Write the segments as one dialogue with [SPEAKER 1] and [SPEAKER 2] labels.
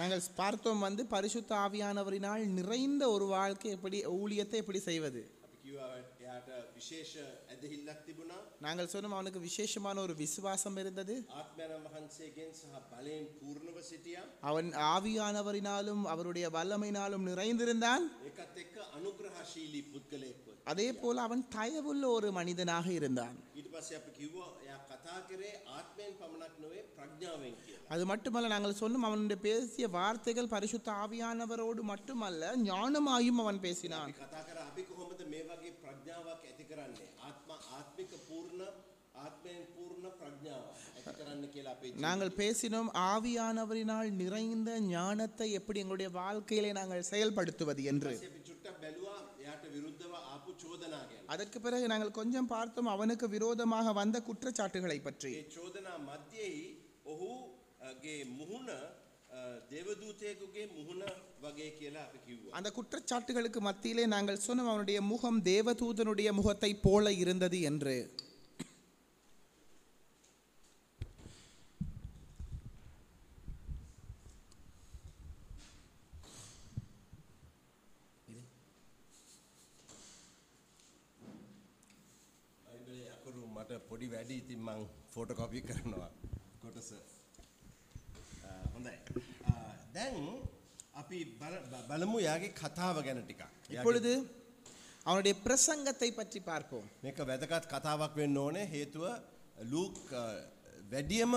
[SPEAKER 1] நாங்கள் பார்த்தோம் வந்து பரிசுத்த ஆவியானவரினால் நிறைந்த ஒரு வாழ்க்கை எப்படி ஊழியத்தை எப்படி செய்வது
[SPEAKER 2] අපි කිව්වා එයාට විශේෂ ඇදහිල්ලක් තිබුණා
[SPEAKER 1] நாங்கள் சொன்னோம் அவனுக்கு விசேஷமான ஒரு விசுவாசம் இருந்தது
[SPEAKER 2] ආත්මයණන් වහන්සේගෙන් සහ බලයෙන් පූර්ණව සිටියා
[SPEAKER 1] அவன் ஆவியானவரினாலும் அவருடைய வல்லமையினாலும் நிறைந்திருந்தான்
[SPEAKER 2] ඒකත් එක්ක අනුග්‍රහශීලී පුද්ගලයෙක්ව
[SPEAKER 1] அதே போல அவன் தயவுள்ள ஒரு மனிதனாக இருந்தான்
[SPEAKER 2] ඊට පස්සේ අපි කිව්වා එයා කතා කරේ ආත්මයෙන් පමණක් නොවේ ප්‍රඥාවෙන් කියලා
[SPEAKER 1] அது மட்டுமல்ல நாங்கள் சொன்னோம் அவனுடைய பேசிய வார்த்தைகள் பரிசுத்த ஆவியானவரோடு மட்டுமல்ல ஞானமாயும் அவன் பேசினான்
[SPEAKER 2] අපි කතා කර අපි කොහොමද මේ වගේ ප්‍රඥාවක් ඇති කරන්නේ ආත්ම ආත්මික පූර්ණ ආත්මයෙන් පූර්ණ ප්‍රඥාව ඇති කරන්න කියලා අපේ ජීවිතේ.
[SPEAKER 1] நாங்கள் பேசினோம் ஆவியானவரினால் நிறைந்த ஞானத்தை எப்படி எங்களுடைய வாழ்க்கையிலே நாங்கள் செயல்படுத்துவது என்று
[SPEAKER 2] ඊපස්සේ අපි චුට්ටක් බැලුවා එයාට විරුද්ධව ආපු චෝදනා ගැන
[SPEAKER 1] அதற்கு பிறகு நாங்கள் கொஞ்சம் பார்த்தோம் அவனுக்கு விரோதமாக வந்த குற்றச்சாட்டுகளை பற்றி
[SPEAKER 2] ඒ චෝදනා මධ්‍යයේ ඔහුගේ මුහුණ අ, දේවදූතයෙකුගේ මුහුණ වගේ කියලා අපි කිව්වා.
[SPEAKER 1] அந்த குற்றச்சாட்டுகளுக்கு மத்தியிலே நாங்கள் சொன்னோம் அவனுடைய முகம் தேவதூதனுடைய முகத்தை போல இருந்தது என்று
[SPEAKER 2] අයිබලේ අකුරු මට පොඩි වැඩි ඉතින් මං ෆෝටෝකොපි කරනවා කොටස. අ, හොඳයි. අ, දැන් අපි බල- බ- බලමු යාගේ කතාව ගැන ටිකක්. එයාගේ-
[SPEAKER 1] இப்பொழுது அவனுடைய பிரசங்கத்தை பற்றி பார்ப்போம்
[SPEAKER 2] මේක වැදගත් කතාවක් වෙන්න ඕනේ හේතුව ලූක් අ, වැඩියම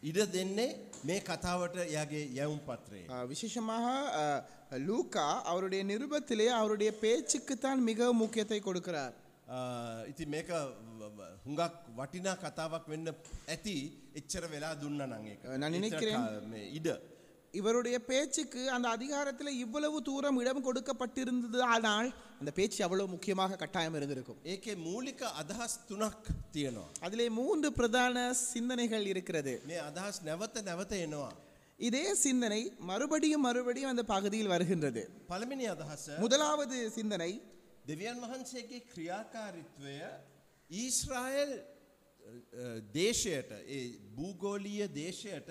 [SPEAKER 2] ඉඩ දෙන්නේ මේ කතාවට යාගේ යැවුම් පත්‍රයේ.
[SPEAKER 1] ஆஹ் விசேஷமாக ஆஹ் லூக்கா அவருடைய நிருபத்திலே அவருடைய பேச்சுக்கு தான் மிக முக்கியத்தை கொடுக்கிறார்
[SPEAKER 2] ආ, ඉතින් මේක හුඟක් වටිනා කතාවක් වෙන්න ඇති එච්චර වෙලා දුන්න නං එක
[SPEAKER 1] අ, නනිනේ කිරෙන්.
[SPEAKER 2] ඉඩ
[SPEAKER 1] இவருடைய பேச்சுக்கு அந்த அதிகாரத்தில் இவ்வளவு தூரம் இடம் கொடுக்கப்பட்டிருந்தது ஆனால் அந்த பேச்சு அவ்வளவு முக்கியமாக கட்டாயம் இருந்திருக்கும்
[SPEAKER 2] ඒකේ මූලික අදහස් තුනක් තියෙනවා.
[SPEAKER 1] அதிலே மூன்று பிரதான சிந்தனைகள் இருக்கிறது
[SPEAKER 2] මේ අදහස් නැවත නැවත එනවා.
[SPEAKER 1] இதே சிந்தனை மறுபடியும் மறுபடியும் அந்த பகுதியில் வருகின்றது
[SPEAKER 2] පළමිනි අදහස
[SPEAKER 1] முதலாவது சிந்தனை
[SPEAKER 2] දෙවියන් වහන්සේගේ ක්‍රියාකාරිත්වය ඊස්රායල් අ, දේශයට ඒ භූගෝලීය දේශයට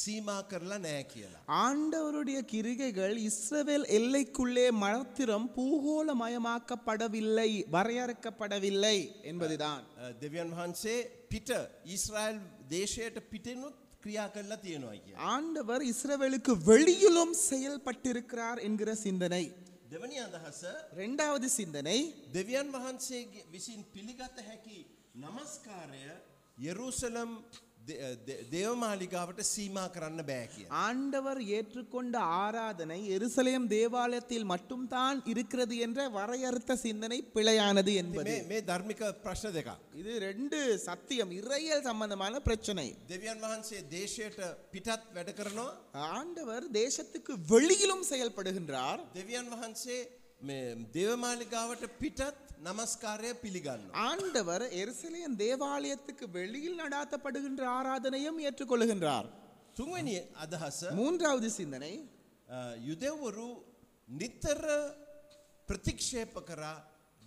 [SPEAKER 2] සීමා කරලා නෑ කියලා.
[SPEAKER 1] ஆண்டவருடைய கிரிகைகள் இஸ்ரவேல் எல்லைக்குள்ளே மாத்திரம் பூகோளமயமாக்கப்படவில்லை வரையறுக்கப்படவில்லை என்பதுதான்
[SPEAKER 2] අ, දෙවියන් වහන්සේ පිට ඊස්රායිල් දේශයට පිටනුත් ක්‍රියා කරලා තියෙනවා කිය.
[SPEAKER 1] ஆண்டவர் இஸ்ரவேலுக்கு வெளியிலும் செயல்பட்டிருக்கிறார் என்கிற சிந்தனை
[SPEAKER 2] දෙවනි අදහස
[SPEAKER 1] இரண்டாவது சிந்தனை
[SPEAKER 2] දෙවියන් වහන්සේ විසින් පිළිගත හැකි නමස්කාරය යෙරුසලම් දේවමාලිගාවට සීමා කරන්න බෑ කිය.
[SPEAKER 1] ஆண்டவர் ஏற்றுக்கொண்ட ஆராதனை எருசலேம் தேவாலயத்தில் மட்டும்தான் இருக்கிறது என்ற வரையறுத்த சிந்தனை பிழையானது என்பது
[SPEAKER 2] මේ ධර්මික ප්‍රශ්න දෙකක්.
[SPEAKER 1] இது ரெண்டு சத்தியம் இறையல் சம்பந்தமான பிரச்சனை
[SPEAKER 2] දෙවියන් වහන්සේ දේශයට පිටත් වැඩ කරනවා
[SPEAKER 1] ஆண்டவர் தேசத்துக்கு வெளியிலும் செயல்படுகின்றார்
[SPEAKER 2] දෙවියන් වහන්සේ දේවමාලිගාවට පිටත් නමස්කාරය පිළිගන්න.
[SPEAKER 1] ஆண்டவர் எருசலேம் தேவாலயத்துக்கு வெளியில் நடாத்தப்படுகின்ற ஆராதனையும் ஏற்றுக்கொள்கின்றார்
[SPEAKER 2] තුන්වැනි අදහස
[SPEAKER 1] மூன்றாவது சிந்தனை
[SPEAKER 2] අ, යුදෙව්වරු නිතර ප්‍රතික්ෂේප කරා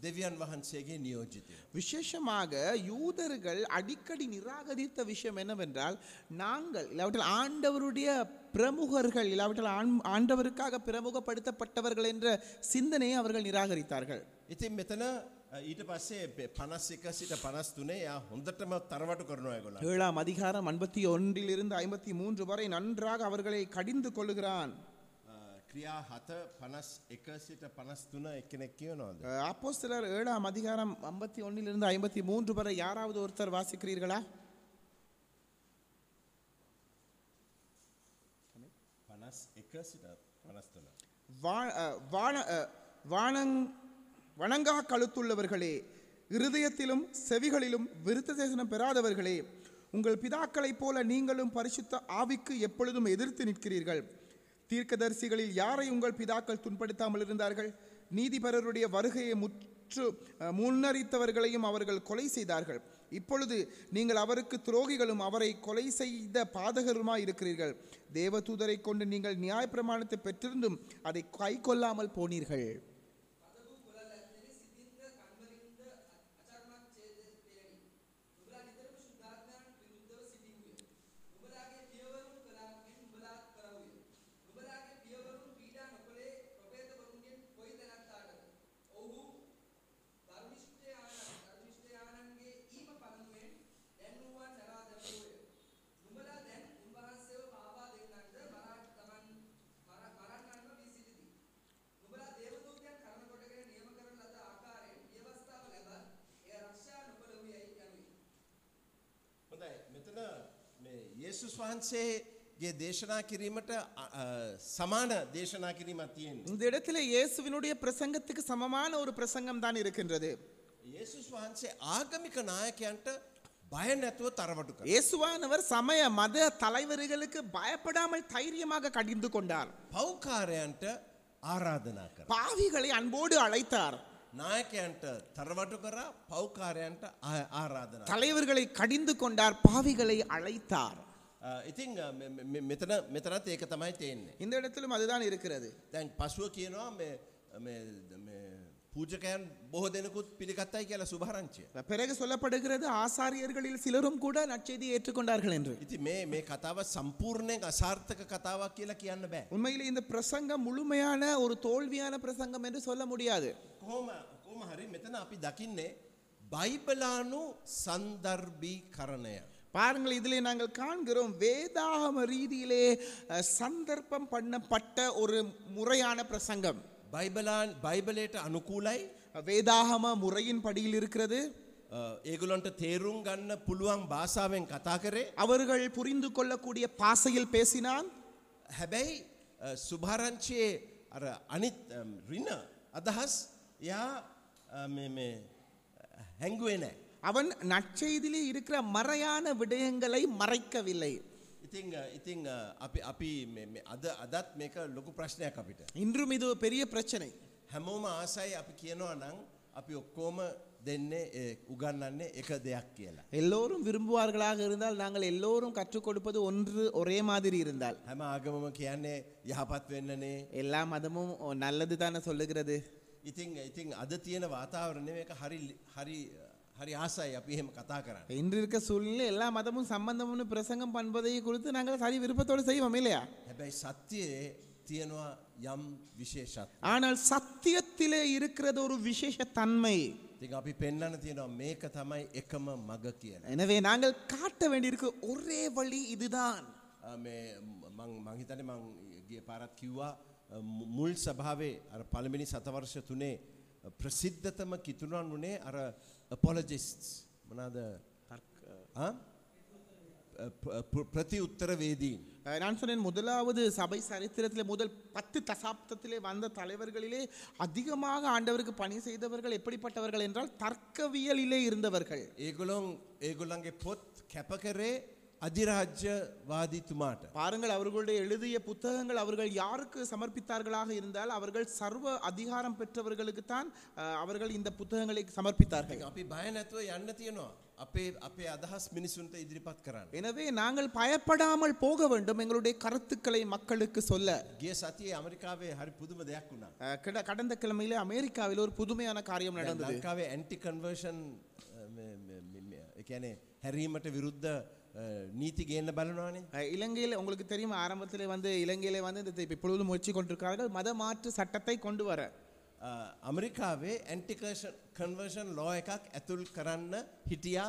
[SPEAKER 2] දෙවියන් වහන්සේගේ නියෝජිතය.
[SPEAKER 1] விசேஷமாக யூதர்கள் அடிக்கடி நிராகரித்த விஷயம் என்னவென்றால் நாங்கள் இல்லாவிட்டால் ஆண்டவருடைய பிரமுகர்கள் இல்லாவிட்டால் ஆண்- ஆண்டவருக்காக பிரமுகப்படுத்தப்பட்டவர்கள் என்ற சிந்தனையை அவர்கள் நிராகரித்தார்கள்
[SPEAKER 2] ඉතින් මෙතන අ, ඊට පස්සේ පෙ- පනස් එක සිට පනස් තුනේ යා හොඳටම තරවට කරනවා ඇගොල.
[SPEAKER 1] ஏழாம் அதிகாரம் ஐம்பத்தி ஒன்றிலிருந்து ஐம்பத்தி மூன்று வரை நன்றாக அவர்களை கடிந்து கொள்ளுகிறான்
[SPEAKER 2] ක්‍රියා හත පනස් එක සිට පනස්තුන එකනෙක් කියනවාද.
[SPEAKER 1] அப்போ சிலர் ஏழாம் அதிகாரம் ஐம்பத்தி ஒன்றிலிருந்து ஐம்பத்தி மூன்று வரை யாராவது ஒருத்தர் வாசிக்கிறீர்களா
[SPEAKER 2] පනස් එක සිට පනස්තුන.
[SPEAKER 1] வா- அஹ், வான அஹ், வானங் வணங்கா கழுத்துள்ளவர்களே இருதயத்திலும் செவிகளிலும் விருத்த சேசனம் பெறாதவர்களே உங்கள் பிதாக்களைப் போல நீங்களும் பரிசுத்த ஆவிக்கு எப்பொழுதும் எதிர்த்து நிற்கிறீர்கள் தீர்க்கதரிசிகளில் யாரை உங்கள் பிதாக்கள் துன்படுத்தாமல் இருந்தார்கள் நீதிபரருடைய வருகையை முற்று அஹ், முன்னறித்தவர்களையும் அவர்கள் கொலை செய்தார்கள் இப்பொழுது நீங்கள் அவருக்கு துரோகிகளும் அவரை கொலை செய்த பாதகருமாய் இருக்கிறீர்கள் தேவதூதரை கொண்டு நீங்கள் நியாயப்பிரமாணத்தை பெற்றிருந்தும் அதை கைக்கொள்ளாமல் போனீர்கள்
[SPEAKER 2] වහන්සේගේ දේශනා කිරීමට අ, අ, සමාන දේශනා කිරීමක් තියෙන්නේ.
[SPEAKER 1] இந்த இடத்துல இயேசுவினுடைய பிரசங்கத்துக்கு சமமான ஒரு பிரசங்கம் தான் இருக்கின்றது
[SPEAKER 2] යේසුස් වහන්සේ ආගමික නායකයන්ට බය නැතුව තරවටු කළා.
[SPEAKER 1] இயேசுவானவர் சமய மத தலைவர்களுக்கு பயப்படாமல் தைரியமாக கடிந்து கொண்டார்
[SPEAKER 2] පෞකාරයන්ට ආරාධනා කළා.
[SPEAKER 1] பாவிகளை අன்போடு அழைத்தார்
[SPEAKER 2] නායකයන්ට තරවටු කරා පෞකාරයන්ට ආ- ආරාධනා.
[SPEAKER 1] தலைவர்களை கடிந்து கொண்டார் பாவிகளை அழைத்தார்
[SPEAKER 2] අ, ඉතිං අ, මෙ- මෙ- මෙ- මෙතන මෙතනත් ඒක තමයි තියෙන්නේ.
[SPEAKER 1] இந்த இடத்திலும் அதுதான் இருக்கிறது
[SPEAKER 2] දැන් පසුව කියනවා මේ- මේ මේ පූජකයන් බොහෝ දෙනකුත් පිළිගත්තයි කියලා සුභාරංචිය.
[SPEAKER 1] பிறகு சொல்லப்படுகிறது ஆசாரியர்களில் சிலரும் கூட நற்செய்தியை ஏற்றுக்கொண்டார்கள் என்று
[SPEAKER 2] ඉති මේ මේ කතාව සම්පූර්ණයෙන් අසාර්ථක කතාවක් කියලා කියන්න බෑ.
[SPEAKER 1] உண்மையிலே இந்த பிரசங்கம் முழுமையான ஒரு தோல்வியான பிரசங்கம் என்று சொல்ல முடியாது
[SPEAKER 2] කොහොම කොහොම හරි මෙතන අපි දකින්නේ බයිබලානු සන්දර්භී කරණය.
[SPEAKER 1] பாருங்கள் இதிலே நாங்கள் காண்கிறோம் வேதாகம ரீதியிலே அஹ், சந்தர்ப்பம் பண்ணப்பட்ட ஒரு முறையான பிரசங்கம்
[SPEAKER 2] බයිබලාන් බයිබලයට අනුකූලයි
[SPEAKER 1] வேதாகம முறையின் படியில் இருக்கிறது
[SPEAKER 2] අ, ඒගොලොන්ට තේරුම් ගන්න පුළුවන් භාෂාවෙන් කතා කරේ.
[SPEAKER 1] அவர்கள் புரிந்து கொள்ளக்கூடிய பாசையில் பேசினான்
[SPEAKER 2] හැබැයි අ, සුභාරංචියේ අර අනිත් අම්, රින අදහස් යා හැංගුවේ නෑ.
[SPEAKER 1] அவன் நற்செய்தியிலே இருக்கிற மறையான விடயங்களை மறைக்கவில்லை
[SPEAKER 2] ඉතිං අ, ඉතිං අ, අපි අපි මේ- මේ අද අදත් මේක ලොකු ප්‍රශ්නයක් අපිට.
[SPEAKER 1] இன்றும் இது ஒரு பெரிய பிரச்சனை
[SPEAKER 2] හැමෝම ආසයි අපි කියනවා නම් අපි ඔක්කෝම දෙන්නේ ඒ උගන්නන්නේ එක දෙයක් කියලා.
[SPEAKER 1] எல்லோரும் விரும்புவார்களாக இருந்தால் நாங்கள் எல்லோரும் கற்றுக் கொடுப்பது ஒன்று ஒரே மாதிரி இருந்தால்
[SPEAKER 2] හැම ආගමම කියන්නේ යහපත් වෙන්නනේ.
[SPEAKER 1] எல்லா மதமும் நல்லது தானே சொல்லுகிறது
[SPEAKER 2] ඉතිං ඉතිං අද තියෙන වාතාවරණය එක හරි ලි- හරි හරි ආසයි අපි එහෙම කතා කරන්න.
[SPEAKER 1] இன்று இருக்க சூழ்நிலை எல்லா மதமும் சம்பந்தம்னு பிரசங்கம் பண்பதை குறித்து நாங்கள் சரி விருப்பத்தோடு செய்வோம் இல்லையா
[SPEAKER 2] හැබැයි සත්‍යයේ තියෙනවා යම් විශේෂත්.
[SPEAKER 1] ஆனால் சத்தியத்திலே இருக்கிறது ஒரு විශේෂ தன்மை
[SPEAKER 2] ඉතින් අපි පෙන්න්න තියෙනවා මේක තමයි එකම මග කියන.
[SPEAKER 1] எனவே நாங்கள் காட்ட வேண்டியிருக்கு ஒரே வழி இதுதான்
[SPEAKER 2] මේ මං- මංහිතන මං ගිය පාරත් කිව්වා අ, මු- මුල් සභාවේ අර පළමිනි සතවර්ෂ තුනේ ප්‍රසිද්ධතම කිතුුණන් වනේ අර පොලජිස්ටස් මනාද ආ? අ, ප- ප- ප්‍රති උත්තරවේදීන්.
[SPEAKER 1] அஹ், நான் சொன்னேன் முதலாவது சபை சரித்திரத்திலே முதல் பத்து தசாப்தத்திலே வந்த தலைவர்களிலே அதிகமாக ஆண்டவருக்கு பணி செய்தவர்கள் எப்படிப்பட்டவர்கள் என்றால் தர்க்கவியலிலே இருந்தவர்கள்
[SPEAKER 2] ඒගොලොන් ඒගොල්ලන්ගේ පොත් කැපකරේ අධිරාජ්‍යවාදීතුමාට.
[SPEAKER 1] பாருங்கள் அவர்களுடைய எழுதிய புத்தகங்கள் அவர்கள் யாருக்கு சமர்ப்பித்தார்களாக இருந்தால் அவர்கள் சர்வ அதிகாரம் பெற்றவர்களுக்கு தான் அவர்கள் இந்த புத்தகங்களை சமர்ப்பித்தார்கள்
[SPEAKER 2] අපි බය නැතුව යන්න තියෙනවා. අපේ අපේ අදහස් මිනිසුන්ට ඉදිරිපත් කරන්න.
[SPEAKER 1] எனவே நாங்கள் பயப்படாமல் போக வேண்டும் எங்களுடைய கருத்துக்களை மக்களுக்கு சொல்ல
[SPEAKER 2] ගිය සතියේ ඇමරිකාවේ ஹரி පුදුම දෙයක් වුණා.
[SPEAKER 1] அஹ், கிட- கடந்த கிழமையில அமெரிக்காவில் ஒரு புதுமையான காரியம்
[SPEAKER 2] දැන්
[SPEAKER 1] நடந்தது
[SPEAKER 2] ලංකාවේ ඇන්ටි කන්වර්ෂන් එකැනේ හැරීමට විරුද්ධ අ, නීති ගේන්න බලනවානේ
[SPEAKER 1] அஹ், இலங்கையில உங்களுக்கு தெரியும் ஆரம்பத்தில் வந்து இலங்கையில வந்து இந்த இப்ப இப்பொழுது முயற்சி கொண்டிருக்கிறார்கள் மத மாற்று சட்டத்தை கொண்டு வர
[SPEAKER 2] අ, අමරිකාවේ ඇන්ටිකර්ෂන් කන්වර්ෂන් ලෝ එකක් ඇතුල් කරන්න හිටියා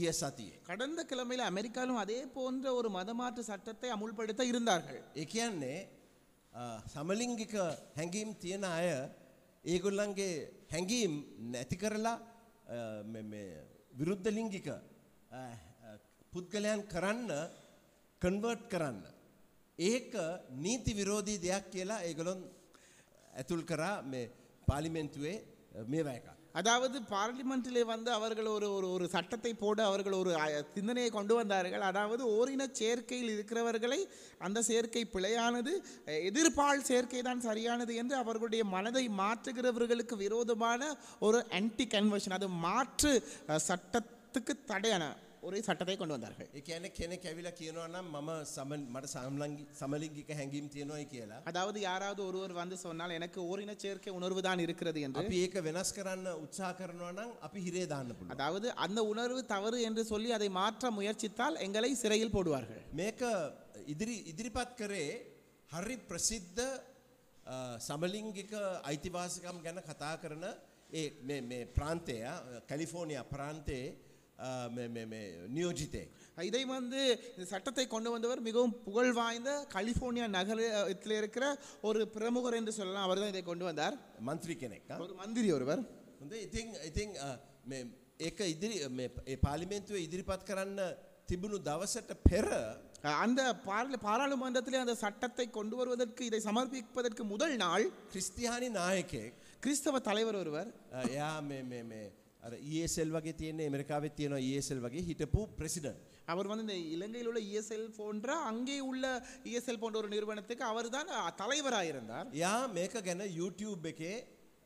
[SPEAKER 2] ගිය සතියේ.
[SPEAKER 1] கடந்த கிழமையில அமெரிக்காவிலும் அதே போன்ற ஒரு மதமாற்று சட்டத்தை அமுல்படுத்த இருந்தார்கள்
[SPEAKER 2] ඒ කියන්නේ අ, සමලිංගික හැඟීම් තියෙන අය ඒගොල්ලන්ගේ හැඟීම් නැති කරලා අ, මෙ- මෙ- විරුද්ධ ලිංගික අ, අ, පුද්ගලයන් කරන්න කන්වර්ට් කරන්න. ඒක නීති විරෝධී දෙයක් කියලා ඒගොලොන් ඇතුල් කරා මේ පාලිමෙන්තුවේ මේවා එකක්.
[SPEAKER 1] அதாவது பார்லிமெண்ட்டிலே வந்து அவர்கள் ஒரு ஒரு ஒரு சட்டத்தை போட அவர்கள் ஒரு அஹ், சிந்தனையை கொண்டு வந்தார்கள் அதாவது ஓரின சேர்க்கையில் இருக்கிறவர்களை அந்த சேர்க்கை பிழையானது அஹ், எதிர்ப்பால் சேர்க்கை தான் சரியானது என்று அவர்களுடைய மனதை மாற்றுகிறவர்களுக்கு விரோதமான ஒரு ஆன்டி கன்வர்ஷன் அது மாற்று அஹ், சட்டத்துக்கு தடையான ஒரு சட்டத்தை கொண்டு வந்தார்கள்
[SPEAKER 2] ඒ ඇන කෙනෙක් ඇවිලා කියනවා නම් මම සම මට සම්ලංගි සමලිංගික හැඟීම් තියෙනවයි කියලා.
[SPEAKER 1] அதாவது யாராவது ஒருவர் வந்து சொன்னால் எனக்கு ஓரின சேர்க்கை உணர்வு தான் இருக்கிறது என்று
[SPEAKER 2] අපි ඒක වෙනස් කරන්න උත්සා කරනවා නම් අපි හිරේ දාන්න පුළුවන්.
[SPEAKER 1] அதாவது அந்த உணர்வு தவறு என்று சொல்லி அதை மாற்ற முயற்சித்தால் எங்களை சிறையில் போடுவார்கள்
[SPEAKER 2] මේක ඉදිරි ඉදිරිපත් කරේ හරි ප්‍රසිද්ධ අ, සමලිංගික අයිතිවාසිකම් ගැන කතා කරන ඒ මේ- මේ ප්‍රාන්තය කැලිෆෝනිය ප්‍රාන්තයේ අ, මේ- මේ- මේ නියෝජිතය.
[SPEAKER 1] இதை வந்து இந்த சட்டத்தை கொண்டு வந்தவர் மிகவும் புகழ் வாய்ந்த கலிஃபோர்னியா நகரத்தில் இருக்கிற ஒரு பிரமுகர் என்று சொல்லலாம் அவர் தான் இதை கொண்டு வந்தார்
[SPEAKER 2] මන්ත්‍රී කෙනෙක්. අ.
[SPEAKER 1] ஒரு மந்திரி ஒருவர்
[SPEAKER 2] හොඳ ඉතිං ඉතිං අ, මේ- ඒක ඉදිරි මේ- ඒ පාලිමෙන්තුව ඉදිරිපත් කරන්න තිබුණු දවසට පෙර
[SPEAKER 1] அஹ், அந்த பார- பாராளுமன்றத்திலே அந்த சட்டத்தை கொண்டு வருவதற்கு இதை சமர்ப்பிப்பதற்கு முதல் நாள்
[SPEAKER 2] ක්‍රිස්තියානි නායකෙක්
[SPEAKER 1] கிறிஸ்தவ தலைவர் ஒருவர்
[SPEAKER 2] අ, එයා මේ මේ මේ අර ඒසෙල් වගේ තියන්නේ මෙරිකාවෙ තියෙනවා ඒසෙල් වගේ හිටපු ප්‍රසිඩන්ට්
[SPEAKER 1] அவர் வந்து இந்த இலங்கையில் உள்ள இஎஸ்எல் போன்ற அங்கே உள்ள இஎஸ்எல் போன்ற ஒரு நிறுவனத்துக்கு அவர்தான் அஹ், தலைவராக இருந்தார்
[SPEAKER 2] යා මේක ගැන YouTube එකේ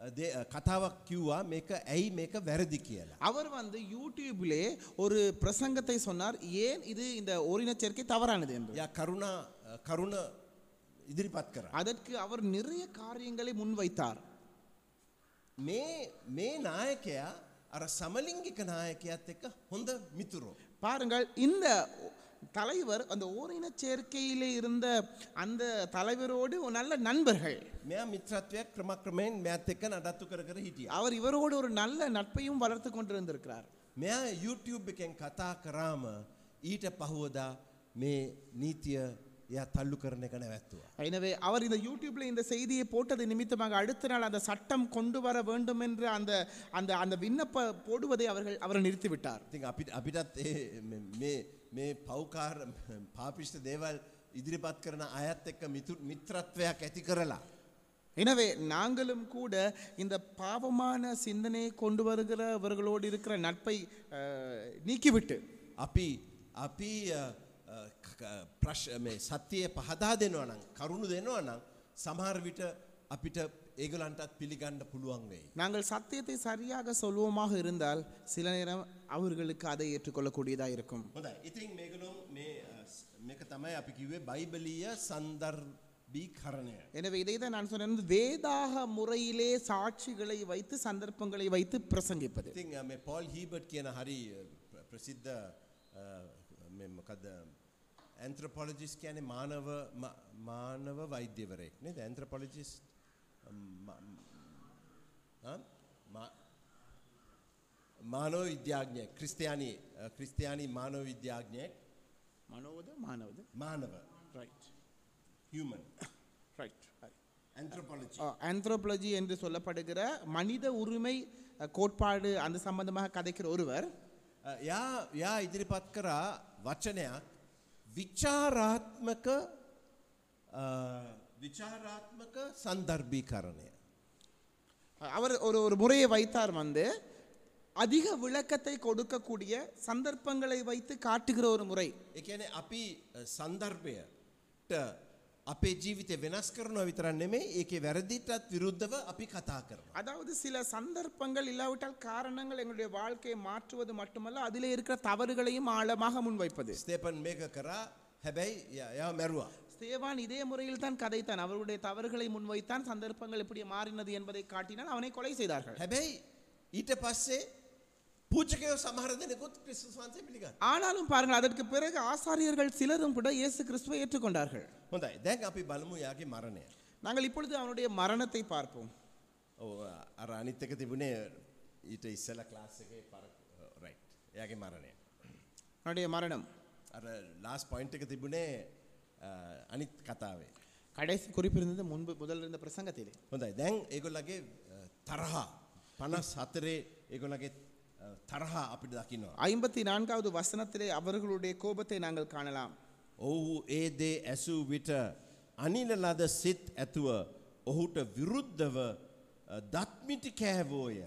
[SPEAKER 2] අ, දේ- අ, කතාවක් කිව්වා මේක ඇයි මේක වැරදි කියලා.
[SPEAKER 1] அவர் வந்து யூடியூபிலே ஒரு பிரசங்கத்தை சொன்னார் ஏன் இது இந்த ஓரினச் சேர்க்கை தவறானது என்று
[SPEAKER 2] යා කරුණා අ, කරුණ ඉදිරිපත් කර.
[SPEAKER 1] அதற்கு அவர் நிறைய காரியங்களை முன்வைத்தார்
[SPEAKER 2] මේ මේ නායකයා අර සමලිංගික නායකයත් එක්ක හොඳ මිතුරෝ.
[SPEAKER 1] பாருங்கள் இந்த ஒ- தலைவர் அந்த ஓரினச் சேர்க்கையிலே இருந்த அந்த தலைவரோடு ஒரு நல்ல நண்பர்கள்
[SPEAKER 2] මෙයා මිත්‍රත්වයක් ක්‍රමක්‍රමයෙන් මෙත් එක්ක නඩත්තු කර කර හිටිය.
[SPEAKER 1] அவர் இவரோடு ஒரு நல்ல நட்பையும் வளர்த்து கொண்டிருந்திருக்கிறார்
[SPEAKER 2] මෙයා YouTube එකෙන් කතා කරාම ඊට පහුවදා මේ නීතිය එයා තල්ලු කරන එක නැවැත්තුවා.
[SPEAKER 1] எனவே அவர் இந்த யூடியூப்ல இந்த செய்தியை போட்டது நிமித்தமாக அடுத்த நாள் அந்த சட்டம் கொண்டு வர வேண்டும் என்று அந்த அந்த அந்த விண்ணப்ப போடுவதை அவர்கள் அவர் நிறுத்திவிட்டார்
[SPEAKER 2] ඉතින් අපිට අපිටත් ඒ මේ- මේ මේ පෞකාර පාපිෂ්ට දේවල් ඉදිරිපත් කරන අයත් එක්ක මිතු- මිත්‍රත්වයක් ඇති කරලා.
[SPEAKER 1] எனவே நாங்களும் கூட இந்த பாவமான சிந்தனையை கொண்டு வருகிறவர்களோடு இருக்கிற நட்பை அஹ், நீக்கிவிட்டு
[SPEAKER 2] අපි අපි අ, අ, ක- ක- ප්‍රශ් මේ සත්‍යය පහදා දෙනවා නම් කරුණු දෙනවා නම් සමහරවිට අපිට ඒගලන්ටත් පිළිගන්න පුළුවන් වෙයි.
[SPEAKER 1] நாங்கள் சத்தியத்தை சரியாக சொல்வோமாக இருந்தால் சில நேரம் அவர்களுக்கு அதை ஏற்றுக்கொள்ளக்கூடியதாக இருக்கும்
[SPEAKER 2] හොඳයි ඉතින් මේකලුම් මේ අ, ස්- මේක තමයි අපි කිව්වේ බයිබලීය සන්දර්බී කරණය.
[SPEAKER 1] எனவே இதை தான் நான் சொன்னேன் வேதாக முறையிலே சாட்சிகளை வைத்து சந்தர்ப்பங்களை வைத்து பிரசங்கிப்பது
[SPEAKER 2] ඉතින් අ, මේ පොල් හීබට් කියන හරි අ, ප්‍ර- ප්‍රසිද්ධ uh, මොකද ඇන්ත්‍රපොලජිස් කියන මානව ම- මානව වෛද්‍යවරයෙක් නේද um, ඇන්ත්‍රපොලජිස් මානව විද්‍යාඥය ක්‍රිස්තියානි අ, ක්‍රිස්තියානි මානව විද්‍යාඥයෙක්
[SPEAKER 1] மனோவது மானவது
[SPEAKER 2] මානව
[SPEAKER 1] right
[SPEAKER 2] human
[SPEAKER 1] right
[SPEAKER 2] anthropology
[SPEAKER 1] anthropology என்று சொல்லப்படுகிற மனித உரிமை அஹ், கோட்பாடு அந்த சம்பந்தமாக கதைக்கிற ஒருவர்
[SPEAKER 2] අ, යා යා Uh, ඉදිරිපත් කරා වචනයක් විචාරාත්මක අ, විචාරාත්මක සන්දර්භී කරණය.
[SPEAKER 1] அவர் ஒரு ஒரு முறையை வைத்தார் வந்து அதிக விளக்கத்தை கொடுக்கக்கூடிய சந்தர்ப்பங்களை வைத்து காட்டுகிற ஒரு முறை
[SPEAKER 2] එකන අපි අ, සන්දර්භයට අපේ ජීවිතය වෙනස් කරන විතරන් නෙමේ ඒකේ වැරදිටත් විරුද්ධව අපි කතා කරන.
[SPEAKER 1] அதாவது சில சந்தர்ப்பங்கள் இல்லாவிட்டால் காரணங்கள் எங்களுடைய வாழ்க்கையை மாற்றுவது மட்டுமல்ல அதிலே இருக்கிற தவறுகளையும் ஆழமாக முன்வைப்பது
[SPEAKER 2] ස්තේපන් මේක කරා හැබැයි ය- එයා මැරුවා.
[SPEAKER 1] ஸ்தேவான் இதே முறையில் தான் கதைத்தான் அவருடைய தவறுகளை முன்வைத்தான் சந்தர்ப்பங்கள் எப்படி மாறினது என்பதை காட்டினால் அவனை கொலை செய்தார்கள்
[SPEAKER 2] හැබැයි ඊට පස්සේ පූචකයෝ සමහරදනකුත් ක්‍රිස්තුස් වන්සේ පිළිගන්න.
[SPEAKER 1] ஆனாலும் பாருங்கள் அதற்கு பிறகு ஆசாரியர்கள் சிலரும் கூட இயேசு கிறிஸ்துவை ஏற்றுக்கொண்டார்கள்
[SPEAKER 2] හොඳයි දැන් අපි බලමු යාගේ මරණය.
[SPEAKER 1] நாங்கள் இப்பொழுது அவனுடைய மரணத்தை பார்ப்போம்
[SPEAKER 2] ඔව්, අර අනිත් එක තිබුණේ ඊට ඉස්සල ක්ලාස් එකේ පර රයි් එයාගේ මරණය
[SPEAKER 1] அவனுடைய மரணம்
[SPEAKER 2] අර ලාස් පොයින්් එක තිබුණේ අ, අනිත් කතාවේ
[SPEAKER 1] கடைசி குறிப்பிருந்தது முன்பு முதல்ல இருந்த பிரசங்கத்திலே
[SPEAKER 2] හොඳයි දැන් ඒගොල්ලගේ uh, අ, තරහා පනස් හතරේ ඒගොලගේ තරහා uh, අපිට දකිනවා
[SPEAKER 1] ஐம்பத்தி நான்காவது வசனத்திலே அவர்களுடைய கோபத்தை நாங்கள் காணலாம்
[SPEAKER 2] ඔවු ඒ දේ ඇසූ විට අනිලලද සිත් ඇතුව ඔහුට විරුද්ධව අ, දත්මිටි කෑවෝය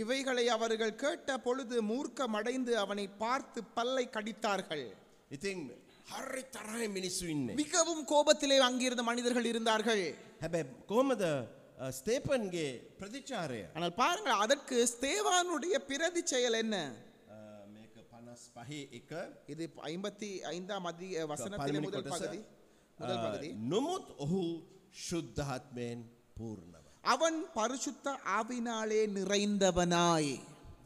[SPEAKER 1] இவைகளை அவர்கள் கேட்ட பொழுது மூர்க்கமடைந்து அவனை பார்த்து பல்லை கடித்தார்கள்
[SPEAKER 2] ඉතින් හරි තරහය මිනිස්සු ඉන්නේ
[SPEAKER 1] மிகவும் கோபத்திலே அங்கிருந்த மனிதர்கள் இருந்தார்கள்
[SPEAKER 2] හැබැයි කොහොමද අ, ස්තේපන්ගේ ප්‍රතිචාරය
[SPEAKER 1] ஆனால் பாருங்கள் அதற்கு ஸ்தேவானுடைய பிரதி செயல் என்ன
[SPEAKER 2] අ, මේක පනස් පහේ එක
[SPEAKER 1] இது ஐம்பத்தி ஐந்தாம் அதிக வசனத்திலே
[SPEAKER 2] පළවෙනි
[SPEAKER 1] முதல்
[SPEAKER 2] කොටස.
[SPEAKER 1] பகுதி முதல்
[SPEAKER 2] අ,
[SPEAKER 1] பகுதி
[SPEAKER 2] නොමුත් ඔහු ශුද්ධාත්මයෙන් පූර්ණව.
[SPEAKER 1] அவன் பரிசுத்த ஆவினாலே நிறைந்தவனாய்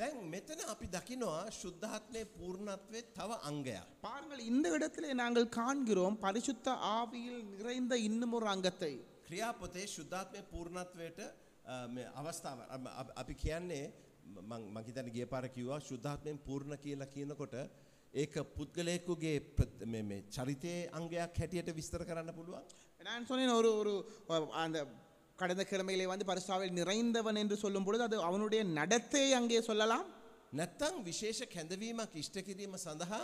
[SPEAKER 2] දැන් මෙතන අපි දකිනවා ශුද්ධාත්මය පූර්ණත්වය තව අංගයක්.
[SPEAKER 1] பாருங்கள் இந்த இடத்திலே நாங்கள் காண்கிறோம் பரிசுத்த ஆவியில் நிறைந்த இன்னும் ஒரு அங்கத்தை
[SPEAKER 2] ක්‍රියාපොතේ ශුද්ධාත්මය පූර්ණත්වයට අ, මේ අවස්ථාව අම- අප- අපි කියන්නේ මං- මං හිතන ගිය පාර කිව්වා ශුද්ධාත්මයෙන් පූර්ණ කියලා කියනකොට ඒක පුද්ගලයෙකුගේ ප්‍රත්- මේ- මේ චරිතයේ අංගයක් හැටියට විස්තර කරන්න පුළුවන්.
[SPEAKER 1] நான் சொன்னேன் ஒரு ஒரு அஹ், அந்த கடந்த கிழமையிலே வந்து பரிசுத்தாவில் நிறைந்தவன் என்று சொல்லும் பொழுது அது அவனுடைய நடத்தை அங்கே சொல்லலாம்
[SPEAKER 2] නැත්තං විශේෂ කැඳවීමක් ඉෂ්ට කිරීම සඳහා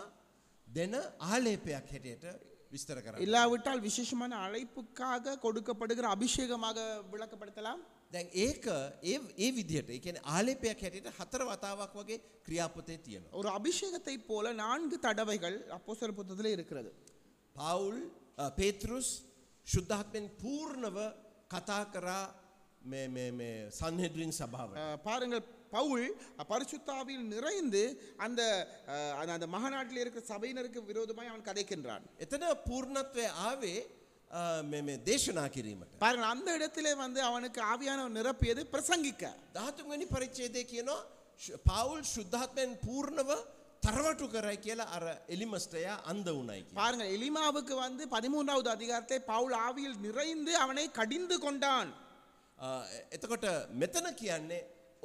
[SPEAKER 2] දෙන ආලේපයක් හැටියට විස්තර කරන්න.
[SPEAKER 1] இல்லாவிட்டால் விசேஷமான அழைப்புக்காக கொடுக்கப்படுகிற அபிஷேகமாக விளக்கப்படுத்தலாம்
[SPEAKER 2] දැන් ඒක ඒ ඒ විදිහට ඒ කියන්නේ ආලේපයක් හැටියට හතර වතාවක් වගේ ක්‍රියාපතේ තියෙනවා.
[SPEAKER 1] ஒரு அபிஷேகத்தை போல நான்கு தடவைகள் அப்போஸ்தலர் புத்தகத்தில் இருக்கிறது
[SPEAKER 2] පවුල් අ, පේතෘස් ශුද්ධාත්මෙන් පූර්ණව කතා කරා මේ- මේ- මේ සංහෙඩ්‍රින් සභාව.
[SPEAKER 1] அஹ், பாருங்கள் பவுல் பரிசுத்தாவில் நிறைந்து அந்த அஹ், அந்த- அந்த மகநாட்டில் இருக்கிற சபையினருக்கு விரோதமாய் அவன் கதைக்கின்றான்
[SPEAKER 2] එතන පූර්ණත්වය ආවේ අ, මේ- මේ දේශනා කිරීමට.
[SPEAKER 1] பாருங்கள் அந்த இடத்திலே வந்து அவனுக்கு ஆவியானவர் நிரப்பியது பிரசங்கிக்க
[SPEAKER 2] ධාතුන්ගනි පරිච්චේදය කියනවා ශ- පවුල් ශුද්ධාත්මයෙන් පූර්ණව තරවටු කරයි කියලා අර එලිමස්ටයා අන්ද වුණයි කිය.
[SPEAKER 1] பாருங்கள் எலிமாவுக்கு வந்து பதிமூன்றாவது அதிகாரத்தை பவுல் ஆவியில் நிறைந்து அவனை கடிந்து கொண்டான்
[SPEAKER 2] අ, එතකොට මෙතන කියන්නේ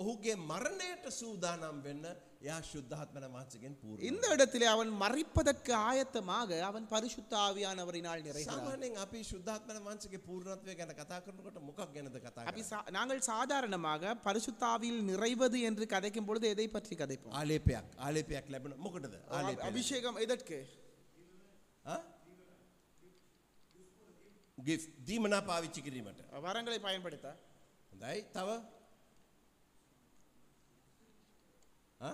[SPEAKER 2] ඔහුගේ මරණයට සූදානම් වෙන්න යා ශුද්ධාත්මන මාසකෙන් පූර්.
[SPEAKER 1] இந்த இடத்திலே அவன் மறிப்பதற்கு ஆயத்தமாக அவன் பரிசுத்த ஆவியானவரினால் நிறைகிறான்
[SPEAKER 2] සාමානෙන් අපි ශුද්ධාත්මන වන්සගේ පූර්ණත්වය ගැන කතා කරනකොට මොකක් ගැනද කතා
[SPEAKER 1] அப்படி சா- நாங்கள் சாதாரணமாக பரிசுத்தாவியில் நிறைவது என்று கதைக்கும் பொழுது எதை பற்றி கதைப்போம்
[SPEAKER 2] ආලේපයක් ආලේපයක් ලැබෙන මොකටද ආලේපයක්.
[SPEAKER 1] அபிஷேகம் எதற்கு
[SPEAKER 2] ආ? gift දීමනා පාවිච්චි කිරීමට
[SPEAKER 1] வரங்களை பயன்படுத்த
[SPEAKER 2] හොඳයි තව ආ?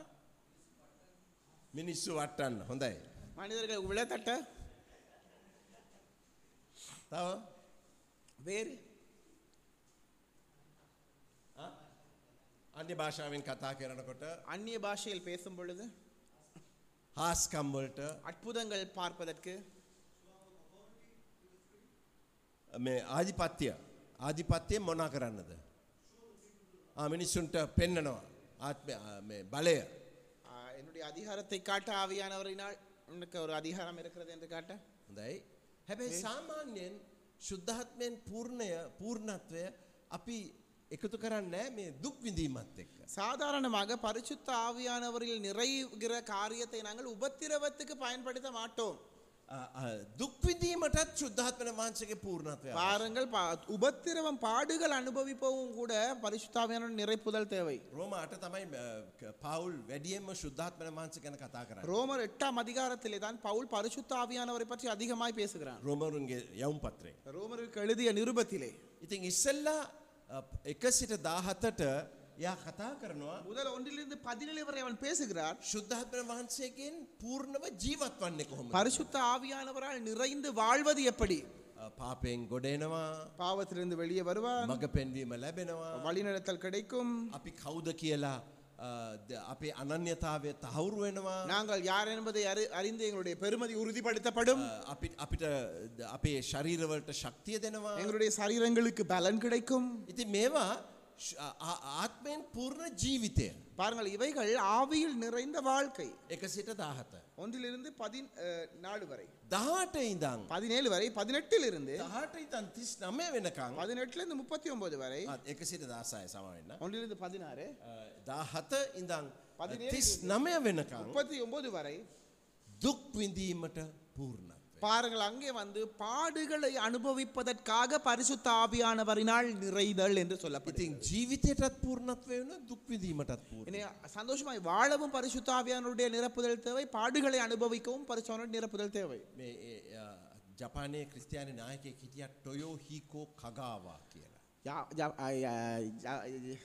[SPEAKER 2] මිනිස්සු වටන්න හොඳයි
[SPEAKER 1] மனிதர்களை விளத்தட்ட
[SPEAKER 2] තව
[SPEAKER 1] வேறு
[SPEAKER 2] අන්‍ය භාෂාවෙන් කතා කරනකොට
[SPEAKER 1] அந்நிய பாஷையில் பேசும் பொழுது
[SPEAKER 2] හාස්කම්වලට
[SPEAKER 1] அற்புதங்கள் பார்ப்பதற்கு
[SPEAKER 2] මේ ආධිපත්‍ය ආධිපත්‍යය මොනා කරන්නද ආ, මිනිස්සුන්ට පෙන්නනවා ආත්ම බලය
[SPEAKER 1] ஆ, என்னுடைய அதிகாரத்தை காட்ட ஆவியானவரினால் உனக்கு ஒரு அதிகாரம் இருக்கிறது என்று காட்ட
[SPEAKER 2] හොඳයි හැබැයි සාමාන්‍යයෙන් ශුද්ධාත්මයෙන් පූර්ණය පූර්ණත්වය අපි එකතු කරන්න මේ දුක් විඳීමත් එක්ක.
[SPEAKER 1] சாதாரணமாக பரிசுத்த ஆவியானவரில் நிறைகிற காரியத்தை நாங்கள் உபத்திரவத்துக்கு பயன்படுத்த மாட்டோம்
[SPEAKER 2] අ, අ, දුක්විදීමටත් ශුද්ධාත්මන වහන්සගේ පූර්ණත්වය.
[SPEAKER 1] பாருங்கள் பா- உபத்திரவம் பாடுகள் அனுபவிப்பவும் கூட பரிசுத்தாவியான நிறைப்புதல் தேவை
[SPEAKER 2] රෝම අට තමයි අ, ක- පවුල් වැඩියම ශුද්ධාත්මන වහන්ස ගැන කතා කරන්න.
[SPEAKER 1] ரோமர் எட்டாம் அதிகாரத்திலே தான் பவுல் பரிசுத்த ஆவியானவரை பற்றி அதிகமாய் பேசுகிறான்
[SPEAKER 2] රෝමරුන්ගේ යවුම් පත්‍රේ.
[SPEAKER 1] ரோமருக்கு எழுதிய நிருபத்திலே
[SPEAKER 2] ඉතින් ඉස්සල්ලා අ, එක සිට දාහතට යා කතා කරනවා
[SPEAKER 1] முதல் ஒன்றிலிருந்து பதினேழு வரை அவன் பேசுகிறார்
[SPEAKER 2] ශුද්ධාත්මන වහන්සේකෙන් පූර්ණව ජීවත් වන්නේ කොහොම.
[SPEAKER 1] பரிசுத்த ஆவியானவரால் நிறைந்து வாழ்வது எப்படி
[SPEAKER 2] පාපයෙන් ගොඩෙනවා
[SPEAKER 1] பாவத்திலிருந்து வெளியே வருவான்
[SPEAKER 2] මඟ පෙන්වීම ලැබෙනවා.
[SPEAKER 1] வழிநடத்தல் கிடைக்கும்
[SPEAKER 2] අපි කවුද කියලා අ, ද- අපේ අනන්‍යතාවය තහවුරු වෙනවා.
[SPEAKER 1] நாங்கள் யார் என்பதை அறி- அறிந்து எங்களுடைய பெருமதி உறுதிப்படுத்தப்படும்
[SPEAKER 2] අ, අපි- අපිට ද- අපේ ශරීරවලට ශක්තිය දෙනවා.
[SPEAKER 1] எங்களுடைய சரீரங்களுக்கு பலன் கிடைக்கும்
[SPEAKER 2] ඉති මේවා ශ- ආ- ආ- ආත්මයෙන් පූර්ණ ජීවිතය
[SPEAKER 1] பாருங்கள் இவைகள் ආවිயில் நிறைந்த வாழ்க்கை
[SPEAKER 2] එක සිට දාහත.
[SPEAKER 1] ஒன்றிலிருந்து பதின் நாலு வரை
[SPEAKER 2] දාට ඉඳං.
[SPEAKER 1] பதினேழு வரை பதினெட்டில் இருந்து
[SPEAKER 2] දහට ඉතන් තිස් නමය වෙනකං
[SPEAKER 1] பதினெட்டுல இருந்து முப்பத்தி ஒன்பது வரை
[SPEAKER 2] එක සිට දාසාය සමවෙන්න.
[SPEAKER 1] ஒன்றிலிருந்து பதினாறு
[SPEAKER 2] දාහත ඉඳං
[SPEAKER 1] පදිනේළේ
[SPEAKER 2] තිස් නමය වෙනකං
[SPEAKER 1] முப்பத்தி ஒன்பது වரை
[SPEAKER 2] දුක්විඳීමට පූර්ණ.
[SPEAKER 1] பாருங்கள் அங்கே வந்து பாடுகளை அனுபவிப்பதற்காக பரிசுத்த ஆவியானவரினால் நிறைதல் என்று சொல்லப்படுது
[SPEAKER 2] ඉතින් ජීවිතයටත් පූර්ණත්වය වන දුක්විදීමටත් පූර්ණ.
[SPEAKER 1] இனி சந்தோஷமாய் வாழவும் பரிசுத்த ஆவியானவருடைய நிரப்புதல் தேவை பாடுகளை அனுபவிக்கவும் பரிசுத்தாவியானவருடைய நிரப்புதல் தேவை
[SPEAKER 2] මේ ඒ, අ, ජපානය ක්‍රස්තියානි නායකය හිටියත් ටොයෝ හිකෝ කගාවා කියලා.
[SPEAKER 1] யா- ஜா- ஐ- ஐ- ஜா- ஐ-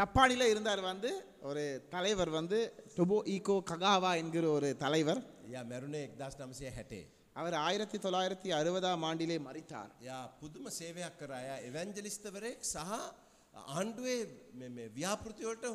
[SPEAKER 1] ஜப்பானில இருந்தார் வந்து ஒரு தலைவர் வந்து டொபோ ஈகோ ககாவா என்கிற ஒரு தலைவர்
[SPEAKER 2] එය මැරුණේ එක්දස් නමසය හැටේ.
[SPEAKER 1] அவர் ஆயிரத்தி தொள்ளாயிரத்தி அறுபதாம் ආண்டிலே மறித்தார்
[SPEAKER 2] යා පුදුම සේවයක් කරාය එවැන්ජලිස්තවරෙක් සහ ආණ්ඩුවේ මේ- මේ ව්‍යාපෘතිවලට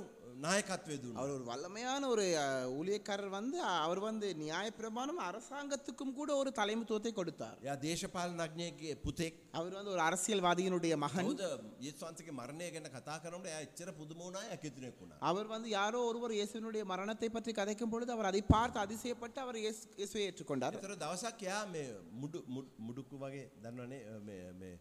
[SPEAKER 2] නායකත්වය දුන්න.
[SPEAKER 1] அவர் ஒரு வல்லமையான ஒரு அஹ், ஊழியக்காரர் வந்து அவர் வந்து நியாயப்பிரமாணம் அரசாங்கத்துக்கும் கூட ஒரு தலைமைத்துவத்தை கொடுத்தார்
[SPEAKER 2] යා දේශපාලනඥයගේ පුතෙක්
[SPEAKER 1] அவர் வந்து ஒரு அரசியல்வாதியினுடைய මහන්
[SPEAKER 2] හුද ඒස්වන්සගේ මරණය ගැන කතා කරනට එය එච්චර පුදුමෝනා ඇකිතුනෙක් වුණා.
[SPEAKER 1] அவர் வந்து யாரோ ஒருவர் இயேசுவினுடைய மரணத்தை பற்றி கதைக்கும் பொழுது அவர் அதை பார்த்து அதிசயப்பட்டு அவர் இயேசு- இயேசுவை ஏற்றுக்கொண்டார்
[SPEAKER 2] තර දවසක් එයා මේ මුඩු- මුඩු- මුඩුක්කු වගේ දන්නවනේ අ, මේ- මේ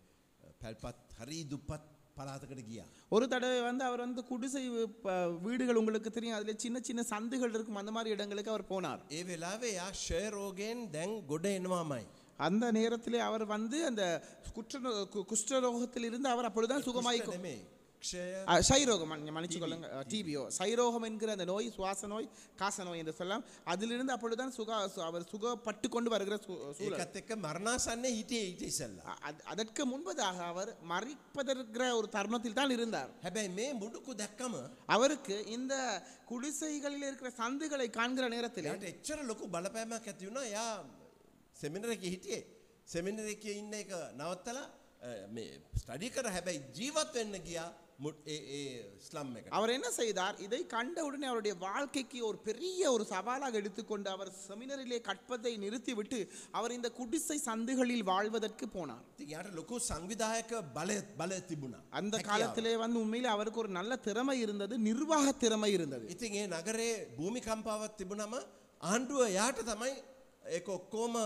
[SPEAKER 2] පැල්පත් හරි දුප්පත් පලාතකට ගියා.
[SPEAKER 1] ஒரு தடவை வந்து அவர் வந்து குடிசை வீ- ப- வீடுகள் உங்களுக்கு தெரியும் அதில் சின்ன சின்ன சந்துகள் இருக்கும் அந்த மாதிரி இடங்களுக்கு அவர் போனார்
[SPEAKER 2] ඒ වෙලාවේ යා ෂයරෝගෙන් දැන් ගොඩ එනවාමයි.
[SPEAKER 1] அந்த நேரத்திலே அவர் வந்து அந்த குற்ற குஷ்டரோகத்திலிருந்து அவர் அப்பொழுதுதான் சுகமாய்
[SPEAKER 2] නෙමේ ක්ෂය
[SPEAKER 1] அஹ், சைரோகம் மன்- மன்னிச்சுக்கொள்ளுங்க அஹ், டிபிஓ சைரோகம் என்கிற அந்த நோய் சுவாச நோய் காச நோய் என்று சொல்லலாம் அதிலிருந்து அப்பொழுதுதான் சுகா சு- அவர் சுகப்பட்டு கொண்டு வருகிற சூ- சூழல்
[SPEAKER 2] ඒකත් එක්ක මරණාසන්නේ හිටියේ ඊට ඉස්සෙල්ලා.
[SPEAKER 1] அ- அத்- அதற்கு முன்பதாக அவர் மறிப்பதற்கிற ஒரு தருணத்தில் தான் இருந்தார்
[SPEAKER 2] හැබැයි මේ මුඩුකු දැක්කම
[SPEAKER 1] அவருக்கு இந்த குடிசைகளில் இருக்கிற சந்துகளை காண்கிற நேரத்தில்
[SPEAKER 2] එයාට එච්චර ලොකු බලපෑමක් ඇති වුණා. එයා සෙමිනර් එකේ හිටියේ. සෙමිනර් එකේ ඉන්න එක නවත්තලා අ, මේ ස්ටඩි කර හැබැයි ජීවත් වෙන්න ගියා මුඩ්- ඒ ඒ ස්ලම් එකට.
[SPEAKER 1] அவர் என்ன செய்தார் இதை கண்டவுடனே அவருடைய வாழ்க்கைக்கு ஒரு பெரிய ஒரு சவாலாக எடுத்துக்கொண்டு அவர் செமினரிலே கற்பதை நிறுத்திவிட்டு அவர் இந்த குடிசை சந்துகளில் வாழ்வதற்கு போனார்
[SPEAKER 2] ඉතින් එයාට ලොකු සංවිධායක බලය බලය තිබුණා.
[SPEAKER 1] அந்த
[SPEAKER 2] හැකියාව.
[SPEAKER 1] காலத்திலே வந்து உண்மையில் அவருக்கு ஒரு நல்ல திறமை இருந்தது நிர்வாக திறமை இருந்தது
[SPEAKER 2] ඉතින් ඒ නගරේ භූමිකම්පාවක් තිබුණම ආණ්ඩුව යාට තමයි ඒක ඔක්කොම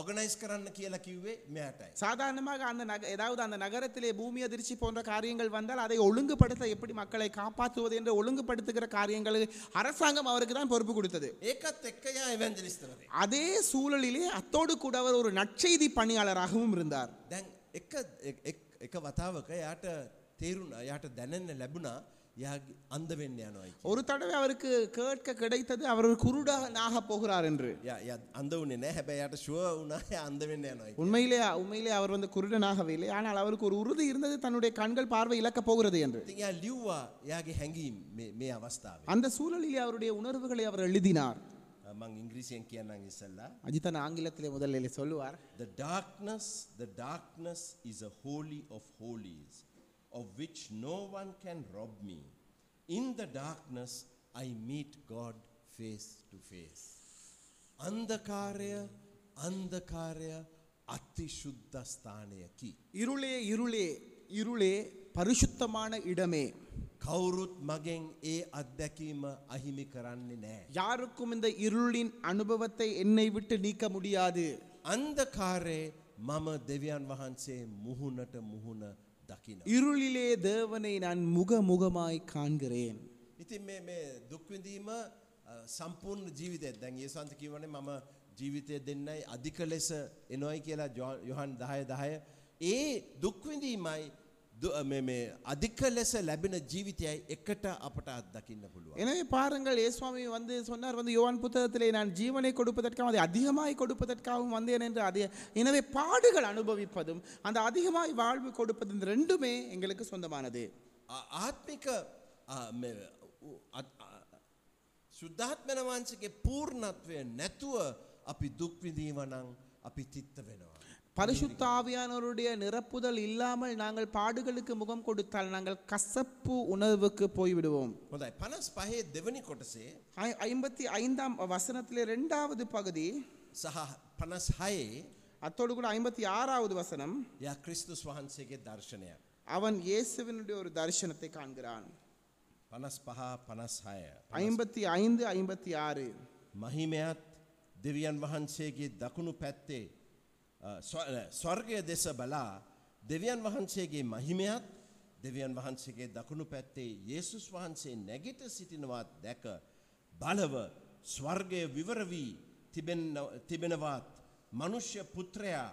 [SPEAKER 2] ඔගනයිස් කරන්න කියලා කිව්වේ මෙයාටයි.
[SPEAKER 1] சாதாரணமாக அந்த நக ஏதாவது அந்த நகரத்திலே பூமி அதிர்ச்சி போன்ற காரியங்கள் வந்தால் அதை ஒழுங்குபடுத்த எப்படி மக்களை காப்பாற்றுவது என்று ஒழுங்குபடுத்துகிற காரியங்களை அரசாங்கம் அவருக்கு தான் பொறுப்பு கொடுத்தது
[SPEAKER 2] ඒකත් එක්ක යා එවැන්ජලිස්තරේ.
[SPEAKER 1] அதே சூழலிலே அத்தோடு கூட அவர் ஒரு நற்செய்தி பணியாளராகவும் இருந்தார்
[SPEAKER 2] දැන් එක එක- එක- එක වතාවක යාට තේරුණා යාට දැනෙන්න ලැබුණා යා අන්ද වෙන්න යනවායි.
[SPEAKER 1] ஒரு தடவை அவருக்கு கேட்க கிடைத்தது அவர் ஒரு குருடனாக போகிறார் என்று
[SPEAKER 2] ය අඳ වනේ නෑ හැබැ යට ශුව වුණා අන්ද වෙන්න යනවායි.
[SPEAKER 1] உண்மையிலே உண்மையிலே அவர் வந்து குருடனாகவே இல்லை ஆனால் அவருக்கு ஒரு உறுதி இருந்தது தன்னுடைய கண்கள் பார்வை இழக்கப் போகிறது என்று
[SPEAKER 2] ඉතින් යා ලිව්වා යාගේ හැඟීම් මේ- මේ අවස්ථාව.
[SPEAKER 1] அந்த சூழலிலே அவருடைய உணர்வுகளை அவர் எழுதினார்
[SPEAKER 2] මං ඉංග්‍රීසියෙන් කියන්න ඉසල්ලා.
[SPEAKER 1] அஜித்தன் ஆங்கிலத்திலே முதலில் சொல்லுவார்
[SPEAKER 2] The darkness, the darkness is a holy of holies, of which no one can rob me. In the darkness, I meet God face to face. අන්දකාරය අන්දකාරය අතිශුද්ධස්ථානයකි.
[SPEAKER 1] இருளே இருளே இருளே பரிசுத்தமான இடமே
[SPEAKER 2] කවුරුත් මගෙන් ඒ අත්දැකීම අහිමි කරන්නේ නෑ.
[SPEAKER 1] யாருக்கும் இந்த இருளின் அனுபவத்தை என்னை விட்டு நீக்க முடியாது
[SPEAKER 2] අන්දකාරේ මම දෙවියන් වහන්සේ මුහුණට මුහුණ දකිනවා.
[SPEAKER 1] இருளிலே தேவனை நான் முகமுகமாய் காண்கிறேன்
[SPEAKER 2] ඉතින් මේ මේ දුක්විඳීම අ, සම්පූර්ණ ජීවිතය දැන් ඒ සන්ත කිවනේ මම ජීවිතය දෙන්නයි අධික ලෙස එනොයි කියලා ජොහන්- යොහන් දහය දහය. ඒ දුක්විඳීමයි දු- අ, මේ- මේ අධික ලෙස ලැබෙන ජීවිතයයි එකට අපට අත්දකින්න පුළුවන්.
[SPEAKER 1] எனவே பாருங்கள் இயேசுவாமி வந்து சொன்னார் வந்து யோவான் புத்தகத்திலே நான் ஜீவனை கொடுப்பதற்காகவும் அதை அதிகமாய் கொடுப்பதற்காகவும் வந்தேன் என்று அதே எனவே பாடுகள் அனுபவிப்பதும் அந்த அதிகமாய் வாழ்வு கொடுப்பதும் இந்த ரெண்டுமே எங்களுக்கு சொந்தமானது
[SPEAKER 2] ආ- ආත්මික ආ, මේ, උ- අත්- ආ, ශුද්ධාත්මන වංශගේ පූර්ණත්වය නැතුව අපි දුක්විඳීමනං අපි තිත්ත වෙනවා.
[SPEAKER 1] பரிசுத்த ஆவியானவருடைய நிரப்புதல் இல்லாமல் நாங்கள் பாடுகளுக்கு முகம் கொடுத்தால் நாங்கள் கசப்பு உணர்வுக்கு போய்விடுவோம்
[SPEAKER 2] හොඳයි පනස් පහේ දෙවනි කොටසේ
[SPEAKER 1] ஐ- ஐம்பத்தி ஐந்தாம் வசனத்திலே ரெண்டாவது பகுதி
[SPEAKER 2] සහ පනස් හයේ
[SPEAKER 1] அத்தோடு கூட ஐம்பத்தி ஆறாவது வசனம்
[SPEAKER 2] යා ක්‍රිස්තුස් වහන්සේගේ දර්ශනයක්.
[SPEAKER 1] அவன் இயேசுவினுடைய ஒரு தரிசனத்தை காண்கிறான்
[SPEAKER 2] පනස් පහා පනස් හය.
[SPEAKER 1] ஐம்பத்தி ஐந்து ஐம்பத்தி ஆறு
[SPEAKER 2] මහිමයත් දෙවියන් වහන්සේගේ දකුණු පැත්තේ අ, ස්ව- අ, ස්වර්ගය දෙස බලා දෙවියන් වහන්සේගේ මහිමයත් දෙවියන් වහන්සේගේ දකුණු පැත්තේ යේසුස් වහන්සේ නැගිට සිටිනවත් දැක බලව ස්වර්ගය විවරවී තිබෙනවත් මනුෂ්‍ය පුත්‍රයා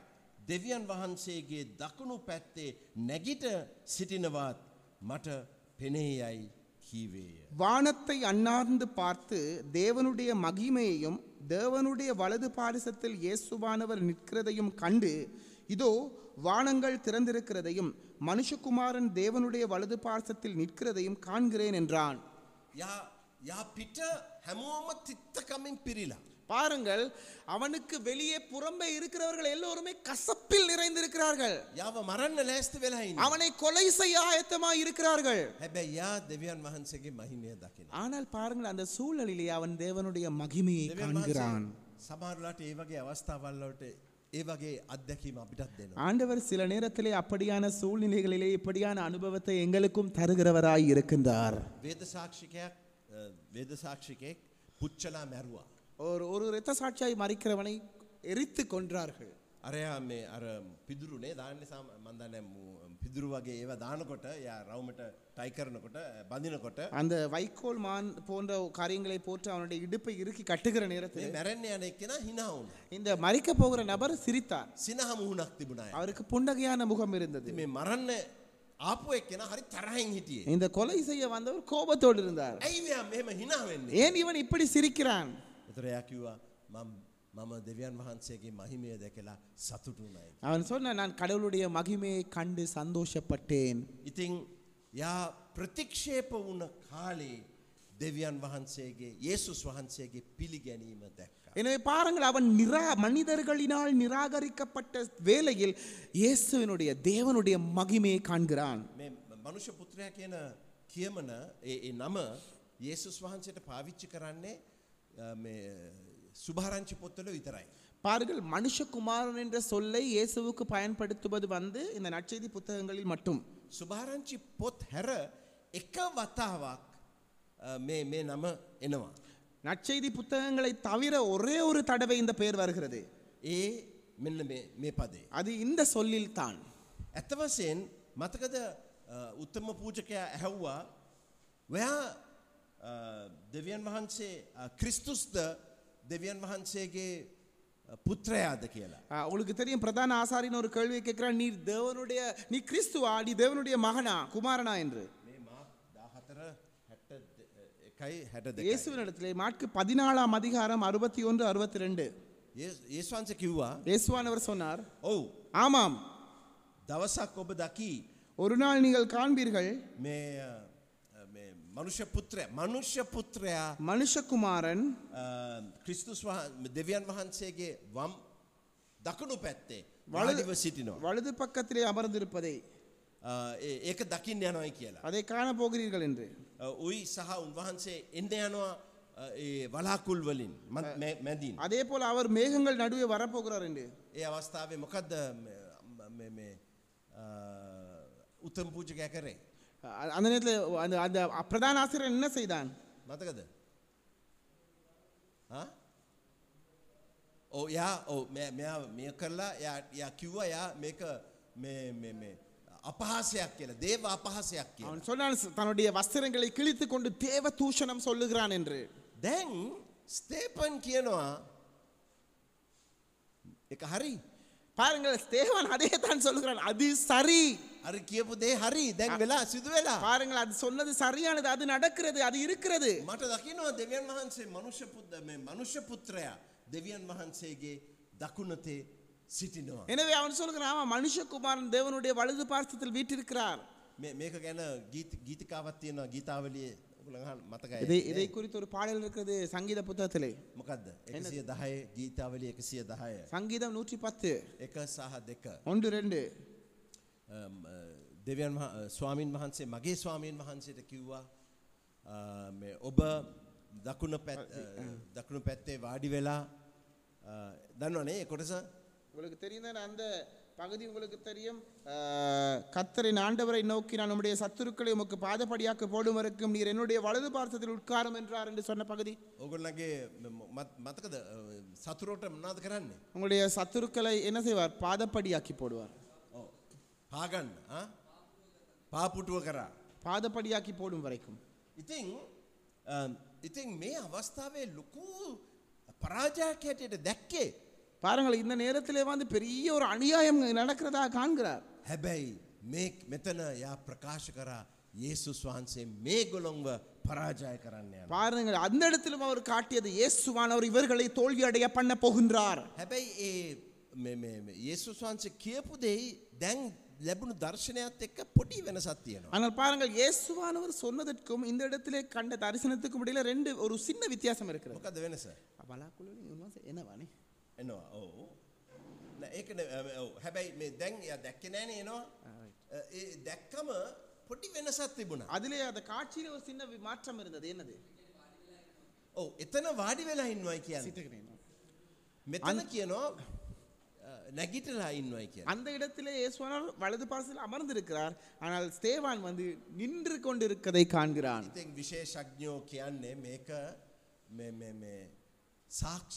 [SPEAKER 2] දෙවියන් වහන්සේගේ දකුණු පැත්තේ නැගිට සිටිනවත් මට පෙනේයයි කීවේය.
[SPEAKER 1] வானத்தை அண்ணார்ந்து பார்த்து தேவனுடைய மகிமையையும் தேவனுடைய வலது பாரிசத்தில் இயேசுவானவர் நிற்கிறதையும் கண்டு இதோ வானங்கள் திறந்திருக்கிறதையும் மனுஷகுமாரன் தேவனுடைய வலது பாரிசத்தில் நிற்கிறதையும் காண்கிறேன் என்றான்
[SPEAKER 2] යා යා පිට හැමෝම තිත්තකමින් පිරිලා.
[SPEAKER 1] பாருங்கள் அவனுக்கு வெளியே புறம்பே இருக்கிறவர்கள் எல்லோருமே கசப்பில் நிறைந்திருக்கிறார்கள்
[SPEAKER 2] යාව මරන්න ලෑස්ති වෙලායින්න.
[SPEAKER 1] அவனை கொலை செய்ய ஆயத்தமாய் இருக்கிறார்கள்
[SPEAKER 2] හැබැයි යා දෙවියන් වහන්සේගේ මහිමය දකින.
[SPEAKER 1] ஆனால் பாருங்கள் அந்த சூழலிலே அவன் தேவனுடைய மகிமையை காண்கிறான்
[SPEAKER 2] සමාරලාට ඒ වගේ අවස්ථාවල්ලට ඒ වගේ අත්දැකීම අපිටත් දෙනවා.
[SPEAKER 1] ஆண்டவர் சில நேரத்திலே அப்படியான சூழ்நிலைகளிலே இப்படியான அனுபவத்தை எங்களுக்கும் தருகிறவராய் இருக்கின்றார்
[SPEAKER 2] වේද සාක්ෂිකයක් වේද සාක්ෂිකයෙක් පුච්චලා මැරුවා.
[SPEAKER 1] ஒரு ஒரு இரத்த சாட்சியாய் மறிக்கிறவனை எரித்து கொன்றார்கள்
[SPEAKER 2] අරයා මේ අර පිදුරුනේ දාන්න සාම මන්දන්න පිදුරු වගේ ඒව දානකොට ය රවමට ටයිකරනකොට බඳනකොට
[SPEAKER 1] அந்த வைக்கோல் மான் போன்ற காரியங்களை போட்டு அவனுடைய இடுப்பை இறுக்கி கட்டுகிற நேரத்தில்
[SPEAKER 2] මැරෙන්න්න යන එක්කෙන හිනාවුන.
[SPEAKER 1] இந்த மறிக்க போகிற நபர் சிரித்தார்
[SPEAKER 2] සිනහ මුහුණක් තිබුණයි.
[SPEAKER 1] அவருக்கு புன்னகையான முகம் இருந்தது
[SPEAKER 2] ඉතින් මේ මරන්න ආපු එක්කෙන හරි තරහින් හිටියේ.
[SPEAKER 1] இந்த கொலை செய்ய வந்தவர் கோபத்தோடு இருந்தார்
[SPEAKER 2] ඇයි මෙයා මෙහෙම hina වෙන්නේ?
[SPEAKER 1] ஏன் இவன் இப்படி சிரிக்கிறான்
[SPEAKER 2] ඒතර එයා කිව්වා මම මම දෙවියන් වහන්සේගේ මහිමය දැකලා සතුටු වුණා.
[SPEAKER 1] அவன் சொன்ன நான் கடவுளுடைய மகிமையை கண்டு சந்தோஷப்பட்டேன்
[SPEAKER 2] ඉතින් යා ප්‍රතික්ෂේප වුණ කාලේ දෙවියන් වහන්සේගේ යේසුස් වහන්සේගේ පිළිගැනීම දැක්කා.
[SPEAKER 1] எனவே பாருங்கள் அவன் நிரா மனிதர்களினால் நிராகரிக்கப்பட்ட வேளையில் இயேசுவினுடைய தேவனுடைய மகிமையை காண்கிறான்
[SPEAKER 2] මේ මනුෂ්‍ය පුත්‍රයා කියන කියමන ඒ ඒ නම යේසුස් වහන්සේට පාවිච්චි කරන්නේ අ, මේ සුභාරංචි පොත්වල විතරයි.
[SPEAKER 1] பாருங்கள் மனுஷகுமாரன் என்ற சொல்லை இயேசுவுக்கு பயன்படுத்துவது வந்து இந்த நற்செய்தி புத்தகங்களில் மட்டும்
[SPEAKER 2] සුභාරංචි පොත් හැර එක වතාවක් අ, මේ මේ නම එනවා.
[SPEAKER 1] நற்செய்தி புத்தகங்களை தவிர ஒரே ஒரு தடவை இந்த பெயர் வருகிறது
[SPEAKER 2] ඒ මෙන්න මේ- මේ පදේ.
[SPEAKER 1] அது இந்த சொல்லில் தான்
[SPEAKER 2] ඇත්ත වශයෙන් මතකද අ, උත්තම පූජකයා ඇහැව්වා ඔයා අ, දෙවියන් වහන්සේ අ, ක්‍රිස්තුස්ද දෙවියන් වහන්සේගේ අ, පුත්‍රයාද කියලා.
[SPEAKER 1] ஆஹ், உங்களுக்கு தெரியும் பிரதான ஆசாரின்னு ஒரு கேள்வி கேட்கிறான் நீர் தேவனுடைய நீ கிறிஸ்துவா நீ தேவனுடைய மகனா குமாரனா என்று
[SPEAKER 2] මේ මා දාහතර හැට එකයි හැට දෙ.
[SPEAKER 1] இயேசுவின் இடத்திலே மாற்கு பதினாலாம் அதிகாரம் அறுபத்தி ஒன்று அறுபத்தி ரெண்டு
[SPEAKER 2] ඒස්වන්ස කිව්වා
[SPEAKER 1] இயேசுவானவர் சொன்னார்
[SPEAKER 2] ඔවු
[SPEAKER 1] ஆமாம்
[SPEAKER 2] දවසක් ඔබ දකී
[SPEAKER 1] ஒரு நாள் நீங்கள் காண்பீர்கள்
[SPEAKER 2] මේ අ, අ, මේ මනුෂ්‍ය පුත්‍රය මනුෂ්‍ය පුත්‍රයා
[SPEAKER 1] மனுஷகுமாரன்
[SPEAKER 2] අ, ක්‍රිස්තුස් වහ- දෙවියන් වහන්සේගේ වම් දකුණු පැත්තේ වලදිව සිටිනවා.
[SPEAKER 1] வலது பக்கத்திலே அமர்ந்திருப்பதை
[SPEAKER 2] අ, ඒ- ඒක දකිින් යනොයි කියලා.
[SPEAKER 1] அதை காண போகிறீர்கள் என்று
[SPEAKER 2] අ, උයි සහ උන්වහන්සේ එන්ඩ යනවා අ, ඒ වලාකුල් වලින් මත්- මැ- මැදින්.
[SPEAKER 1] அதே போல அவர் மேகங்கள் நடுவே வரப்போகிறார் என்று
[SPEAKER 2] ඒ අවස්ථාවේ මොකක්ද උත්තම් පූජකය කරේ.
[SPEAKER 1] அ- அந்த நேரத்தில் அந்த அந்த பிரதான ஆசிரியர் என்ன செய்தான்
[SPEAKER 2] මතකද ඕ යා ඕ මෙයා මේ කරලා ය කිව්වා යා මේක මේ- මේ- මේ අපහාසයක් කියලා දේව අපහසයක් කියලා.
[SPEAKER 1] அவன் சொன்னான் "ச- தன்னுடைய வஸ்திரங்களை கிழித்து கொண்டு தேவ தூஷணம் சொல்லுகிறான் என்று
[SPEAKER 2] දැන් ස්තේපන් කියනවා එක හරි
[SPEAKER 1] பாருங்கள் தேவன் அதே தான் சொல்லுகிறான் அது சரி
[SPEAKER 2] හරි කියපු දේ හරි දැන් වෙලා සිදු වෙලා
[SPEAKER 1] பாருங்கள் அது சொன்னது சரியானது அது நடக்கிறது அது இருக்கிறது
[SPEAKER 2] මට දකිනවා දෙවියන් වහන්සේ මනුෂ්‍ය පුද්ද මේ මනුෂ්‍ය පුත්‍රයා දෙවියන් වහන්සේගේ දකුණතේ සිටිනවා
[SPEAKER 1] எனவே அவன் சொல்லுகிறான் ஆமா மனுஷகுமாரன் தேவனுடைய வலது பார்சத்தில் வீட்டிருக்கிறார்
[SPEAKER 2] මේ මේක ගැන ගීත ගීතිකාවත් තියෙනවා ගීතාවලියේ ඔගලහන්
[SPEAKER 1] இதை இதை
[SPEAKER 2] මතකයි
[SPEAKER 1] குறித்து ஒரு பாடல் இருக்கிறது சங்கீத புத்தகத்திலே
[SPEAKER 2] මොකක්ද එකසිය දහය ගීතාවලිය එකසිය දහය
[SPEAKER 1] சங்கீதம் நூற்றி பத்து
[SPEAKER 2] එක සහ දෙක
[SPEAKER 1] ஒன்று ரெண்டு
[SPEAKER 2] අම්, අ, දෙවියන් වහ- අ, ස්වාමින් වහන්සේ මගේ ස්වාමීන් වහන්සේට කිව්වා අ, මේ ඔබ දකුණ පැත්- අ, දකුණු පැත්තේ වාඩි වෙලා අ, දන්නවනේ ඒ කොටස
[SPEAKER 1] உங்களுக்கு தெரியும் தானே அந்த பகுதி உங்களுக்கு தெரியும் கத்தரின் ஆண்டவரை நோக்கி நான் உம்முடைய சத்துருக்களை உமக்கு பாதப்படியாக்க போடும் வரைக்கும் நீர் என்னுடைய வலது பார்த்ததில் உட்காரும் என்றார் என்று சொன்ன பகுதி
[SPEAKER 2] ඔගොල්ලගේ ම- මත්- මතකද අ, සතුරෝට මනාද කරන්නේ
[SPEAKER 1] உங்களுடைய சத்துருக்களை என்ன செய்வார் பாதப்படியாக்கி போடுவார்
[SPEAKER 2] ඔව්. පාගන්න ආ? පාපුටුව කරා
[SPEAKER 1] பாதப்படியாக்கி போடும் වරைக்கும்
[SPEAKER 2] ඉතිං අ, ඉතිං මේ අවස්ථාවේ ලොකු පරාජයක් හැටියට දැක්කේ
[SPEAKER 1] பாருங்கள் இந்த நேரத்திலே வந்து பெரிய ஒரு அநியாயம் நடக்கிறதா காண்கிறார்
[SPEAKER 2] හැබැයි මේ මෙතන යා ප්‍රකාශ කරා යේසුස් වහන්සේ මේ ගොළොන්ව පරාජය කරන්න යන.
[SPEAKER 1] பாருங்கள் அந்த இடத்திலும் அவர் காட்டியது இயேசுவானவர் இவர்களை தோல்வியடைய பண்ண போகின்றார்
[SPEAKER 2] හැබැයි ඒ මේ- මේ- මේ යේසුස් වහන්සේ කියපු දෙයි දැන් ලැබුණු දර්ශනයත් එක්ක පොඩි වෙනසක් තියෙනවා.
[SPEAKER 1] ஆனால் பாருங்கள் இயேசுவானவர் சொன்னதற்கும் இந்த இடத்திலே கண்ட தரிசனத்துக்கும் இடையில ரெண்டு ஒரு சின்ன வித்தியாசம் இருக்கிறது
[SPEAKER 2] මොකද වෙනස
[SPEAKER 1] බලාකුලවලින් උන්වහන්සේ එනවානේ
[SPEAKER 2] එනවා ඕ ඒක හැබැයි මේ දැන් එයා දැක්ක නෑන එනවා අ, ඒ දැක්කම පොඩි වෙනසත් තිබුණා.
[SPEAKER 1] அதிலே அந்த காட்சியில ஒரு சின்ன வி- மாற்றம் இருந்தது என்னது
[SPEAKER 2] ඔව එතන වාඩි වෙලා ඉන්නවයි කියන්න. මෙතන කියනවා අ, නැගිටලා ඉන්නවයි කිය.
[SPEAKER 1] அந்த இடத்திலே இயேசுவானார் வலது பாசத்தில் அமர்ந்திருக்கிறார் ஆனால் ஸ்தேவான் வந்து நின்று கொண்டிருக்கதை காண்கிறான்
[SPEAKER 2] ඉතින් විශේෂඥෝ කියන්නේ මේක මේ- මේ- මේ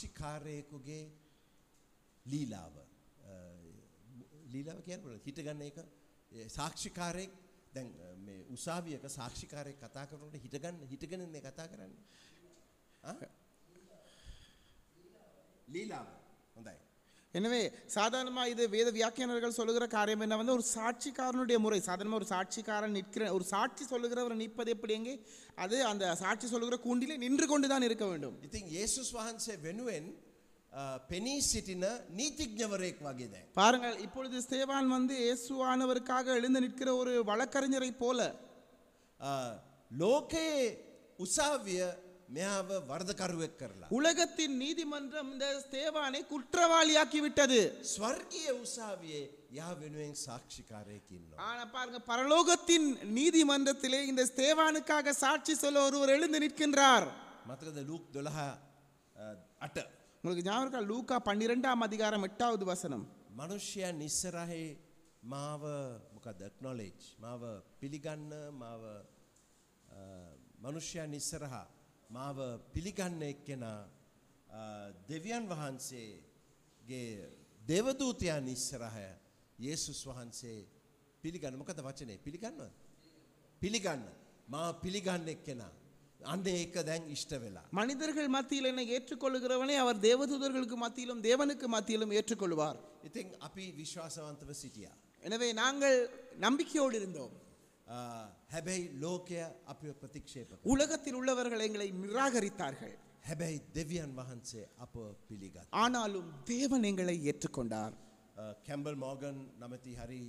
[SPEAKER 2] සාක්ෂිකාරයකුගේ ලීලාව අ, ලීලාව කියනට හිටගන්න එක ඒ සාක්ෂිකාරයෙක් දැන් අ, මේ උසාවියක සාක්ෂිකාරය කතා කරනට හිටගන්න හිටගෙනන්නේ කතා කරන්න ආ? ලීලාව හොඳයි
[SPEAKER 1] எனவே சாதாரணமாக இது வேத வியாக்கியானர்கள் சொல்லுகிற காரியம் என்ன வந்து ஒரு சாட்சிக்காரனுடைய முறை சாதாரணமாக ஒரு சாட்சிக்காரன் நிற்கிற ஒரு சாட்சி சொல்லுகிறவர் நிற்பது எப்படி எங்கே அது அந்த சாட்சி சொல்லுகிற கூண்டிலே நின்று கொண்டு தான் இருக்க வேண்டும்
[SPEAKER 2] ඉතින් ඒසුස් වහන්සේ වෙනුවෙන් අ, පෙනී සිටින නීතිඥවරයෙක් වගේ දැන්.
[SPEAKER 1] பாருங்கள் இப்பொழுது ஸ்தேவான் வந்து இயேசுவானவருக்காக எழுந்து நிற்கிற ஒரு வழக்கறிஞரை போல
[SPEAKER 2] අ, ලෝකයේ උසාවිය මෙයාව වර්ධකරුවෙක් කරලා.
[SPEAKER 1] உலகத்தின் நீதிமன்றம் இந்த ஸ்தேவானை குற்றவாளியாக்கி விட்டது
[SPEAKER 2] ස්වර්ගිය උසාවියේ යා වෙනුවෙන් සාක්ෂිකාරයකින්නවා.
[SPEAKER 1] ஆனா பாருங்க பரலோகத்தின் நீதிமன்றத்திலே இந்த ஸ்தேவானுக்காக சாட்சி சொல்ல ஒருவர் எழுந்து நிற்கின்றார்
[SPEAKER 2] මතකද ලූක් දොළහ අට
[SPEAKER 1] உங்களுக்கு ஞாபகம் இருக்கா? லூக்கா பன்னிரெண்டாம் அதிகாரம் எட்டாவது வசனம்
[SPEAKER 2] මනුෂ්‍යයන් ඉස්සරහේ මාව මොකද නොලෙජ් මාව පිළිගන්න මාව මනුෂ්‍යයන් ඉස්සරහා මාව පිළිගන්න එක්කෙනා අ, දෙවියන් වහන්සේගේ දෙවදූතයන් ඉස්සරහ යේසුස් වහන්සේ පිළිගන්න මොකද වචනේ පිළිගන්නවද පිළිගන්න මා පිළිගන්න එක්කෙනා අන්න ඒක දැන් ඉෂ්ට වෙලා
[SPEAKER 1] மனிதர்கள் மத்தியில் என்னை ஏற்றுக்கொள்கிறவனை அவர் தேவதூதர்களுக்கு மத்தியிலும் தேவனுக்கு மத்தியிலும் ஏற்றுக்கொள்வார்
[SPEAKER 2] ඉතින් අපි විශ්වාසවන්තව සිටියා
[SPEAKER 1] எனவே நாங்கள் நம்பிக்கையோடு இருந்தோம்
[SPEAKER 2] අ, හැබැයි ලෝකය අපි ප්‍රතික්ෂේප කළා.
[SPEAKER 1] உலகத்தில் உள்ளவர்கள் எங்களை நிராகரித்தார்கள்
[SPEAKER 2] හැබැයි දෙවියන් වහන්සේ අප පිළිගත්.
[SPEAKER 1] ஆனாலும் தேவன் எங்களை ஏற்றுக்கொண்டார்
[SPEAKER 2] කැම්බල් මෝගන් නමති හරි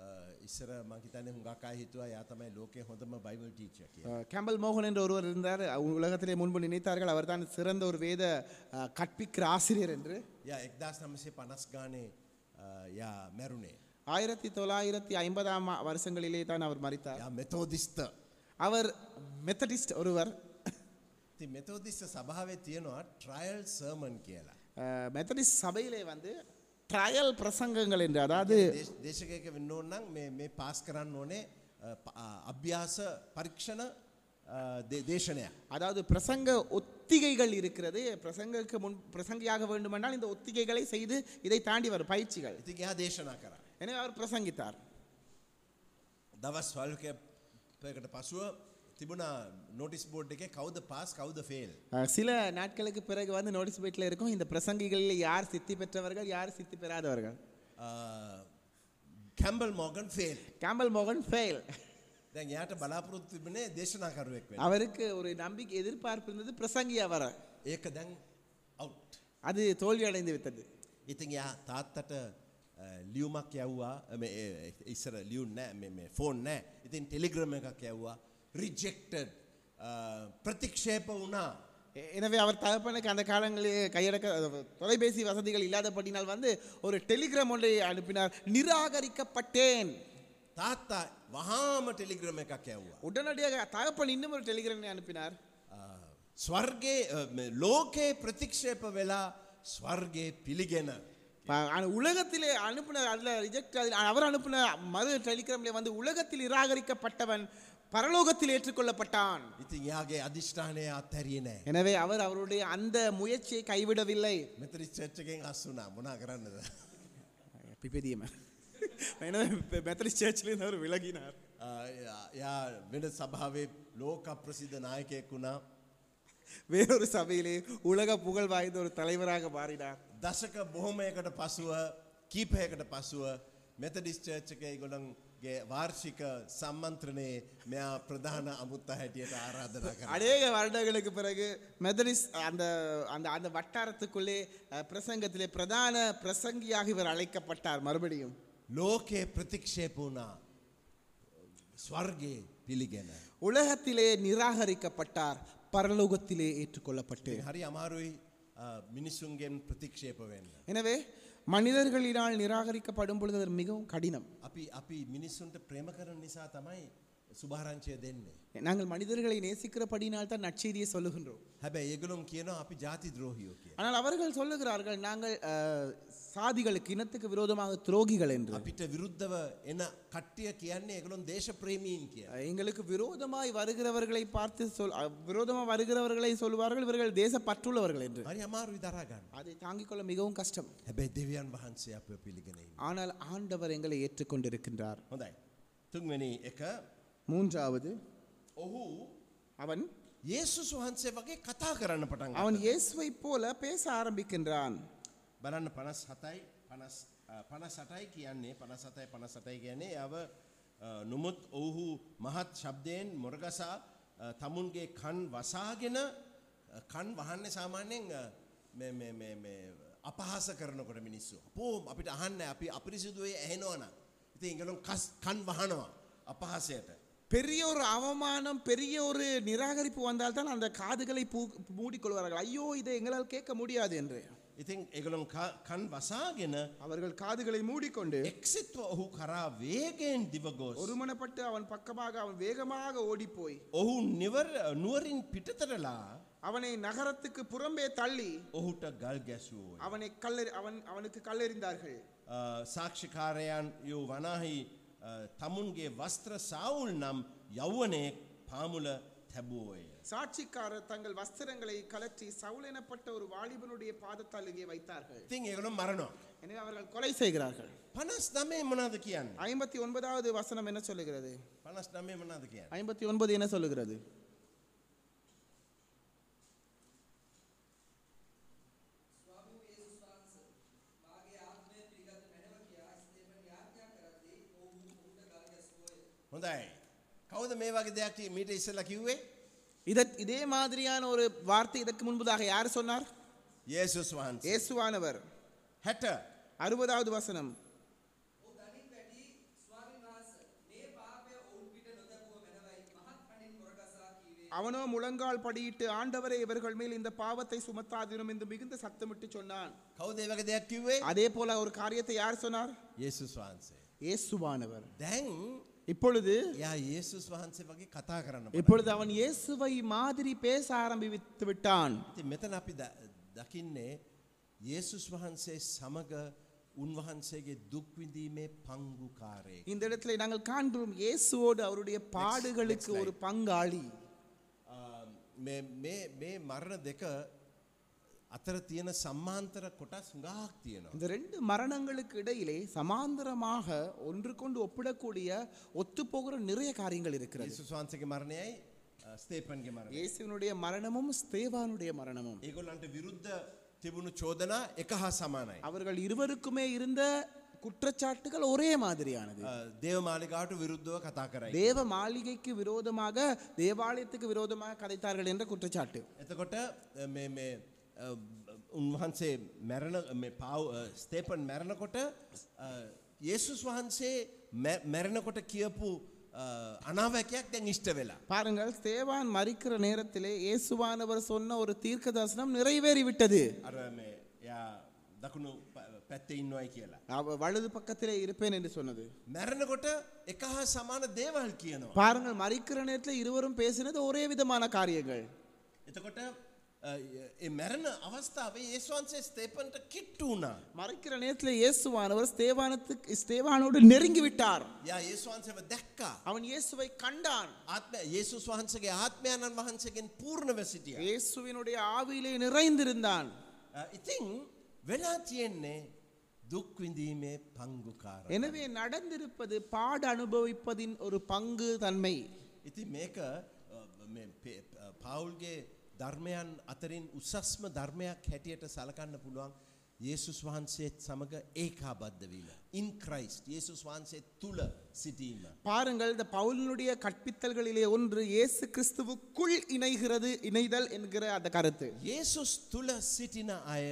[SPEAKER 2] අ, ඉස්සර මංහිතන හුඟකා හිතුවා යාතමයි ලෝකය හොඳම බයිවල් ටීච කිය.
[SPEAKER 1] அஹ், கேம்பல் மோகன் Uh, என்ற ஒருவர் இருந்தார் அவ் உலகத்திலே முன்பு நினைத்தார்கள் அவர்தான் சிறந்த ஒரு வேத அஹ், கற்பிக்கிற ஆசிரியர் என்று
[SPEAKER 2] ය එක්දස් නමසේ පනස් ගානේ uh, යා මැරුණේ.
[SPEAKER 1] ஆயிரத்தி தொள்ளாயிரத்தி ஐம்பதாம் ஆ- வருஷங்களிலே தான் அவர் மறித்தார்
[SPEAKER 2] ය මෙතෝදිස්ත.
[SPEAKER 1] அவர் மெத்தடிஸ்ட் ஒருவர்
[SPEAKER 2] ති මෙතෝදිස්ට සභාවේ තියෙනවා ට්‍රයිල් සර්මන් කියලා.
[SPEAKER 1] அஹ், மெத்தடிஸ்ட் சபையிலே வந்து ட்ரையல் பிரசங்கங்கள் என்று அதாவது
[SPEAKER 2] දේශ- දේශකයක වෙන්න ඕන්නම් මේ- මේ පාස් කරන්න ඕනේ අ, ප- අ, අභ්‍යාස පරීක්ෂණ අ, දේ- දේශනයක්.
[SPEAKER 1] அதாவது பிரசங்க ஒத்திகைகள் இருக்கிறது பிரசங்கக்கு முன் பிரசங்கியாக வேண்டுமென்றால் இந்த ஒத்திகைகளை செய்து இதை தாண்டி வரும் பயிற்சிகள்
[SPEAKER 2] ඉතින් එයා දේශනා කරා.
[SPEAKER 1] எனவே அவர் பிரசங்கித்தார்
[SPEAKER 2] දවස් වල්කපකට පසුව තිබුණ නොටිස් බෝඩ් එක කවද පාස් කවද ෆෙල්
[SPEAKER 1] அஹ், சில நாட்களுக்கு பிறகு வந்து நோட்டீஸ் பேட்டில் இருக்கும் இந்த பிரசங்கிகளில் யார் சித்தி பெற்றவர்கள் யார் சித்தி பெறாதவர்கள்
[SPEAKER 2] Campbell Morgan fail
[SPEAKER 1] Campbell Morgan fail
[SPEAKER 2] දැන් යාට බලාපොරොත්තු තිබනේ දේශනාකරුවෙක් වෙන
[SPEAKER 1] அவருக்கு ஒரு நம்பிக்கை எதிர்பார்ப்பு இருந்தது பிரசங்கியா வர
[SPEAKER 2] ඒක දැන් අවට්
[SPEAKER 1] அது தோல்வி அடைந்து விட்டது
[SPEAKER 2] ඉතින් යා තාත්තට අ, ලියුමක් යව්වා අ, මේ, ඒ, ඒ, ඉස්සර ලියුම් නෑ ෆෝන් නෑ ඉතින් ටෙලිග්‍රම එකක් යව්වා රිජෙක්ටඩ් ප්‍රතික්ෂේප වුණා
[SPEAKER 1] எ- எனவே அவர் தகப்பனுக்கு அந்த காலங்களில் கையடக்க அஹ், தொலைபேசி வசதிகள் இல்லாதபடினால் வந்து ஒரு டெலிகிராம் ஒன்றை அனுப்பினார் நிராகரிக்கப்பட்டேன்
[SPEAKER 2] තාත්තා වහාම ටෙලිග්‍රම එකක් යව්වා
[SPEAKER 1] உடனடியாக தகப்பன் இன்னும் ஒரு டெலிகிராமை அனுப்பினார்
[SPEAKER 2] ස්වර්ගේ ලෝකයේ ප්‍රතික්ෂේප වෙලා ස්වර්ගේ பிலிகென
[SPEAKER 1] ப- ஆனா உலகத்திலே அனுப்பின அதில் ரிஜெக்ட் அதில் அவர் அனுப்பின மறு டெலிகிராமிலே வந்து உலகத்தில் நிராகரிக்கப்பட்டவன் பரலோகத்தில் ஏற்றுக்கொள்ளப்பட்டான்
[SPEAKER 2] ඉතින් යාගේ අධිෂ්ඨානය අත්හැරිය නෑ
[SPEAKER 1] எனவே அவர் அவருடைய அந்த முயற்சியை கைவிடவில்லை
[SPEAKER 2] මෙතරි චච්චකෙන් අස්සුනා මොනා කරන්නද
[SPEAKER 1] பிபதியம் எனவே மெத்தடிஸ்ட் சேர்ச்சிலேருந்து அவர் விலகினார்
[SPEAKER 2] අ, යා- යා වෙන සභාවේ ලෝක ප්‍රසිද්ධ නායකයෙක් වුණා
[SPEAKER 1] வேறொரு சபையிலே உலக புகழ் வாய்ந்த ஒரு தலைவராக மாறினார்
[SPEAKER 2] දශක බොහොමයකට පසුව කීපයකට පසුව මෙතඩිස් චර්චකය ගොළන්ගේ වාර්ෂික සම්මන්ත්‍රණයේ මෙයා ප්‍රධාන අමුත්ත හැටියට ආරාධනා කර
[SPEAKER 1] அநேக வருடங்களுக்கு பிறகு மெதரிஸ் அந்த அந்த அந்த வட்டாரத்துக்குள்ளே அஹ், பிரசங்கத்திலே பிரதான பிரசங்கியாக இவர் அழைக்கப்பட்டார் மறுபடியும்
[SPEAKER 2] ලෝකයේ ප්‍රතික්ෂේප වුණා ස්වර්ගේ පිළිගෙන.
[SPEAKER 1] உலகத்திலே நிராகரிக்கப்பட்டார் பரலோகத்திலே ஏற்றுக்கொள்ளப்பட்டு
[SPEAKER 2] හරි අමාරුයි අ, මිනිස්සුන්ගෙන් ප්‍රතික්ෂේප වෙන්න.
[SPEAKER 1] எனவே மனிதர்களினால் நிராகரிக்கப்படும் பொழுது அது மிகவும் கடினம்
[SPEAKER 2] අපි අපි මිනිස්සුන්ට ප්‍රේම කරන නිසා තමයි සුභාරංචය දෙන්නේ.
[SPEAKER 1] நாங்கள் மனிதர்களை நேசிக்கிறபடினால் தான் நற்செய்தியை சொல்லுகின்றோம்
[SPEAKER 2] හැබැයි ඒගලුම් කියනවා අපි ජාති ද්‍රෝහියෝ කිය.
[SPEAKER 1] ஆனால் அவர்கள் சொல்லுகிறார்கள் நாங்கள் அஹ், சாதிகளுக்கு இனத்துக்கு விரோதமாக துரோகிகள் என்று
[SPEAKER 2] අපිට විරුද්ධව එන කට්ටිය කියන්නේ ඒගලුම් දේශප්‍රේමීන් කිය.
[SPEAKER 1] எங்களுக்கு விரோதமாய் வருகிறவர்களை பார்த்து சொல் அஹ், விரோதமா வருகிறவர்களை சொல்வார்கள் இவர்கள் தேச பற்றுள்ளவர்கள் என்று
[SPEAKER 2] හරි අමාරුයි දරාගන්න.
[SPEAKER 1] அதை தாங்கிக் கொள்ள மிகவும் கஷ்டம்
[SPEAKER 2] හැබැයි දෙවියන් වහන්සේ අප පිළිගෙනයි.
[SPEAKER 1] ஆனால் ஆண்டவர் எங்களை ஏற்றுக்கொண்டிருக்கின்றார்
[SPEAKER 2] හොඳයි. තුන්වෙනි එක
[SPEAKER 1] மூன்றாவது
[SPEAKER 2] ඔහු
[SPEAKER 1] அவன்
[SPEAKER 2] ඒසුස් වහන්සේ වගේ කතා කරන්න පටන් ගත්තා.
[SPEAKER 1] அவன் இயேசுவை போல பேச ஆரம்பிக்கின்றான்
[SPEAKER 2] බලන්න පනස් හතයි පනස් සටයි කියන්නේ පනස් සතයි පනස් සටයි කියන්නේ යව නොමුත් ඔවුහු මහත් ශබ්දයෙන් මොරගසා අ, තමුන්ගේ කන් වසාගෙන අ, කන් වහන්න සාමාන්‍යයෙන් අ, මේ- මේ- මේ- මේ අපහාස කරනකොට මිනිස්සු. පෝම් අපිට අහන්න අපි අපිරිසිදුවේ ඇහෙනවන. ඉති ඉගලුම් කස් කන් වහනවා අපහාසයට.
[SPEAKER 1] பெரிய ஒரு அவமானம் பெரிய ஒரு நிராகரிப்பு வந்தால்தான் அந்த காதுகளை பூ மூடிக்கொள்வார்கள் ஐயோ இதை எங்களால் கேட்க முடியாது என்று
[SPEAKER 2] ඉතින් එගලුම් කන් වසාගෙන
[SPEAKER 1] அவர்கள் காதுகளை மூடிக்கொண்டு
[SPEAKER 2] එක්සිත්ව ඔහු කරා වේගෙන් දිවගෝස්.
[SPEAKER 1] ஒருமனப்பட்டு அவன் பக்கமாக அவன் வேகமாக ஓடிப்போய்
[SPEAKER 2] ඔහු නිවර නුවරින් පිටතරලා
[SPEAKER 1] அவனை நகரத்துக்கு புறம்பே தள்ளி
[SPEAKER 2] ඔහුට ගල් ගැසුවෝ.
[SPEAKER 1] அவனை கல்லெறி அவன் அவனுக்கு கல்லெறிந்தார்கள்
[SPEAKER 2] අ, සාක්ෂිකාරයන් යූ වනාහි අ, තමුන්ගේ වස්ත්‍ර සවුල් නම් යෞවනයෙක් පාමුල තැබුවෝය.
[SPEAKER 1] சாட்சிக்காரர் தங்கள் வஸ்திரங்களை கலற்றி சவுலெனப்பட்ட ஒரு வாலிபனுடைய பாதத்தால் இங்கே வைத்தார்கள்
[SPEAKER 2] ඉතින් ඒගොලු මරණවා.
[SPEAKER 1] எனவே அவர்கள் கொலை செய்கிறார்கள்
[SPEAKER 2] පනස් නමේ මනාද කියන්න.
[SPEAKER 1] ஐம்பத்தி ஒன்பதாவது வசனம் என்ன சொல்லுகிறது
[SPEAKER 2] පනස් නමේ මනාද කියන්න.
[SPEAKER 1] ஐம்பத்தி ஒன்பது என்ன சொல்லுகிறது
[SPEAKER 2] හොඳයි. කවද මේ වගේ දෙයක් මීට ඉස්සල කිව්වේ
[SPEAKER 1] இதற் இதே மாதிரியான ஒரு வார்த்தை இதற்கு முன்பதாக யார் சொன்னார்
[SPEAKER 2] ඒසුස් වහන්සේ.
[SPEAKER 1] இயேசுவானவர்
[SPEAKER 2] හැට
[SPEAKER 1] அறுபதாவது வசனம் அவனோ முழங்கால் படியிட்டு ஆண்டவரே இவர்கள் மேல் இந்த பாவத்தை சுமத்தாதிரும் என்று மிகுந்த சத்தமிட்டு சொன்னான்
[SPEAKER 2] කවද ඒ වගේ දෙයක් කිව්වේ
[SPEAKER 1] அதே போல ஒரு காரியத்தை யார் சொன்னார்
[SPEAKER 2] ඒසුස් වහන්සේ.
[SPEAKER 1] இயேசுவானவர்
[SPEAKER 2] දැන්
[SPEAKER 1] இப்பொழுது
[SPEAKER 2] එයා ඒසුස් වහන්සේ වගේ කතා කරන්න.
[SPEAKER 1] இப்பொழுது அவன் இயேசுவை மாதிரி பேச ஆரம்பித்து விட்டான்
[SPEAKER 2] ඉතින් මෙතන අපි ද- දකින්නේ යේසුස් වහන්සේ සමග උන්වහන්සේගේ දුක්විඳීමේ පංගුකාරය.
[SPEAKER 1] இந்த இடத்துல நாங்கள் காண்கிறோம் இயேசுவோடு அவருடைய பாடுகளுக்கு ஒரு பங்காளி
[SPEAKER 2] මේ මරණ දෙක අතර තියෙන සම්මාන්තර කොටස් ගාක් තියෙනවා.
[SPEAKER 1] இந்த ரெண்டு மரணங்களுக்கு இடையிலே சமாந்தரமாக ஒன்றுக்கொண்டு ஒப்பிடக்கூடிய ஒத்துப்போகிற நிறைய காரியங்கள் இருக்கிறது
[SPEAKER 2] යේසුස් වහන්සේගේ මරණයයි අ, ස්තේපන්ගේ මරණය.
[SPEAKER 1] இயேசுவினுடைய மரணமும் ஸ்தேவானுடைய මරණமும்
[SPEAKER 2] ඒගොල්ලන්ට විරුද්ධ තිබුණු චෝදනා එක හා සමානයි.
[SPEAKER 1] அவர்கள் இருவருக்குமே இருந்த குற்றச்சாட்டுகள் ஒரே மாதிரியானது
[SPEAKER 2] අ, දේව මාලිගාට විරුද්ධව කතා කරයි.
[SPEAKER 1] தேவ மாளிகைக்கு விரோதமாக தேவாலயத்துக்கு விரோதமாக கதைத்தார்கள் என்ற குற்றச்சாட்டு
[SPEAKER 2] එතකොට අ, මේ- මේ, අ, උන්වහන්සේ මැරණ පව් ස්තේපන් මැරණකොට යේසුස් වහන්සේ මැ- මැරෙනකොට කියපු අ, අනාවැකයක් දැන් ඉෂ්ට වෙලා.
[SPEAKER 1] பாருங்கள் ஸ்தேவான் மறிக்கிற நேரத்திலே இயேசுவானவர் சொன்ன ஒரு தீர்க்க தரிசனம் நிறைவேறிவிட்டது
[SPEAKER 2] අර මේ එයා දකුණු ප- පැත්තේ ඉන්නවයි කියලා.
[SPEAKER 1] அவ வலது පக்கத்திலே இருப்பேன் என்று சொன்னது
[SPEAKER 2] මැරණකොට එක හා සමාන දේවල් කියනවා.
[SPEAKER 1] பாருங்கள் மறிக்கிற நேரத்தில் இருவரும் பேசினது ஒரே විதமான காரியங்கள்
[SPEAKER 2] එතකොට අ, ඒ මැරණ අවස්ථාවේ ඒස්වන්සේ ස්තේපන්ට කිට්ටු වුණා.
[SPEAKER 1] மறிக்கிற நேரத்தில் இயேசுவானவர் ஸ்தேவானத்துக்கு ஸ்தேவானோடு நெருங்கி விட்டார்
[SPEAKER 2] යා ඒස්වන්සේව දැක්කා.
[SPEAKER 1] அவன் இயேசுவை கண்டான்
[SPEAKER 2] ආත්ම යේසුස් වහන්සගේ ආත්මයණන් වහන්සගෙන් පූර්ණව සිටිය.
[SPEAKER 1] இயேசுவினுடைய ආවිயிலே நிறைந்திருந்தான்
[SPEAKER 2] අ, ඉතිං Uh, වෙලා තියෙන්නේ දුක්විඳීමේ පංගුකාර.
[SPEAKER 1] எனவே நடந்திருப்பது பாட அனுபவிப்பதின் ஒரு பங்கு தன்மை
[SPEAKER 2] ඉති මේක අ, මේ පේ- අ, පවුල්ගේ ධර්මයන් අතරින් උසස්ම ධර්මයක් හැටියට සලකන්න පුළුවන් ඒසුස් වහන්සේත් සමඟ ඒකා බද්ධවීම. ඉන් ක්‍රයිස්් ඒසුස් වහන්සේ තුළ සිටීම.
[SPEAKER 1] பாருங்கள் இந்த பவுலினுடைய கற்பித்தல்களிலே ஒன்று இயேசு கிறிஸ்துவுக்குள் இணைகிறது இணைதல் என்கிற அந்த கருத்து
[SPEAKER 2] ඒසුස් තුළ සිටින අය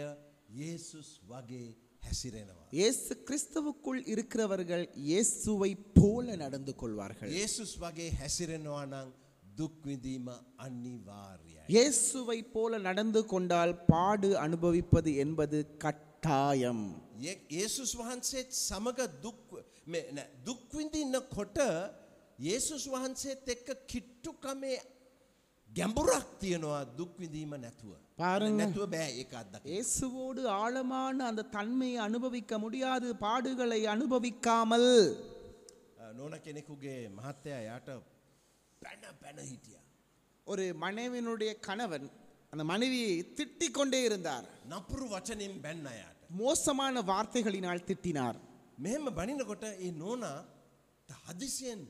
[SPEAKER 2] ඒසුස් வகே හැසිරෙනවා.
[SPEAKER 1] இயேசு கிறிஸ்துவுக்குள் இருக்கிறவர்கள் இயேசுவை போல நடந்து கொள்வார்கள்
[SPEAKER 2] ඒසුස් වගේ හැසිරෙනවා නං දුක්විඳීම අනිවාර්යයි.
[SPEAKER 1] இயேசுவை போல நடந்து கொண்டால் பாடு அனுபவிப்பது என்பது கட்டாயம்
[SPEAKER 2] ඒ- ඒසුස් වහන්සේත් සමඟ දුක්- මේ නෑ, දුක්විඳින්න කොට ඒසුස් වහන්සේත් එක්ක කිට්ටුකමේ ගැඹුරක් තියෙනවා දුක්විඳීම නැතුව.
[SPEAKER 1] பாருங்க.
[SPEAKER 2] නැතුව බෑ ඒක අත්දක.
[SPEAKER 1] இயேசுவோடு ஆழமான அந்த தன்மையை அனுபவிக்க முடியாது பாடுகளை அனுபவிக்காமல்
[SPEAKER 2] නොන කෙනෙකුගේ මහත්තයා යට පැන පැන හිටිය.
[SPEAKER 1] ஒரு மனைவியினுடைய கணவன் அந்த மனைவியை திட்டிக் கொண்டே இருந்தார்
[SPEAKER 2] නපුරු වචනින් බැන්න අයට.
[SPEAKER 1] மோசமான வார்த்தைகளினால் திட்டினார்
[SPEAKER 2] මෙහෙම බනිනකොට ඒ නෝනා හදිසියෙන්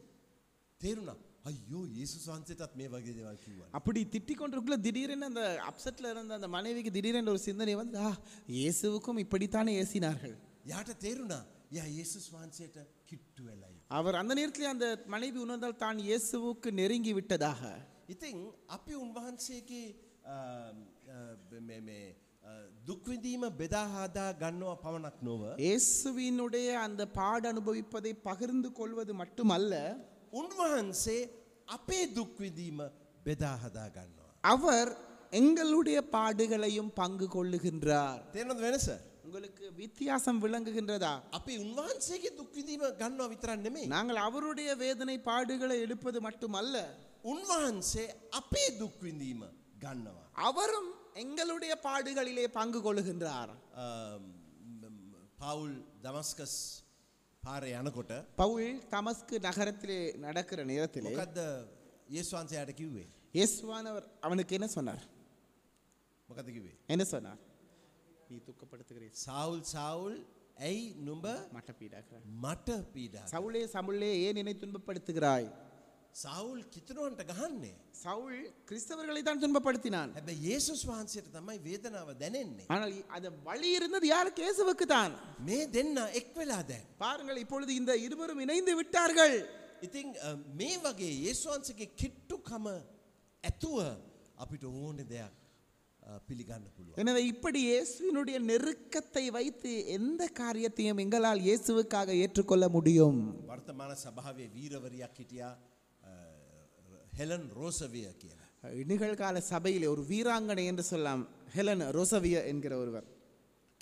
[SPEAKER 2] තේරුණා අයෝ ඒසු වන්සේටත් මේ වගේ දෙවල් කිව්වන්න.
[SPEAKER 1] அப்படி திட்டிக் கொண்டிருக்குள்ள திடீரென அந்த அப்செட்ல இருந்த அந்த மனைவிக்கு திடீரென ஒரு சிந்தனை வந்து ஆ இயேசுவுக்கும் இப்படித்தானே ஏசினார்கள்
[SPEAKER 2] යාට තේරුණා යා ඒසුස් වහන්සේට කිට්ටු වෙලයි.
[SPEAKER 1] அவர் அந்த நேரத்தில் அந்த மனைவி உணர்ந்தால் தான் இயேசுவுக்கு நெருங்கி விட்டதாக
[SPEAKER 2] ඉතින් අපි උන්වහන්සේගේ අම්, අ, මේ- මේ, අ, දුක්විඳීම බෙදාහාදා ගන්නවා පමණක් නොව.
[SPEAKER 1] இயேசுவினுடைய அந்த பாடு அனுபவிப்பதை பகிர்ந்து கொள்வது மட்டுமல்ல
[SPEAKER 2] උන්වහන්සේ අපේ දුක්විඳීම බෙදාහදා ගන්නවා.
[SPEAKER 1] அவர் எங்களுடைய பாடுகளையும் பங்கு கொள்ளுகின்றார்
[SPEAKER 2] තේරනද වෙනස.
[SPEAKER 1] உங்களுக்கு வித்தியாசம் விளங்குகின்றதா
[SPEAKER 2] අපි උන්වහන්සේගේ දුක්විඳීම ගන්නවා විතරන් නෙමේ.
[SPEAKER 1] நாங்கள் அவருடைய வேதனை பாடுகளை எடுப்பது மட்டுமல்ல
[SPEAKER 2] උන්වහන්සේ අපේ දුක්විඳීම ගන්නවා.
[SPEAKER 1] அவரும் எங்களுடைய பாடுகளிலே பங்கு கொள்ளுகின்றார்
[SPEAKER 2] අම්, ම්, පවුල් දමස්කස් පාර යනකොට
[SPEAKER 1] பவுல் தமஸ்கு நகரத்திலே நடக்கிற நேரத்திலே
[SPEAKER 2] මොකක්ද ඒස්වන්සයට කිව්වේ
[SPEAKER 1] இயேசுவான் அவர் அவனுக்கு என்ன சொன்னார்
[SPEAKER 2] මොකද කිවේ.
[SPEAKER 1] என்ன சொன்னார் நீ துக்கப்படுத்துகிறீர்
[SPEAKER 2] සවුල් සවුල් ඇයි නුඹ
[SPEAKER 1] மட்ட பீடாக்கிறார்
[SPEAKER 2] මට පීඩා.
[SPEAKER 1] சவுளே சவுளே ஏன் என்னை துன்பப்படுத்துகிறாய்
[SPEAKER 2] සවුල් කිතුරුවන්ට ගහන්නේ.
[SPEAKER 1] சவுல் கிறிஸ்தவர்களை தான் துன்பப்படுத்தினான்
[SPEAKER 2] හැබ ඒසුස් වහන්සේට තමයි වේදනාව දැනෙන්නේ.
[SPEAKER 1] ஆனால் இ- அது வழி இருந்தது யாருக்கு இயேசுவுக்கு தான்
[SPEAKER 2] මේ දෙන්න එක් වෙලා දැන්.
[SPEAKER 1] பாருங்கள் இப்பொழுது இந்த இருவரும் இணைந்து விட்டார்கள்
[SPEAKER 2] ඉතිං අ, මේ වගේ ඒස්වහන්සගේ කිට්ටුකම ඇතුව අපිට ඕන දෙයක් අ, පිළිගන්න පුළුව.
[SPEAKER 1] எனவே இப்படி இயேசுவினுடைய நெருக்கத்தை வைத்து எந்த காரியத்தையும் எங்களால் இயேசுவுக்காக ஏற்றுக்கொள்ள முடியும்
[SPEAKER 2] වර්තමාන සභාවේ වීරවරයක් හිටියා අ, හෙලන් රෝසවිය කියලා.
[SPEAKER 1] நிகழ்கால சபையிலே ஒரு வீராங்கனை என்று சொல்லலாம் ஹெலன் ரோசவிய என்கிற ஒருவர்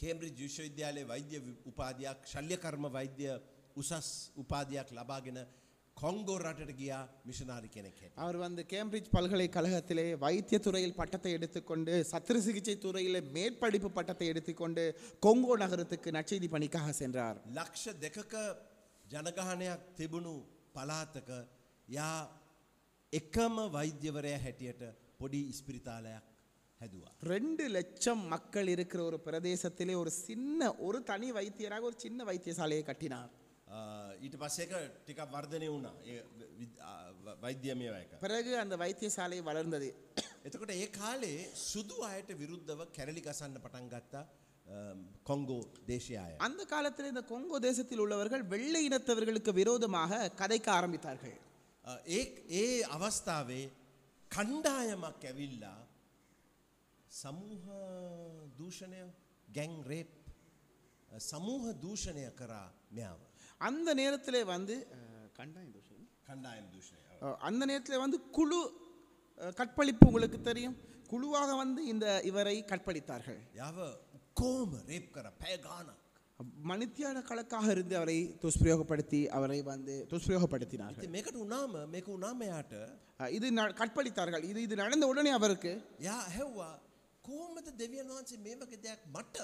[SPEAKER 2] කේම්බ්‍රිජ් විශ්වවිද්‍යාලයේ වෛද්‍ය වි- උපාධයක් ශල්‍යකර්ම වෛද්‍ය උසස් උපාධයක් ලබාගෙන කොංගෝ රටට ගියා මිෂනාරි කෙනෙක් හැටියට.
[SPEAKER 1] அவர் வந்து கேம்பிரிட்ஜ் பல்கலைக்கழகத்திலே வைத்திய துறையில் பட்டத்தை எடுத்துக்கொண்டு சத்திர சிகிச்சை துறையிலே மேற்படிப்பு பட்டத்தை எடுத்துக்கொண்டு கொங்கோ நகரத்துக்கு நற்செய்தி பணிக்காக சென்றார்
[SPEAKER 2] ලක්ෂ දෙකක ජනගහනයක් තිබුණු පලාතක යා එකම වෛද්‍යවරය හැටියට පොඩි ඉස්පිරිතාලයක් හැදවා.
[SPEAKER 1] ரெண்டு லட்சம் மக்கள் இருக்கிற ஒரு பிரதேசத்திலே ஒரு சின்ன ஒரு தனி வைத்தியராக ஒரு சின்ன வைத்தியசாலையை கட்டினார்
[SPEAKER 2] ඊට පස්සේක ටිකක් වර්ධනය වුණා ඒ විද්- ආ, ව- වෛද්‍යමය වැයක.
[SPEAKER 1] பிறகு அந்த வைத்தியசாலை வளர்ந்தது
[SPEAKER 2] එතකොට ඒ කාලේ සුදු අයට විරුද්ධව කැරලි ගසන්න පටන් ගත්තා අම්, කොංගෝ දේශයාය.
[SPEAKER 1] அந்த காலத்தில் இந்த கொங்கோ தேசத்தில் உள்ளவர்கள் வெள்ளை இனத்தவர்களுக்கு விரோதமாக கதைக்க ஆரம்பித்தார்கள்
[SPEAKER 2] අ, ඒ ඒ අවස්ථාවේ කණ්ඩායමක් ඇවිල්ලා සමූහ දූෂණය ගැන් රේප් අ, සමූහ දූෂණය කරා මොව.
[SPEAKER 1] அந்த நேரத்திலே வந்து அஹ், கண்டாயம் தோஷம்
[SPEAKER 2] කණ්ඩායම් දූෂණය.
[SPEAKER 1] அஹ், அந்த நேரத்தில் வந்து குழு அஹ், கற்பழிப்பு உங்களுக்கு தெரியும் குழுவாக வந்து இந்த இவரை கற்பழித்தார்கள்
[SPEAKER 2] යව කෝම රේප් කර පැයගානක්.
[SPEAKER 1] மனித்தியான கணக்காக இருந்து அவரை துஷ்பிரயோகப்படுத்தி அவரை வந்து துஷ்பிரயோகப்படுத்தினார்கள்
[SPEAKER 2] ඉති මේකට උනාම මේක උනාමයාට
[SPEAKER 1] அஹ், இது ந- கற்பழித்தார்கள் இது இது நடந்த உடனே அவருக்கு
[SPEAKER 2] යා හැව්වා කෝමද දෙවියන් වහන්සේ මේ වගේ දෙයක් මට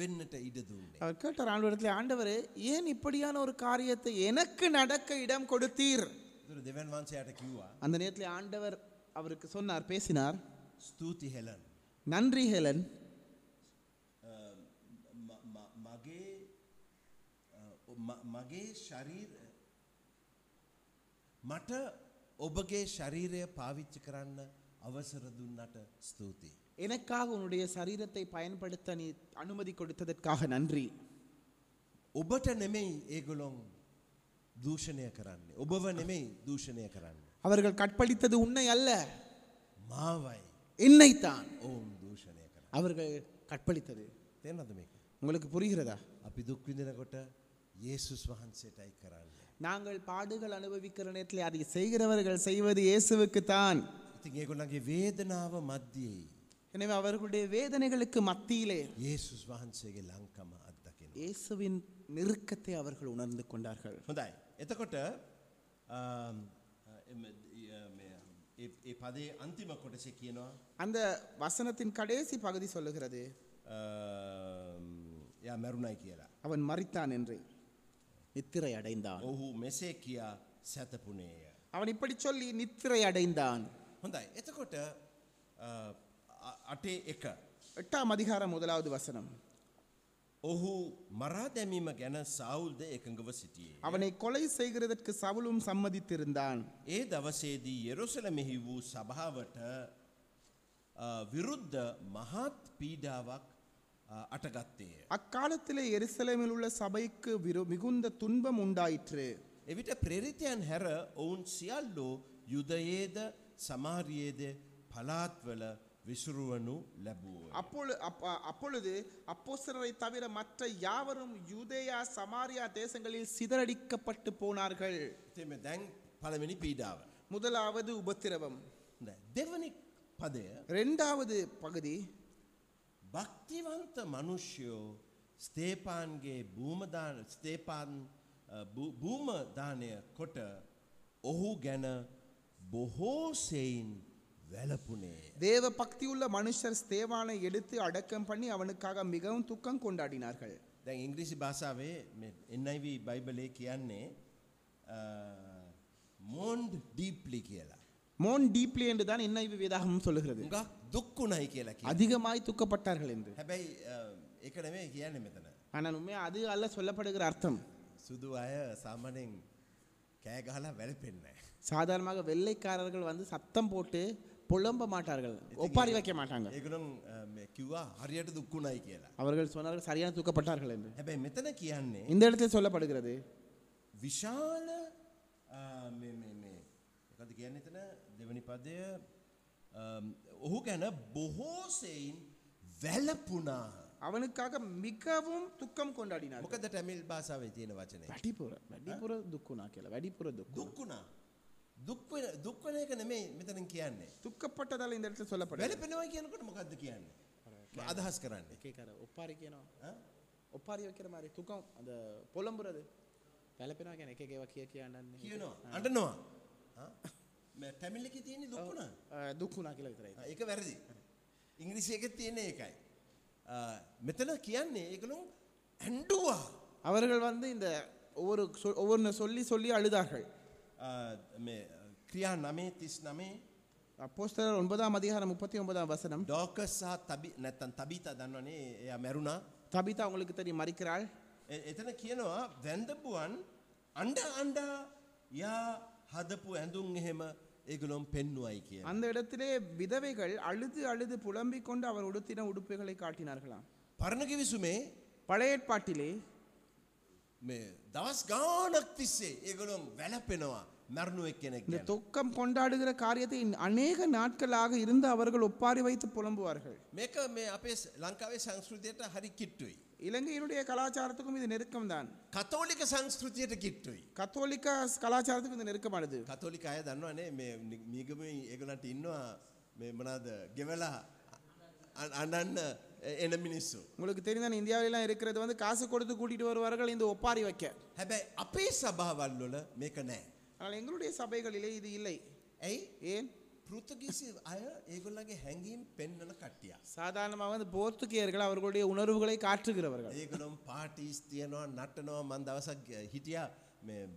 [SPEAKER 2] වෙන්නට ඉඩ දුන්නේ.
[SPEAKER 1] அவர் கேட்டார் ஆண்டவரத்தில் ஆண்டவரே ஏன் இப்படியான ஒரு காரியத்தை எனக்கு நடக்க இடம் கொடுத்தீர்
[SPEAKER 2] තුර දෙවන් වහන්සේයට කිව්වා
[SPEAKER 1] அந்த நேரத்தில் ஆண்டவர் அவருக்கு சொன்னார் பேசினார்
[SPEAKER 2] ස්තුති හෙලන්.
[SPEAKER 1] நன்றி ஹெலன்
[SPEAKER 2] ම- ම- මගේ අ, ම- මගේ ශරීර මට ඔබගේ ශරීරය පාවිච්චි කරන්න අවසර දුන්නට ස්තුතියි.
[SPEAKER 1] எனக்காக உன்னுடைய சரீரத்தை பயன்படுத்த நீ அனுமதி கொடுத்ததற்காக நன்றி
[SPEAKER 2] ඔබට නෙමෙයි ඒගොලොන් දූෂණය කරන්නේ. ඔබව නෙමෙයි දූෂණය කරන්න.
[SPEAKER 1] அவர்கள் கற்பழித்தது உன்னை அல்ல
[SPEAKER 2] මාවයි
[SPEAKER 1] என்னைத்தான்
[SPEAKER 2] ඔවුන් දූෂණය කර.
[SPEAKER 1] அவர்கள் கற்பழித்தது
[SPEAKER 2] තෙන්නද මේක.
[SPEAKER 1] உங்களுக்கு புரிகிறதா
[SPEAKER 2] අපි දුක්විඳනකොට ඒසුස් වහන්සේටයි කරන්න.
[SPEAKER 1] நாங்கள் பாடுகள் அனுபவிக்கிற நேரத்தில் அதை செய்கிறவர்கள் செய்வது இயேசுவுக்கு தான்
[SPEAKER 2] ඉතින් ඒගොලන්ගේ වේදනාව මධ්‍යයේ
[SPEAKER 1] எனவே அவர்களுடைய வேதனைகளுக்கு மத்தியிலே
[SPEAKER 2] ඒසුස් වහන්සේගේ ලංකම අත්දකිෙන.
[SPEAKER 1] இயேசுவின் நெருக்கத்தை அவர்கள் உணர்ந்து கொண்டார்கள்
[SPEAKER 2] හොඳයි. එතකොට අම්, Um, uh, එම, ය- මේ, ඒ ඒ පදේ අන්තිම කොටස කියනවා
[SPEAKER 1] அந்த வசனத்தின் கடைசி பகுதி சொல்லுகிறது
[SPEAKER 2] අම්, um, එයා මැරුණයි කියලා.
[SPEAKER 1] அவன் மறித்தான் என்று நித்திரை அடைந்தான்
[SPEAKER 2] ඔහු මෙසේ කියා සැතපුනේය.
[SPEAKER 1] அவன் இப்படி சொல்லி நித்திரை அடைந்தான்
[SPEAKER 2] හොඳයි. එතකොට uh, අ, අ- අටේ එක.
[SPEAKER 1] எட்டாம் அதிகாரம் முதலாவது வசனம்
[SPEAKER 2] ඔහු මරා දැමීම ගැන සවුල්ද එකඟව සිටියේ.
[SPEAKER 1] அவனை கொலை செய்கிறதற்கு சவுலும் சம்மதித்திருந்தான்
[SPEAKER 2] ඒ දවසේදී යෙරුසල මෙහි වූ සභාවට අ, විරුද්ධ මහත් පීඩාවක් අ, අටගත්තේය.
[SPEAKER 1] அக்காலத்திலே எருசலேமில் உள்ள சபைக்கு விரு- மிகுந்த துன்பம் உண்டாயிற்று
[SPEAKER 2] එවිට ප්‍රේරිතයන් හැර ඔවුන් සියල්ලෝ යුදයේද සමාරියේද පලාත්වල විසුරුවනු ලැබුවෝ.
[SPEAKER 1] அப்பொழு அப்ப- அப்பொழுது அப்போஸ்தலரை தவிர மற்ற யாவரும் யூதேயா சமாரியா தேசங்களில் சிதறடிக்கப்பட்டு போனார்கள்
[SPEAKER 2] එතෙම දැන් පළවෙනි පීඩාව.
[SPEAKER 1] முதலாவது உபத்திரவம்
[SPEAKER 2] හොඳයි. දෙවනි පදය
[SPEAKER 1] இரண்டாவது பகுதி
[SPEAKER 2] භක්තිවන්ත මනුෂ්‍යයෝ ස්තේපාන්ගේ භූමදාන ස්තේපාන් අ, භූ- භූමදානය කොට ඔහු ගැන බොහෝසෙයින් වැලපුනේ.
[SPEAKER 1] தேவ பக்தியுள்ள மனுஷர் ஸ்தேவானை எடுத்து அடக்கம் பண்ணி அவனுக்காக மிகவும் துக்கம் கொண்டாடினார்கள்
[SPEAKER 2] දැන් ඉංග්‍රීසි භාසාාවේ එන්නයිව බයිබලේ කියන්නේ මෝන්ඩ් ඩීප්ලි කියලා.
[SPEAKER 1] மோன் டீப்லி என்று தான் என்ன வேதாகம் சொல்லுகிறது
[SPEAKER 2] ගක් දුක්කුණයි කියලා කිය.
[SPEAKER 1] அதிகமாய் துக்கப்பட்டார்கள் என்று
[SPEAKER 2] හැබැයි එකනවේ කියන්න මෙතන.
[SPEAKER 1] ஆனால் உண்மை அது அல்ல சொல்லப்படுகிற அர்த்தம்
[SPEAKER 2] සුදු අය සාමනෙන් කෑගහලා වැලපෙන්නෑ.
[SPEAKER 1] சாதாரணமாக வெள்ளைக்காரர்கள் வந்து சத்தம் போட்டு புலம்ப மாட்டார்கள் ஒப்பாரி வைக்க மாட்டாங்க
[SPEAKER 2] ඒකනම් කිව්වා හරියට දුක්කුණයි කියලා.
[SPEAKER 1] அவர்கள் சொன்னார்கள் சரியான தூக்கப்பட்டார்கள் என்று
[SPEAKER 2] හැබැයි මෙතන කියන්නේ
[SPEAKER 1] இந்த இடத்தில் சொல்லப்படுகிறது
[SPEAKER 2] විශාල එකද කියන්න එතන දෙවනි පදය අම්, ඔහු ගැන බොහෝසයින් වැලපුනා
[SPEAKER 1] அவனுக்காக மிகவும் துக்கம் கொண்டாடினார்கள்
[SPEAKER 2] මොකද ටැමිල් භාසාාවේ තියෙන වචනය
[SPEAKER 1] வெடிப்புற வெடிப்புற துக்குனா கேள வெடிப்புற துக்கு
[SPEAKER 2] දුක්කුණා දුක්වෙන- දුක්වන එක නෙමේ මෙතන කියන්නේ
[SPEAKER 1] துக்கப்பட்டதால் இந்த இடத்தில் சொல்லப்படுகிறது
[SPEAKER 2] වැලපෙනවා කියනකට මොකක්ද කියන්නේ අදහස් කරන්නේ
[SPEAKER 1] கேட்காரு ஒப்பாரிக்கணும்
[SPEAKER 2] ஆ?
[SPEAKER 1] ஒப்பாரி வைக்கிற மாதிரி துக்கம் அந்த புலம்புறது வேலை பேனா எனக்கு கேவா கிய கியாண்டான்னு
[SPEAKER 2] කියනවා අටනවා ටැමිල්ලි තියෙන දුක්ුණා
[SPEAKER 1] துக்குனா கேள வித்தரை
[SPEAKER 2] ආ, ඒක වැරදි. ඉංග්‍රීසි එක තියෙන ඒකයි. ආ, මෙතන කියන්නේ ඒකලු ඇන්ඩුවා
[SPEAKER 1] அவர்கள் வந்து இந்த ஒவ்வொரு சொல் ஒவ்வொன்று சொல்லி சொல்லி அழுதார்கள்
[SPEAKER 2] ක්‍රියා නමේ තිස් නමේ
[SPEAKER 1] அப்போஸ்தலர் ஒன்பதாம் அதிகாரம் முப்பத்தி ஒன்பதாம் வசனம்
[SPEAKER 2] ඩෝකස් සහ තබි නැත්තන් තබීතා දන්නවනේ එය මැරුණා
[SPEAKER 1] தபிதா உங்களுக்கு தெரியும் மறிக்கிறாள்
[SPEAKER 2] එ- එතන කියනවා වැන්දපුුවන් අන්ඩ අන්ඩා යා හදපු ඇඳුම් එහෙම ඒගලොම් පෙන්නුවයි කිය.
[SPEAKER 1] அந்த இடத்திலே விதவைகள் அழுது அழுது புலம்பிக் கொண்டு அவர் உடுத்தின உடுப்புகளை காட்டினார்களாம்
[SPEAKER 2] පරණකිවිසුමේ
[SPEAKER 1] பழைய ஏற்பாட்டிலே
[SPEAKER 2] මේ දවස් ගානක් තිස්සේ ඒගලොම් වැලපෙනවා මැරණුව එක් කෙනෙක්
[SPEAKER 1] இந்த
[SPEAKER 2] ගැන.
[SPEAKER 1] தொக்கம் கொண்டாடுகிற காரியத்தை அநேக நாட்களாக இருந்து அவர்கள் ஒப்பாரி வைத்து புலம்புவார்கள்
[SPEAKER 2] මේක මේ අපේ ස- ලංකාවේ සංස්කෘතියට හරි කිට්ටුයි.
[SPEAKER 1] இலங்கையினுடைய கலாச்சாரத்துக்கும் இது நெருக்கம்தான்
[SPEAKER 2] කතෝලික සංස්කෘතියට කිට්ටුයි.
[SPEAKER 1] கத்தோலிக்க கலாச்சாரத்துக்கும் இது நெருக்கமானது
[SPEAKER 2] කතෝලික අය දන්නවනේ මේ නි- නිගම ඒගලට ඉන්නවා මේ මනාද ගෙවලා අ- අනන්න එන මිනිස්සු.
[SPEAKER 1] உங்களுக்கு தெரியும் இந்தியாவிலாம் இருக்கிறது வந்து காசு கொடுத்து கூட்டிட்டு வருவார்கள் இந்த ஒப்பாரி வைக்க
[SPEAKER 2] හැබැයි අපේ සභාවල්ලොල මේක නෑ.
[SPEAKER 1] ஆனால் எங்களுடைய சபைகளிலே இது இல்லை
[SPEAKER 2] ඇයි
[SPEAKER 1] ஏன்
[SPEAKER 2] පෘතගිසි අය ඒගොල්ලගේ හැඟීම් පෙන්නන කට්ටිය.
[SPEAKER 1] சாதாரணமாக வந்து போர்த்துகேயர்கள் அவர்களுடைய உணர்வுகளை காட்டுகிறவர்கள்
[SPEAKER 2] ඒගොලොම් පාටිස් තියනවා නටනවා මන් දවසක් හිටිය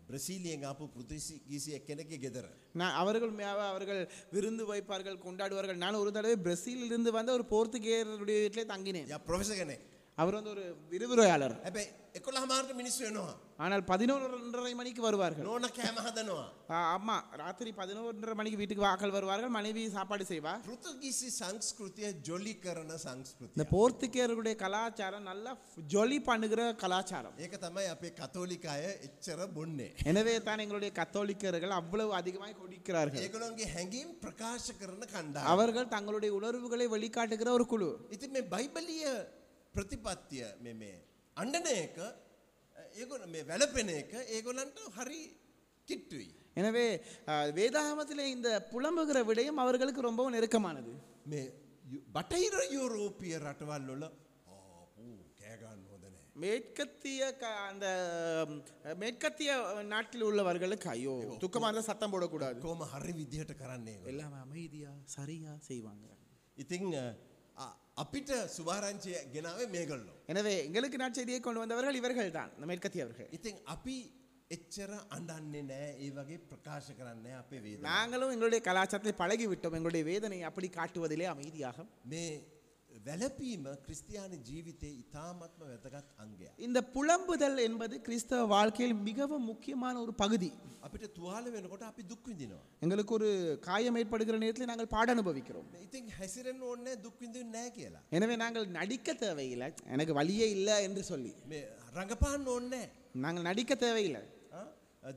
[SPEAKER 2] බ්‍රසීලියෙන් අපපු පෘතිසිගිසිය කෙනෙක ගෙදර.
[SPEAKER 1] நான் அவர்கள் மேல அவர்கள் விருந்து வைப்பார்கள் கொண்டாடுவார்கள் நான் ஒரு தடவை பிரசீலில் இருந்து வந்த ஒரு போர்த்துகேயருடைய வீட்டிலே தங்கினேன்
[SPEAKER 2] ය ප්‍රොෆෙස කෙනෙක්.
[SPEAKER 1] அவர் வந்து ஒரு விரிவுரையாளர்
[SPEAKER 2] හැබැයි එකොළ හමාර්ට மினிස්සු වෙනවා.
[SPEAKER 1] ஆனால் பதினொன்றரை මணிக்கு வருவார்கள்
[SPEAKER 2] නෝන කෑම හදනවා.
[SPEAKER 1] ஆ, ஆமா ராத்திரி பதினொன்றரை மணிக்கு வீட்டுக்கு வாக்கள் வருவார்கள் மனைவி சாப்பாடு செய்வா
[SPEAKER 2] පෘතුගිසි සංස්කෘතිය ජොලි කරන සංස්කෘතිය.
[SPEAKER 1] இந்த போர்த்துகேயர்களுடைய கலாச்சாரம் நல்லா ஜொலி பண்ணுகிற கலாச்சாரம்
[SPEAKER 2] ඒක තමයි අපේ කතෝලික අය එච්චර බොන්නේ.
[SPEAKER 1] எனவே தான் எங்களுடைய கத்தோலிக்கர்கள் அவ்வளவு அதிகமாக குடிக்கிறார்கள்
[SPEAKER 2] ඒගොලොන්ගේ හැඟීම් ප්‍රකාශ කරන කණ්ඩා.
[SPEAKER 1] அவர்கள் தங்களுடைய உணர்வுகளை வெளிக்காட்டுகிற ஒரு குழு
[SPEAKER 2] ඉති මේ බයිබලිය ප්‍රතිපත්තිය මෙ මේ අණ්ඩන එක ඒගොල මේ වැලපෙන එක ඒගොලන්ට හරි කිට්ටුයි.
[SPEAKER 1] எனவே ஆ, வேதாகமத்திலே இந்த புலம்புகிற விடயம் அவர்களுக்கு ரொம்பவும் நெருக்கமானது
[SPEAKER 2] මේ යු- බටහිර යුරෝපිය රටවල් වොල කෑගන්න හොදනෑ.
[SPEAKER 1] மேற்கத்திய க- அந்த ம், மேற்கத்திய நாட்டில் உள்ளவர்களுக்கு ஐயோ துக்கமாக இருந்தா சத்தம் போடக்கூடாது
[SPEAKER 2] කෝම හරි විදිහට කරන්නේ ඒගොල්ලෝ.
[SPEAKER 1] எல்லாமே அமைதியா சரியா செய்வாங்க
[SPEAKER 2] ඉතිං අ, අ- අපිට සුභාරංචය ගෙනාවේ මේගොල්ලෝ.
[SPEAKER 1] எனவே எங்களுக்கு நாட்செய்தியை கொண்டு வந்தவர்கள் இவர்கள் தான் இந்த மேற்கத்தியவர்கள்
[SPEAKER 2] ඉතින් අපි එච්චර අඩන්නේ නෑ ඒ වගේ ප්‍රකාශ කරන්න අපේ වේද.
[SPEAKER 1] நாங்களும் எங்களுடைய கலாச்சாரத்தை பழகி விட்டோம் எங்களுடைய வேதனை அப்படி காட்டுவதிலே அமைதியாக
[SPEAKER 2] මේ වැලපීම ක්‍රිස්තියානි ජීවිතයේ ඉතාමත්ම වැදගත් අංගයක්.
[SPEAKER 1] இந்த புலம்புதல் என்பது கிறிஸ்தவ வாழ்க்கையில் மிகவும் முக்கியமான ஒரு பகுதி
[SPEAKER 2] අපිට තුවාල වෙනකොට අපි දුක්විඳිනවා.
[SPEAKER 1] எங்களுக்கு ஒரு காயம் ஏற்படுகிற நேரத்தில் நாங்கள் பாட அனுபவிக்கிறோம்
[SPEAKER 2] ඉතින් හැසිරෙන් ඕන්නෑ දුක්විඳින් නෑ කියලා.
[SPEAKER 1] எனவே நாங்கள் நடிக்க தேவையில்லை எனக்கு வழியே இல்லை என்று சொல்லி
[SPEAKER 2] මේ රඟපාන්න ඕන්නෑ.
[SPEAKER 1] நாங்கள் நடிக்க தேவையில்லை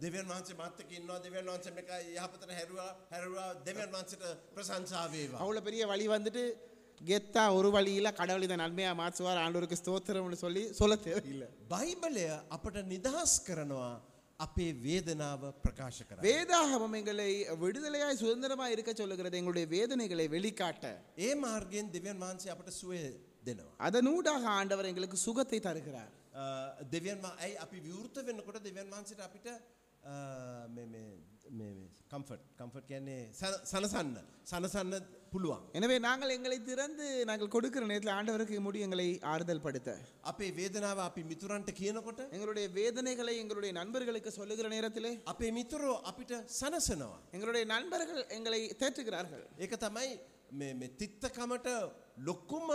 [SPEAKER 2] දෙවන් වන්සේ මත්තක ඉන්නවා දෙවන් වන්සම එක යහපතන හැරවා හැරවා දෙවන් වන්සට ප්‍රසංසාාවේවා.
[SPEAKER 1] அவ்வளோ பெரிய வழி வந்துட்டு கெத்தா ஒரு வழியில் கடவுள் இதை நன்மையாக மாற்றுவார் ஆண்டோருக்கு ஸ்தோத்திரம்னு சொல்லி சொல்ல தேவையில்லை
[SPEAKER 2] බයිබලය අපට නිදහස් කරනවා අපේ වේදනාව ප්‍රකාශ කර.
[SPEAKER 1] வேதாகமம் எங்களை விடுதலையாய் சுதந்திரமாய் இருக்க சொல்லுகிறது எங்களுடைய வேதனைகளை வெளிக்காட்ட
[SPEAKER 2] ඒ මාර්ගෙන් දෙවන් වහන්සේ අපට සුවය දෙනවා.
[SPEAKER 1] அதனூடாக ஆண்டவர் எங்களுக்கு சுகத்தை தருகிறார்
[SPEAKER 2] අ, දෙවියන් වහ- ඇයි අපි විවෘත වෙන්නකොට දෙවන් වහන්සට අපිට කම්ෆට් කම්ෆට් කියන්නේ සන- සනසන්න සනසන්න පුළුවන්.
[SPEAKER 1] எனவே நாங்கள் எங்களை திறந்து நாங்கள் கொடுக்கிற நேரத்தில் ஆண்டவருக்கு முடியும் எங்களை ஆறுதல் படுத்த
[SPEAKER 2] අපේ වේදනාව අපි මිතුරන්ට කියනකොට
[SPEAKER 1] எங்களுடைய வேதனைகளை எங்களுடைய நண்பர்களுக்கு சொல்லுகிற நேரத்திலே
[SPEAKER 2] අපේ මිතුරෝ අපිට සනසනවා.
[SPEAKER 1] எங்களுடைய நண்பர்கள் எங்களை தேற்றுகிறார்கள்
[SPEAKER 2] ඒක තමයි මේ- මේ තිත්තකමට ලොක්කුම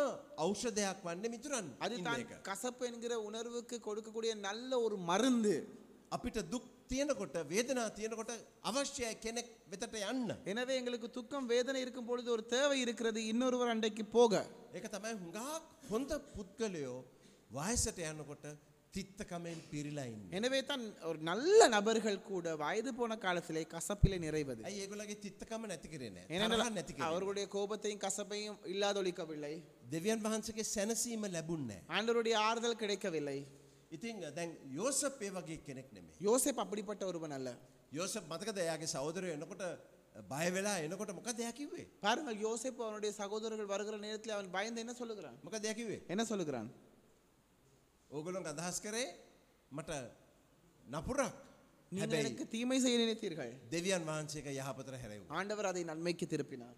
[SPEAKER 2] ඖෂධයක් වන්න මිතුරන්
[SPEAKER 1] அது
[SPEAKER 2] ඉන්න
[SPEAKER 1] தான்
[SPEAKER 2] එක.
[SPEAKER 1] கசப்பு என்கிற உணர்வுக்கு கொடுக்கக்கூடிய நல்ல ஒரு மருந்து
[SPEAKER 2] අපිට දුක් තියනකොට වේදනා තියනකොට අවශ්‍යය කෙනෙක් වෙතට යන්න.
[SPEAKER 1] எனவே எங்களுக்கு துக்கம் வேதனை இருக்கும் பொழுது ஒரு தேவை இருக்கிறது இன்னொருவர் அண்டைக்கு போக
[SPEAKER 2] ඒක තමයි හුඟක් හොඳ පුද්ගලයෝ වයසට යනකොට තිත්තකමෙන් පිරිලයින්න.
[SPEAKER 1] எனவே தான் ஒரு நல்ல நபர்கள் கூட வயது போன காலத்திலே கசப்பிலே நிறைவது
[SPEAKER 2] ඇයි ඒගොල්ලගේ තිත්තකම නැති කරන
[SPEAKER 1] ஏனென்றால்
[SPEAKER 2] නැති කර.
[SPEAKER 1] அவர்களுடைய கோபத்தையும் கசப்பையும் இல்லாதொழிக்கவில்லை
[SPEAKER 2] දෙවියන් වහන්සගේ සැනසීම ලැබුන්නෑ.
[SPEAKER 1] ஆண்டவருடைய ஆறுதல் கிடைக்கவில்லை
[SPEAKER 2] ඉතින් දැන් යෝසප් ඒ වගේ කෙනෙක් නෙමේ.
[SPEAKER 1] யோசேப் அப்படிப்பட்ட ஒருவன் அல்ல
[SPEAKER 2] යෝසප් මතකද එයාගේ සෞදරය එනකොට බයවෙලා එනකොට මොක දෙයකිවේ
[SPEAKER 1] பாருங்கள் யோசேப் அவனுடைய சகோதரர்கள் வருகிற நேரத்தில் அவன் பயந்து என்ன சொல்லுகிறான்
[SPEAKER 2] මොක දෙයකිවේ.
[SPEAKER 1] என்ன சொல்லுகிறான்
[SPEAKER 2] ඕගොලොන් අදහස් කරේ මට නපුරක්
[SPEAKER 1] நீங்கள்
[SPEAKER 2] හැබැයි
[SPEAKER 1] எனக்கு தீமை செய்ய நினைத்தீர்கள்
[SPEAKER 2] දෙවියන් වහන්සේක යහපතර හැරවූ.
[SPEAKER 1] ஆண்டவர் அதை நன்மைக்கு திருப்பினார்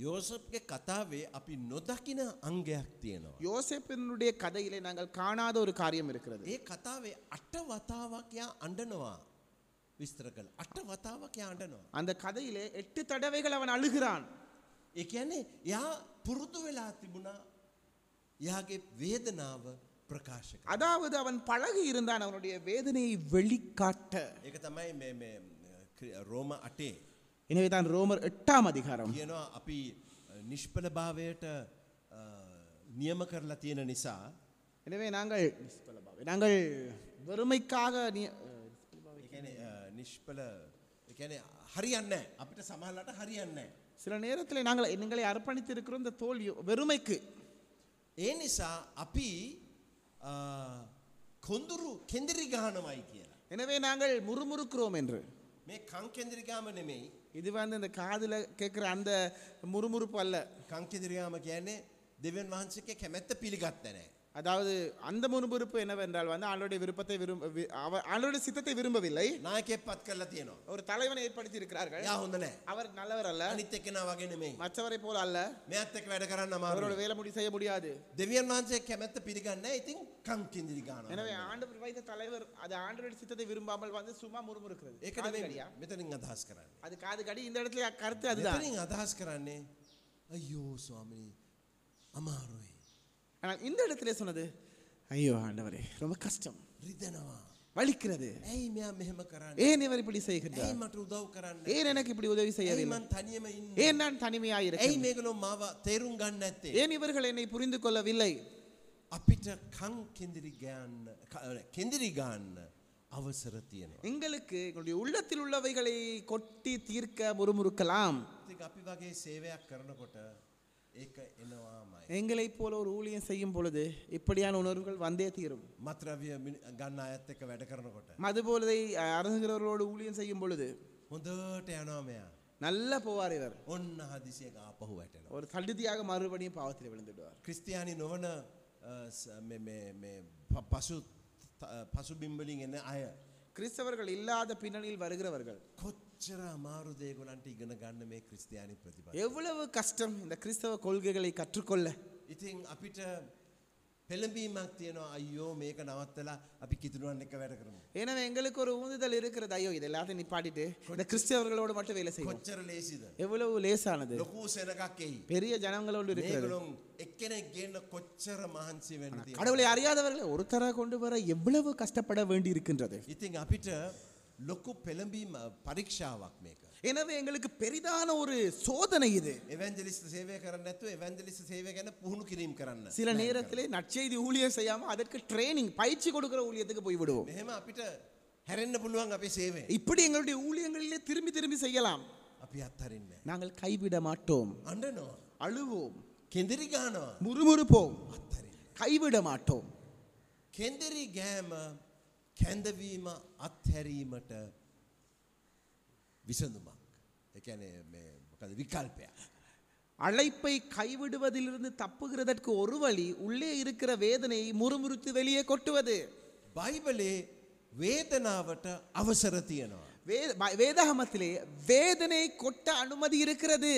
[SPEAKER 2] යෝසප්ගේ කතාවේ අපි නොදකින අංගයක් තියෙනවා.
[SPEAKER 1] யோசேப்பினுடைய கதையிலே நாங்கள் காணாத ஒரு காரியம் இருக்கிறது
[SPEAKER 2] ඒ කතාවේ අට වතාවක් යා අඩනවා විස්තර කළ අට වතාවක් යා අඩනවා.
[SPEAKER 1] அந்த கதையிலே எட்டு தடவைகள் அவன் அழுகிறான்
[SPEAKER 2] ඒ කියන්නේ යා පුරුදු වෙලා තිබුණා යාගේ වේදනාව ප්‍රකාශක.
[SPEAKER 1] அதாவது அவன் பழகி இருந்தான் அவனுடைய வேதனையை வெளிக்காட்ட
[SPEAKER 2] ඒක තමයි මේ- මේ ක්‍රි- රෝම අටේ
[SPEAKER 1] எனவே தான் ரோமர் எட்டாம் அதிகாரம்
[SPEAKER 2] කියනවා අපි නිෂ්පලභාවයට අ, නියම කරලා තියෙන නිසා
[SPEAKER 1] எனவே நாங்கள் நாங்கள் வெறுமைக்காக நீ-
[SPEAKER 2] ඒ කියන්නේ, අ, නිෂ්පල එකන හරියන්න අපිට සමහලට හරියන්න.
[SPEAKER 1] சில நேரத்தில் நாங்கள் எங்களை அர்ப்பணித்து இருக்கிறோம் இந்த தோல்வி வெறுமைக்கு
[SPEAKER 2] ඒ නිසා අපි අ, කොඳුරු කෙන්දිරි ගානවයි කියලා.
[SPEAKER 1] எனவே நாங்கள் முறுமுறுக்கிறோம் என்று
[SPEAKER 2] මේ කංකෙන්දිරිගාම නෙමෙයි
[SPEAKER 1] இது வந்து இந்த காதில் கேட்குற அந்த முறுமுறுப்பு அல்ல
[SPEAKER 2] කංකෙදිරියාම කියන්නේ දෙවන් වහන්සේගේ කැමැත්ත පිළිගත්ත නෑ.
[SPEAKER 1] அதாவது அந்த முறுமுறுப்பு என்னவென்றால் வந்து ஆண்டோடைய விருப்பத்தை விரும்ப வி- அவ- ஆண்டவருடைய சித்தத்தை விரும்பவில்லை
[SPEAKER 2] නායකෙක් පත් කරලා තියෙනවා.
[SPEAKER 1] ஒரு தலைவனை ஏற்படுத்தி இருக்கிறார்கள்
[SPEAKER 2] යා හොඳ නෑ.
[SPEAKER 1] அவர் நல்லவர் அல்ல
[SPEAKER 2] අනිත් එක්කෙනා වගේ නෙමෙයි.
[SPEAKER 1] மற்றவரை போல அல்ல
[SPEAKER 2] මෙයත් එක්ක වැඩ කරන්න අමාරුයි.
[SPEAKER 1] அவரோட வேலை முடி செய்ய முடியாது
[SPEAKER 2] දෙවියන් වහන්සේ කැමැත්ත පිළිගන්නේ නැහැ. இතින් කං කිඳිරි ගන්නවා.
[SPEAKER 1] எனவே ஆண்டவர் வைத்த தலைவர் அது ஆண்டவருடைய சித்தத்தை விரும்பாமல் வந்து சும்மா முறுமுறுக்கிறது
[SPEAKER 2] ඒක
[SPEAKER 1] காது
[SPEAKER 2] නෙමෙයි
[SPEAKER 1] கடியா?
[SPEAKER 2] මෙතනින් අදහස් කරන්නේ.
[SPEAKER 1] அது காது கடி இந்த இடத்துல கருத்து அதுதான்
[SPEAKER 2] මෙතනින් අදහස් කරන්නේ අයියෝ ස්වාමී අමාරුයි.
[SPEAKER 1] ஆனால் இந்த இடத்துல சொன்னது ஐயோ ஆண்டவரே ரொம்ப கஷ்டம்
[SPEAKER 2] රිදෙනවා.
[SPEAKER 1] வலிக்கிறது
[SPEAKER 2] ඇයි මෙයා මෙහෙම කරන්නේ?
[SPEAKER 1] ஏன் இவர் இப்படி
[SPEAKER 2] ඇයි
[SPEAKER 1] செய்கின்றார்
[SPEAKER 2] මට උදව් කරන්නේ?
[SPEAKER 1] ஏன் எனக்கு இப்படி உதவி
[SPEAKER 2] ඇයි
[SPEAKER 1] செய்யவில்லை
[SPEAKER 2] මං තනියම ඉන්නේ?
[SPEAKER 1] ஏன் நான் தனிமையாக
[SPEAKER 2] ඇයි
[SPEAKER 1] இருக்கிறேன்
[SPEAKER 2] මේගොල්ලෝ මාව තේරුම් ගන්න නැත්තේ?
[SPEAKER 1] ஏன் இவர்கள் என்னை புரிந்து கொள்ளவில்லை
[SPEAKER 2] අපිට කං කිඳිරි ගන්න කිඳිරි ගන්න අවසර තියෙනවා.
[SPEAKER 1] எங்களுக்கு எங்களுடைய உள்ளத்தில் உள்ளவைகளை கொட்டி தீர்க்க முறுமுறுக்கலாம்
[SPEAKER 2] ඉතින් අපි වගේ සේවයක් කරනකොට ඒක එනවාමයි.
[SPEAKER 1] எங்களைப் போல ஒரு ஊழியம் செய்யும் பொழுது இப்படியான உணர்வுகள் வந்தே தீரும்
[SPEAKER 2] මත්‍රවිය ගන්න අයත් එක වැඩ කරනකොට.
[SPEAKER 1] அதுபோலதை அரசுகிறவர்களோடு ஊழியம் செய்யும் பொழுது
[SPEAKER 2] හොඳට යනවා මෙයා.
[SPEAKER 1] நல்லா போவார் இவர்
[SPEAKER 2] ඔන්න හදිසිය ආපහු වැටෙනවා.
[SPEAKER 1] ஒரு தடுதியாக மறுபடியும் பாவத்தில் விழுந்துடுவார்
[SPEAKER 2] ක්‍රිස්තියානි නොවන අ, ස- මේ- මේ- මේ ප- පසු පසුබිම්බලින් එන අය.
[SPEAKER 1] கிறிஸ்தவர்கள் இல்லாத பின்னணியில் வருகிறவர்கள்
[SPEAKER 2] කොච්චර අමාරුදේගොලන්ට ඉගෙන ගන්න මේ ක්‍රස්තියානි ප්‍රතිබ.
[SPEAKER 1] எவ்வளவு கஷ்டம் இந்த கிறிஸ்தவ கொள்கைகளை கற்றுக்கொள்ள
[SPEAKER 2] ඉතින් අපිට පෙළඹීමක් තියෙනවා අයියෝ මේක නවත්තලා අපි කිතුරුවන් එක වැඩ කරමු.
[SPEAKER 1] எனவே எங்களுக்கு ஒரு ஊந்துதல் இருக்கிறது ஐயோ இது எல்லாத்தையும் நிப்பாட்டிட்டு இந்த கிறிஸ்தவர்களோட மட்டும் வேலை செய்வோம்
[SPEAKER 2] කොච්චර ලේසිද.
[SPEAKER 1] எவ்வளவு லேசானது
[SPEAKER 2] ලොකූ සෙනකක් එයි.
[SPEAKER 1] பெரிய ஜனங்களோடு இருக்கிறது
[SPEAKER 2] මේගලුම් එක්කෙනෙක් ගේන්න කොච්චර මහන්සි වෙන්න තියෙනවද?
[SPEAKER 1] கடவுளை அறியாதவர்களை ஒருத்தரா கொண்டு வர எவ்வளவு கஷ்டப்பட வேண்டி இருக்கின்றது
[SPEAKER 2] ඉතින් අපිට ලොකු පෙළඹීම පරීක්ෂාවක් මේක.
[SPEAKER 1] எனவே எங்களுக்கு பெரிதான ஒரு சோதனை இது
[SPEAKER 2] එවැන්ජලිස් සේවය කරන්න ඇතු එවැන්ජලිස් සේවය ගැන පුහුණු කිරීම් කරන්න.
[SPEAKER 1] சில நேரத்திலே நற்செய்தி ஊழியர் செய்யாம அதற்கு ட்ரைனிங் பயிற்சி கொடுக்கிற ஊழியத்துக்கு போய் விடுவோம்
[SPEAKER 2] මෙහෙම අපිට හැරෙන්න්න පුළුවන් අපේ සේවය
[SPEAKER 1] இப்படி எங்களுடைய ஊழியங்களிலே திரும்பி திரும்பி செய்யலாம்
[SPEAKER 2] අපි අත්හරන්න.
[SPEAKER 1] நாங்கள் கைவிட மாட்டோம்
[SPEAKER 2] අඩනවා
[SPEAKER 1] அழுவோம்
[SPEAKER 2] කෙදරි ගානවා
[SPEAKER 1] முறுமுறுப்போம்
[SPEAKER 2] අත්හරින්.
[SPEAKER 1] கைவிட மாட்டோம்
[SPEAKER 2] කෙන්දෙරි ගෑම කැඳවීම අත්හැරීමට විසඳුමක් එකන මොකද විකල්පය.
[SPEAKER 1] அழைப்பை கைவிடுவதிலிருந்து தப்புகிறதற்கு ஒரு வழி உள்ளே இருக்கிற வேதனையை முறுமுறுத்து வெளியே கொட்டுவது
[SPEAKER 2] බයිබලේ වේදනාවට අවසර තියෙනවා.
[SPEAKER 1] வே ப- வேதாகமத்திலே வேதனை கொட்ட அனுமதி இருக்கிறது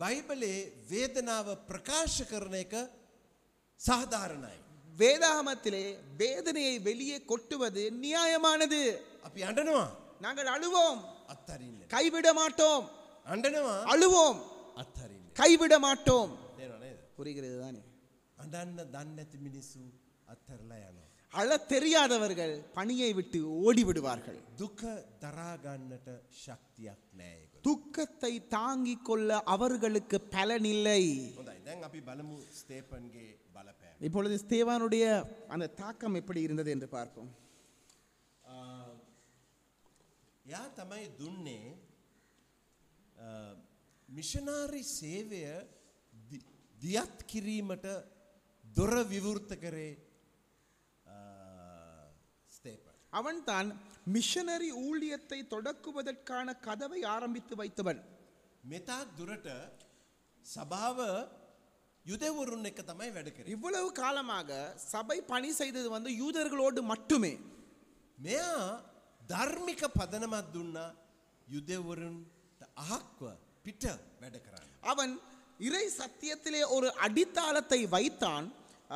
[SPEAKER 2] බයිබලේ වේදනාව ප්‍රකාශ කරන එක සාධාරණයි.
[SPEAKER 1] வேதாகமத்திலே வேதனையை வெளியே கொட்டுவது நியாயமானது
[SPEAKER 2] අපි අඩනවා
[SPEAKER 1] நாங்கள் அழுவோம்
[SPEAKER 2] අත්හරන්න.
[SPEAKER 1] கைவிட மாட்டோம்
[SPEAKER 2] අඩනවා
[SPEAKER 1] அழுவோம்
[SPEAKER 2] අත්හරන්න
[SPEAKER 1] கைவிட மாட்டோம்
[SPEAKER 2] තේරනේද.
[SPEAKER 1] புரிகிறது தானே
[SPEAKER 2] අඩන්න දන්නඇති මිනිස්සු අත්තරලා යනවා.
[SPEAKER 1] அழ தெரியாதவர்கள் பணியை விட்டு ஓடி விடுவார்கள்
[SPEAKER 2] දුක දරාගන්නට ශක්තියක් නෑයක.
[SPEAKER 1] துக்கத்தை தாங்கிக் கொள்ள அவர்களுக்கு பலன் இல்லை
[SPEAKER 2] හොඳයි දැන් අපි බලමු ස්තේපන්ගේ බලපෑම.
[SPEAKER 1] இப்பொழுது ஸ்தேவானுடைய அந்த தாக்கம் எப்படி இருந்தது என்று பார்ப்போம்
[SPEAKER 2] යා තමයි දුන්නේ අ, මිෂනාරි සේවය දි- දියත් කිරීමට දොර විවෘත කරේ ස්තේපන්.
[SPEAKER 1] அவன்தான் மிஷனரி ஊழியத்தை தொடக்குவதற்கான கதவை ஆரம்பித்து வைத்தவன்
[SPEAKER 2] මෙතා දුරට සභාව යුදවරුන් එක තමයි වැඩ කරේ.
[SPEAKER 1] இவ்வளவு காலமாக சபை பணி செய்தது வந்து யூதர்களோடு மட்டுமே
[SPEAKER 2] මෙයා ධර්මික පදනමත් දුන්නා යුදෙවරුන්ට අහක්ව පිට වැඩ කරන්න.
[SPEAKER 1] அவன் இறை சத்தியத்திலே ஒரு அடித்தாளத்தை வைத்தான்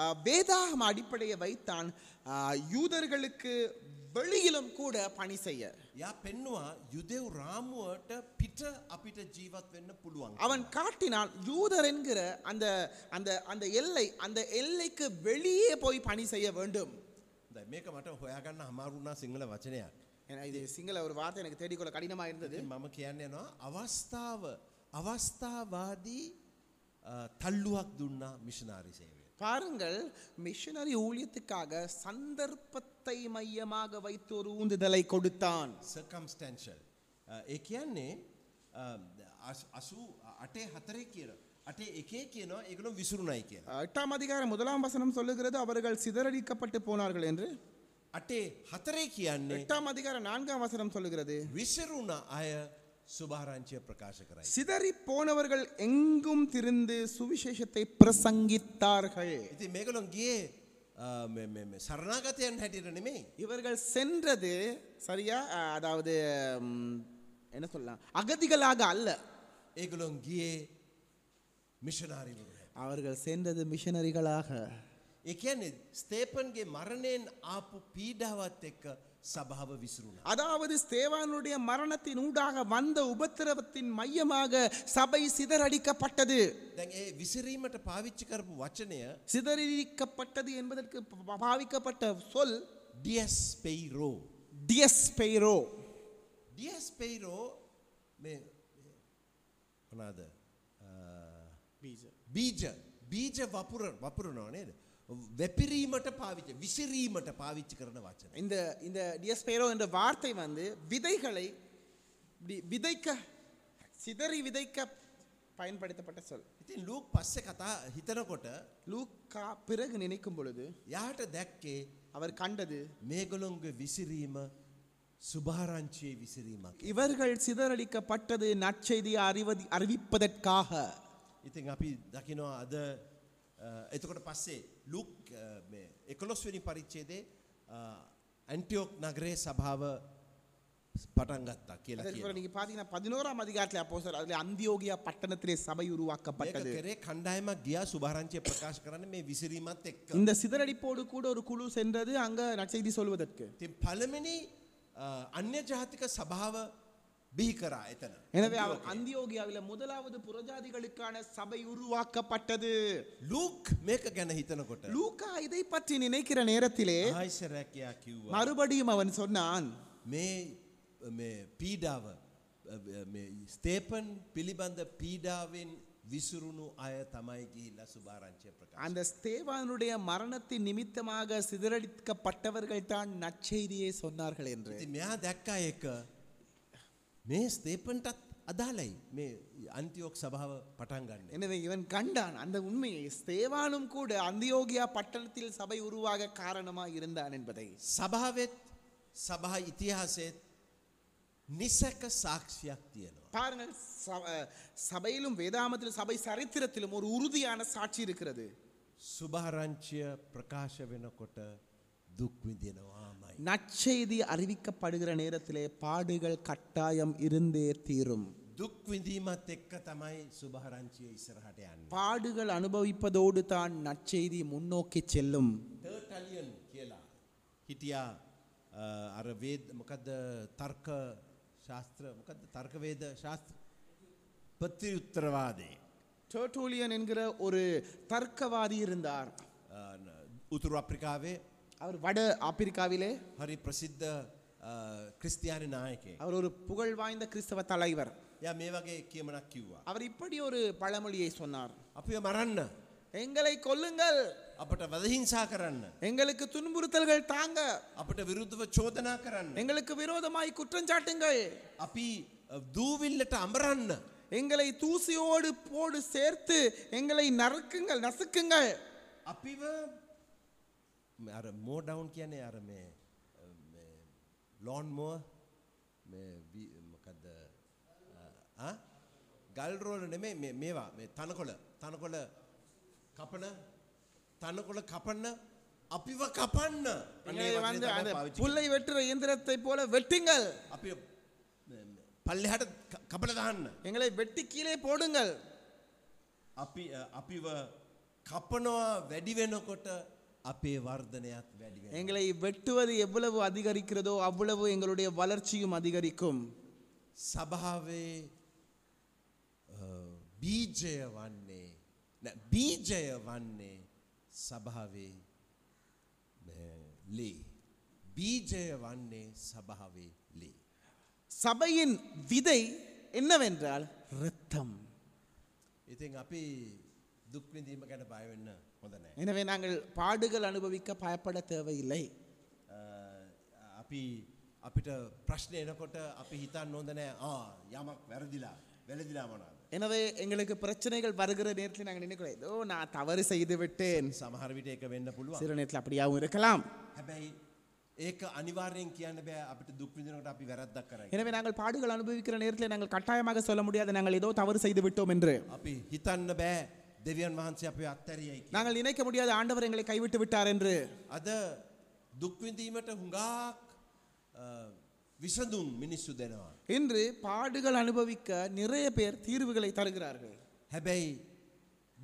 [SPEAKER 1] ஆஹ், வேதாகம அடிப்படையை வைத்தான் ஆஹ், யூதர்களுக்கு வெளியிலும் கூட பணி செய்ய
[SPEAKER 2] යා පෙන්නවා යුදෙව් රාමුවට පිට අපිට ජීවත් වෙන්න පුළුවන්.
[SPEAKER 1] அவன் காட்டினான் யூதர் என்கிற அந்த அந்த அந்த எல்லை அந்த எல்லைக்கு வெளியே போய் பணி செய்ய வேண்டும்
[SPEAKER 2] දැ මේක මට හොයාගන්න හමාරුණා සිංහල වචනයක්.
[SPEAKER 1] ஏன்னா இது சிங்கள ஒரு வார்த்தை எனக்கு தேடிக்கொள்ள கடினமாக இருந்தது
[SPEAKER 2] ඉතින් මම කියන්න යනවා අවස්ථාව අවස්ථාවාදී අ, තල්ලුවක් දුන්නා මිෂනාරි සේවය.
[SPEAKER 1] பாருங்கள் மிஷனரி ஊழியத்துக்காக சந்தர்ப்பத்தை மையமாக வைத்து ஒரு ஊந்துதலை கொடுத்தான்
[SPEAKER 2] සකම්ස්ටන්ශල් ඒ කියන්නේ අසු අටේ හතරේ කියන අටේ එකේ කියනවා එකනු විසුරුණයි කියලා.
[SPEAKER 1] எட்டாம் அதிகாரம் முதலாம் வசனம் சொல்லுகிறது அவர்கள் சிதறடிக்கப்பட்டு போனார்கள் என்று
[SPEAKER 2] අටේ හතරේ කියන්නේ
[SPEAKER 1] எட்டாம் அதிகாரம் நான்காம் வசனம் சொல்லுகிறது
[SPEAKER 2] විසරුණ අය සුභාරංචය ප්‍රකාශ කරයි.
[SPEAKER 1] சிதறி போனவர்கள் எங்கும் திரிந்து சுவிசேஷத்தை பிரசங்கித்தார்கள்
[SPEAKER 2] ඉති මේකලොන් ගිය සරණාගතයන් හැටියට නෙමෙයි.
[SPEAKER 1] இவர்கள் சென்றது சரியா அஹ், அதாவது ம், என்ன சொல்லலாம் அகதிகளாக அல்ல
[SPEAKER 2] ඒකලොන් ගියේ මිෂනාරිවරු.
[SPEAKER 1] அவர்கள் சென்றது மிஷனரிகளாக
[SPEAKER 2] ඒ කියන්නේ ස්තේපන්ගේ මරණයෙන් ආපු පීඩාවත් එක්ක සභාව විසරුණ.
[SPEAKER 1] அதாவது ஸ்தேவானுடைய மரணத்தின் ஊடாக வந்த உபத்திரவத்தின் மையமாக சபை சிதறடிக்கப்பட்டது
[SPEAKER 2] දැන් ඒ විසිරීමට පාවිච්චි කරපු වචනය
[SPEAKER 1] சிதறடிக்கப்பட்டது என்பதற்கு ப- பாவிக்கப்பட்ட சொல்
[SPEAKER 2] ඩියස් පෙයිරෝ.
[SPEAKER 1] டியஸ் பெய்ரோ
[SPEAKER 2] ඩියස් පෙයිරෝ වනාද බීජ බීජ වපුර වපුරනෝ නේද. වැපිරීමට පාවිච්ච විසිරීමට පාවිච්චි කරන වචන.
[SPEAKER 1] இந்த இந்த டியஸ் பெய்ரோ என்ற வார்த்தை வந்து விதைகளை இப்படி விதைக்க சிதறி விதைக்க பயன்படுத்தப்பட்ட சொல்
[SPEAKER 2] ඉතින් ලූක් පස්සෙ කතා හිතනකොට
[SPEAKER 1] லூக்கா பிறகு நினைக்கும் பொழுது
[SPEAKER 2] යාට දැක්කේ
[SPEAKER 1] அவர் கண்டது
[SPEAKER 2] මේගොලොන්ග විසිරීම සුභාරංචයේ විසිරීමක්.
[SPEAKER 1] இவர்கள் சிதறடிக்கப்பட்டது நற்செய்தியை அறிவதி அறிவிப்பதற்காக
[SPEAKER 2] ඉතින් අපි දකිනවා අද අ, එතකොට පස්සේ ලුක් එකොලොස්වනි පරිච්චේදේ ඇන්ටියෝක් නගරේ සභාව පටන්ගත්තා කියලා
[SPEAKER 1] அதற்கு
[SPEAKER 2] කියන.
[SPEAKER 1] பிறகு நீங்க பாத்தீங்கன்னா பதினோராம் அதிகாரத்துல அப்போ சார் அதுல அந்தியோகியா பட்டணத்திலே சபை
[SPEAKER 2] මේක
[SPEAKER 1] உருவாக்கப்பட்டது
[SPEAKER 2] කරේ කණ්ඩායමක් ගියා සුභාරංචය ප්‍රකාශ කරන්න මේ විසිරීමත් එක්ක.
[SPEAKER 1] இந்த சிதறடிப்போடு கூட ஒரு குழு சென்றது அங்க நற்செய்தி சொல்வதற்கு
[SPEAKER 2] ති පළමිනි අන්‍ය ජාතික සභාව බිහි කරා එතන.
[SPEAKER 1] எனவே அவர் அந்தியோகியாவில முதலாவது புறஜாதிகளுக்கான சபை உருவாக்கப்பட்டது
[SPEAKER 2] ලූක් මේක ගැන හිතනකොට.
[SPEAKER 1] லூக்கா இதை பற்றி நினைக்கிற நேரத்திலே
[SPEAKER 2] ආයිසරැකයා කිව්වා.
[SPEAKER 1] மறுபடியும் அவன் சொன்னான்
[SPEAKER 2] මේ මේ පීඩාව අ, මේ ස්තේපන් පිළිබඳ පීඩාවෙන් විසුරුණු අය තමයි ගිහිල්ලා සුභාරංචය ප්‍රකාශ.
[SPEAKER 1] அந்த ஸ்தேவானுடைய மரணத்தின் நிமித்தமாக சிதறடிக்கப்பட்டவர்கள் தான் நற்செய்தியை சொன்னார்கள் என்று
[SPEAKER 2] ඉතින් මෙයා දැක්කා එක මේ ස්තේපන්ටත් අදාළයි මේ අන්තිෝක් සභාව පටන් ගන්න.
[SPEAKER 1] எனவே இவன் கண்டான் அந்த உண்மையை ஸ்தேவானும் கூட அந்தியோகியா பட்டணத்தில் சபை உருவாக காரணமாக இருந்தான் என்பதை
[SPEAKER 2] සභාවත් සභා ඉතිහාසයත් නිසැක සාක්ෂයක් තියෙනවා.
[SPEAKER 1] பாருங்கள் சப- சபையிலும் வேதாமத்திலும் சபை சரித்திரத்திலும் ஒரு உறுதியான சாட்சி இருக்கிறது
[SPEAKER 2] සුභාරංචය ප්‍රකාශ වෙනකොට දුක්විදිනවාමයි.
[SPEAKER 1] நற்செய்தி அறிவிக்கப்படுகிற நேரத்திலே பாடுகள் கட்டாயம் இருந்தே தீரும்
[SPEAKER 2] දුක්විඳීමත් එක්ක තමයි සුභාරංචිය ඉස්සරහට යන්න.
[SPEAKER 1] பாடுகள் அனுபவிப்பதோடு தான் நற்செய்தி முன்னோக்கி செல்லும்
[SPEAKER 2] තර්ටලියන් කියලා හිටියා අ, අර වේද මොකද තර්ක ශාස්ත්‍ර මොකද තර්කවේද ශාස්ත්‍ර ප්‍රතිඋත්තරවාදේ
[SPEAKER 1] டர்டூலியன் என்கிற ஒரு தர்க்கவாதி இருந்தார்
[SPEAKER 2] අ, න- උතුරු අප්‍රිකාවේ
[SPEAKER 1] அவர் வட ஆப்பிரிக்காவிலே
[SPEAKER 2] හරි ප්‍රසිද්ධ ක්‍රස්තියානි නායකේ.
[SPEAKER 1] அவர் ஒரு புகழ் வாய்ந்த கிறிஸ்தவ தலைவர்
[SPEAKER 2] ය මේ වගේ කියමනක් කිව්වා.
[SPEAKER 1] அவர் இப்படி ஒரு பழமொழியை சொன்னார்
[SPEAKER 2] අපිය මරන්න
[SPEAKER 1] எங்களை கொல்லுங்கள்
[SPEAKER 2] අපට වදහිංසා කරන්න.
[SPEAKER 1] எங்களுக்கு துன்புறுத்தல்கள் தாங்க
[SPEAKER 2] අපට විරුද්ධව චෝදනා කරන්න.
[SPEAKER 1] எங்களுக்கு விரோதமாய் குற்றஞ்சாட்டுங்கள்
[SPEAKER 2] අපි අ, දූවිල්ලට අමරන්න
[SPEAKER 1] எங்களை தூசியோடு போடு சேர்த்து எங்களை நறுக்குங்கள் நசுக்குங்கள்
[SPEAKER 2] අපිව මේ අර මෝඩවුන් කියන්නේ අර මේ ලෝන්මෝ මොකද ගල්රෝල නෙමේ මේ- මේවා මේ තනකොළ තනකොළ කපන තනකොළ කපන්න අපිව කපන්න අන්න ඒ
[SPEAKER 1] எங்களை
[SPEAKER 2] වචනේ
[SPEAKER 1] வந்து
[SPEAKER 2] තමයි
[SPEAKER 1] அந்த
[SPEAKER 2] පාවිච්චි
[SPEAKER 1] புல்லை வெட்டுற இயந்திரத்தை போல வெட்டுங்கள்
[SPEAKER 2] කරන්නේ. අපි පල්ලෙහට ක- කපල දාන්න
[SPEAKER 1] எங்களை வெட்டி கீழே போடுங்கள்
[SPEAKER 2] අපි අ, අපිව කපනවා වැඩි වෙනකොට අපේ වර්ධනයත් වැඩි වෙනවා.
[SPEAKER 1] எங்களை வெட்டுவது எவ்வளவு அதிகரிக்கிறதோ அவ்வளவு எங்களுடைய வளர்ச்சியும் அதிகரிக்கும்
[SPEAKER 2] සභාවේ අ, බීජය වන්නේ නෑ, බීජය වන්නේ සභාවේ මේ, ලේ බීජය වන්නේ සභාවේ ලේ
[SPEAKER 1] சபையின் விதை என்னவென்றால் இரத்தம்
[SPEAKER 2] ඉතින් අපි දුක්විඳීම ගැන බයවෙන්න හොඳ නෑ
[SPEAKER 1] எனவே நாங்கள் பாடுகள் அனுபவிக்க பயப்பட தேவையில்லை
[SPEAKER 2] අ, අපි අපිට ප්‍රශ්නය එනකොට අපි හිතන් නොද නෑ ආ, යමක් වැරදිලා වැලදිලා මනාද
[SPEAKER 1] எனவே எங்களுக்கு பிரச்சனைகள் வருகிற நேரத்தில் நாங்கள் நினைக்கிறோம் ஏதோ நான் தவறு செய்து விட்டேன்
[SPEAKER 2] සමහර විට එක වෙන්න පුළුවන්
[SPEAKER 1] சில நேரத்தில் அப்படியாகவும் இருக்கலாம்
[SPEAKER 2] හැබැයි ඒක අනිවාර්යෙන් කියන්න බෑ අපිට දුක්විදිනකට අපි වැරද්දක් කරයි.
[SPEAKER 1] எனவே நாங்கள் பாடுகள் அனுபவிக்கிற நேரத்தில் நாங்கள் கட்டாயமாக சொல்ல முடியாது நாங்கள் ஏதோ தவறு செய்து விட்டோம் என்று
[SPEAKER 2] අපි හිතන්න බෑ දෙවියන් වහන්සේ අපි අත්තැරියයි. කියලා.
[SPEAKER 1] நாங்கள் நினைக்க முடியாத ஆண்டவர் எங்களை கைவிட்டு விட்டார் என்று
[SPEAKER 2] අද දුක්විඳීමට හුඟාක් අ, විසඳුම් මිනිස්සු දෙනවා.
[SPEAKER 1] இன்று பாடுகள் அனுபவிக்க நிறைய பேர் தீர்வுகளை தருகிறார்கள்
[SPEAKER 2] හැබැයි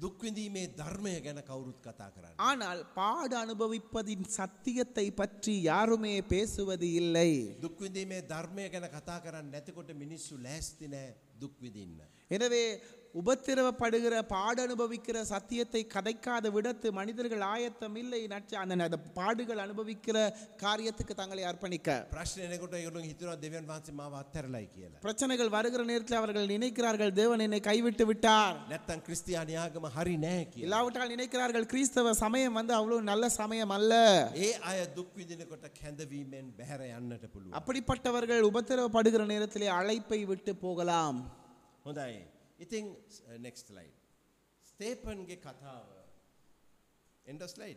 [SPEAKER 2] දුක්විඳීමේ ධර්මය ගැන කවුරුත් කතා කරන්න.
[SPEAKER 1] ஆனால் பாடு அனுபவிப்பதின் சத்தியத்தை பற்றி யாருமே பேசுவது இல்லை
[SPEAKER 2] දුක්විඳීමේ ධර්මය ගැන කතා කරන්න නැතිකොට මිනිස්සු ලෑස්ති නෑ දුක්විදින්න.
[SPEAKER 1] எனவே உபத்திரவப்படுகிற பாடு அனுபவிக்கிற சத்தியத்தை கதைக்காத விடத்து மனிதர்கள் ஆயத்தம் இல்லை நற்று- அந்த அந்த பாடுகள் அனுபவிக்கிற காரியத்துக்கு தங்களை அர்ப்பணிக்க
[SPEAKER 2] ප්‍රශ්නයකොට යුරු හිතුවා දෙවන් වහන්සේ මාව අත්තරලයි කියලා.
[SPEAKER 1] பிரச்சனைகள் வருகிற நேரத்தில் அவர்கள் நினைக்கிறார்கள் தேவன் என்னை கைவிட்டு விட்டார்
[SPEAKER 2] නැත්තන් ක්‍රස්තියානයාගම හරි නෑ කියලා.
[SPEAKER 1] இல்லாவிட்டால் நினைக்கிறார்கள் கிறிஸ்தவ சமயம் வந்து அவ்வளவு நல்ல சமயம் அல்ல
[SPEAKER 2] ඒ අය දුක්විදිනකොට කැඳවීමෙන් බැහැර යන්නට පුළුව.
[SPEAKER 1] அப்படிப்பட்டவர்கள் உபத்திரவப்படுகிற நேரத்திலே அழைப்பை விட்டு போகலாம்
[SPEAKER 2] හොඳයි uh, ඉතිං නෙක්ස් ලයි. ස්තේපන්ගේ කතාව එන්ඩස්ලයි්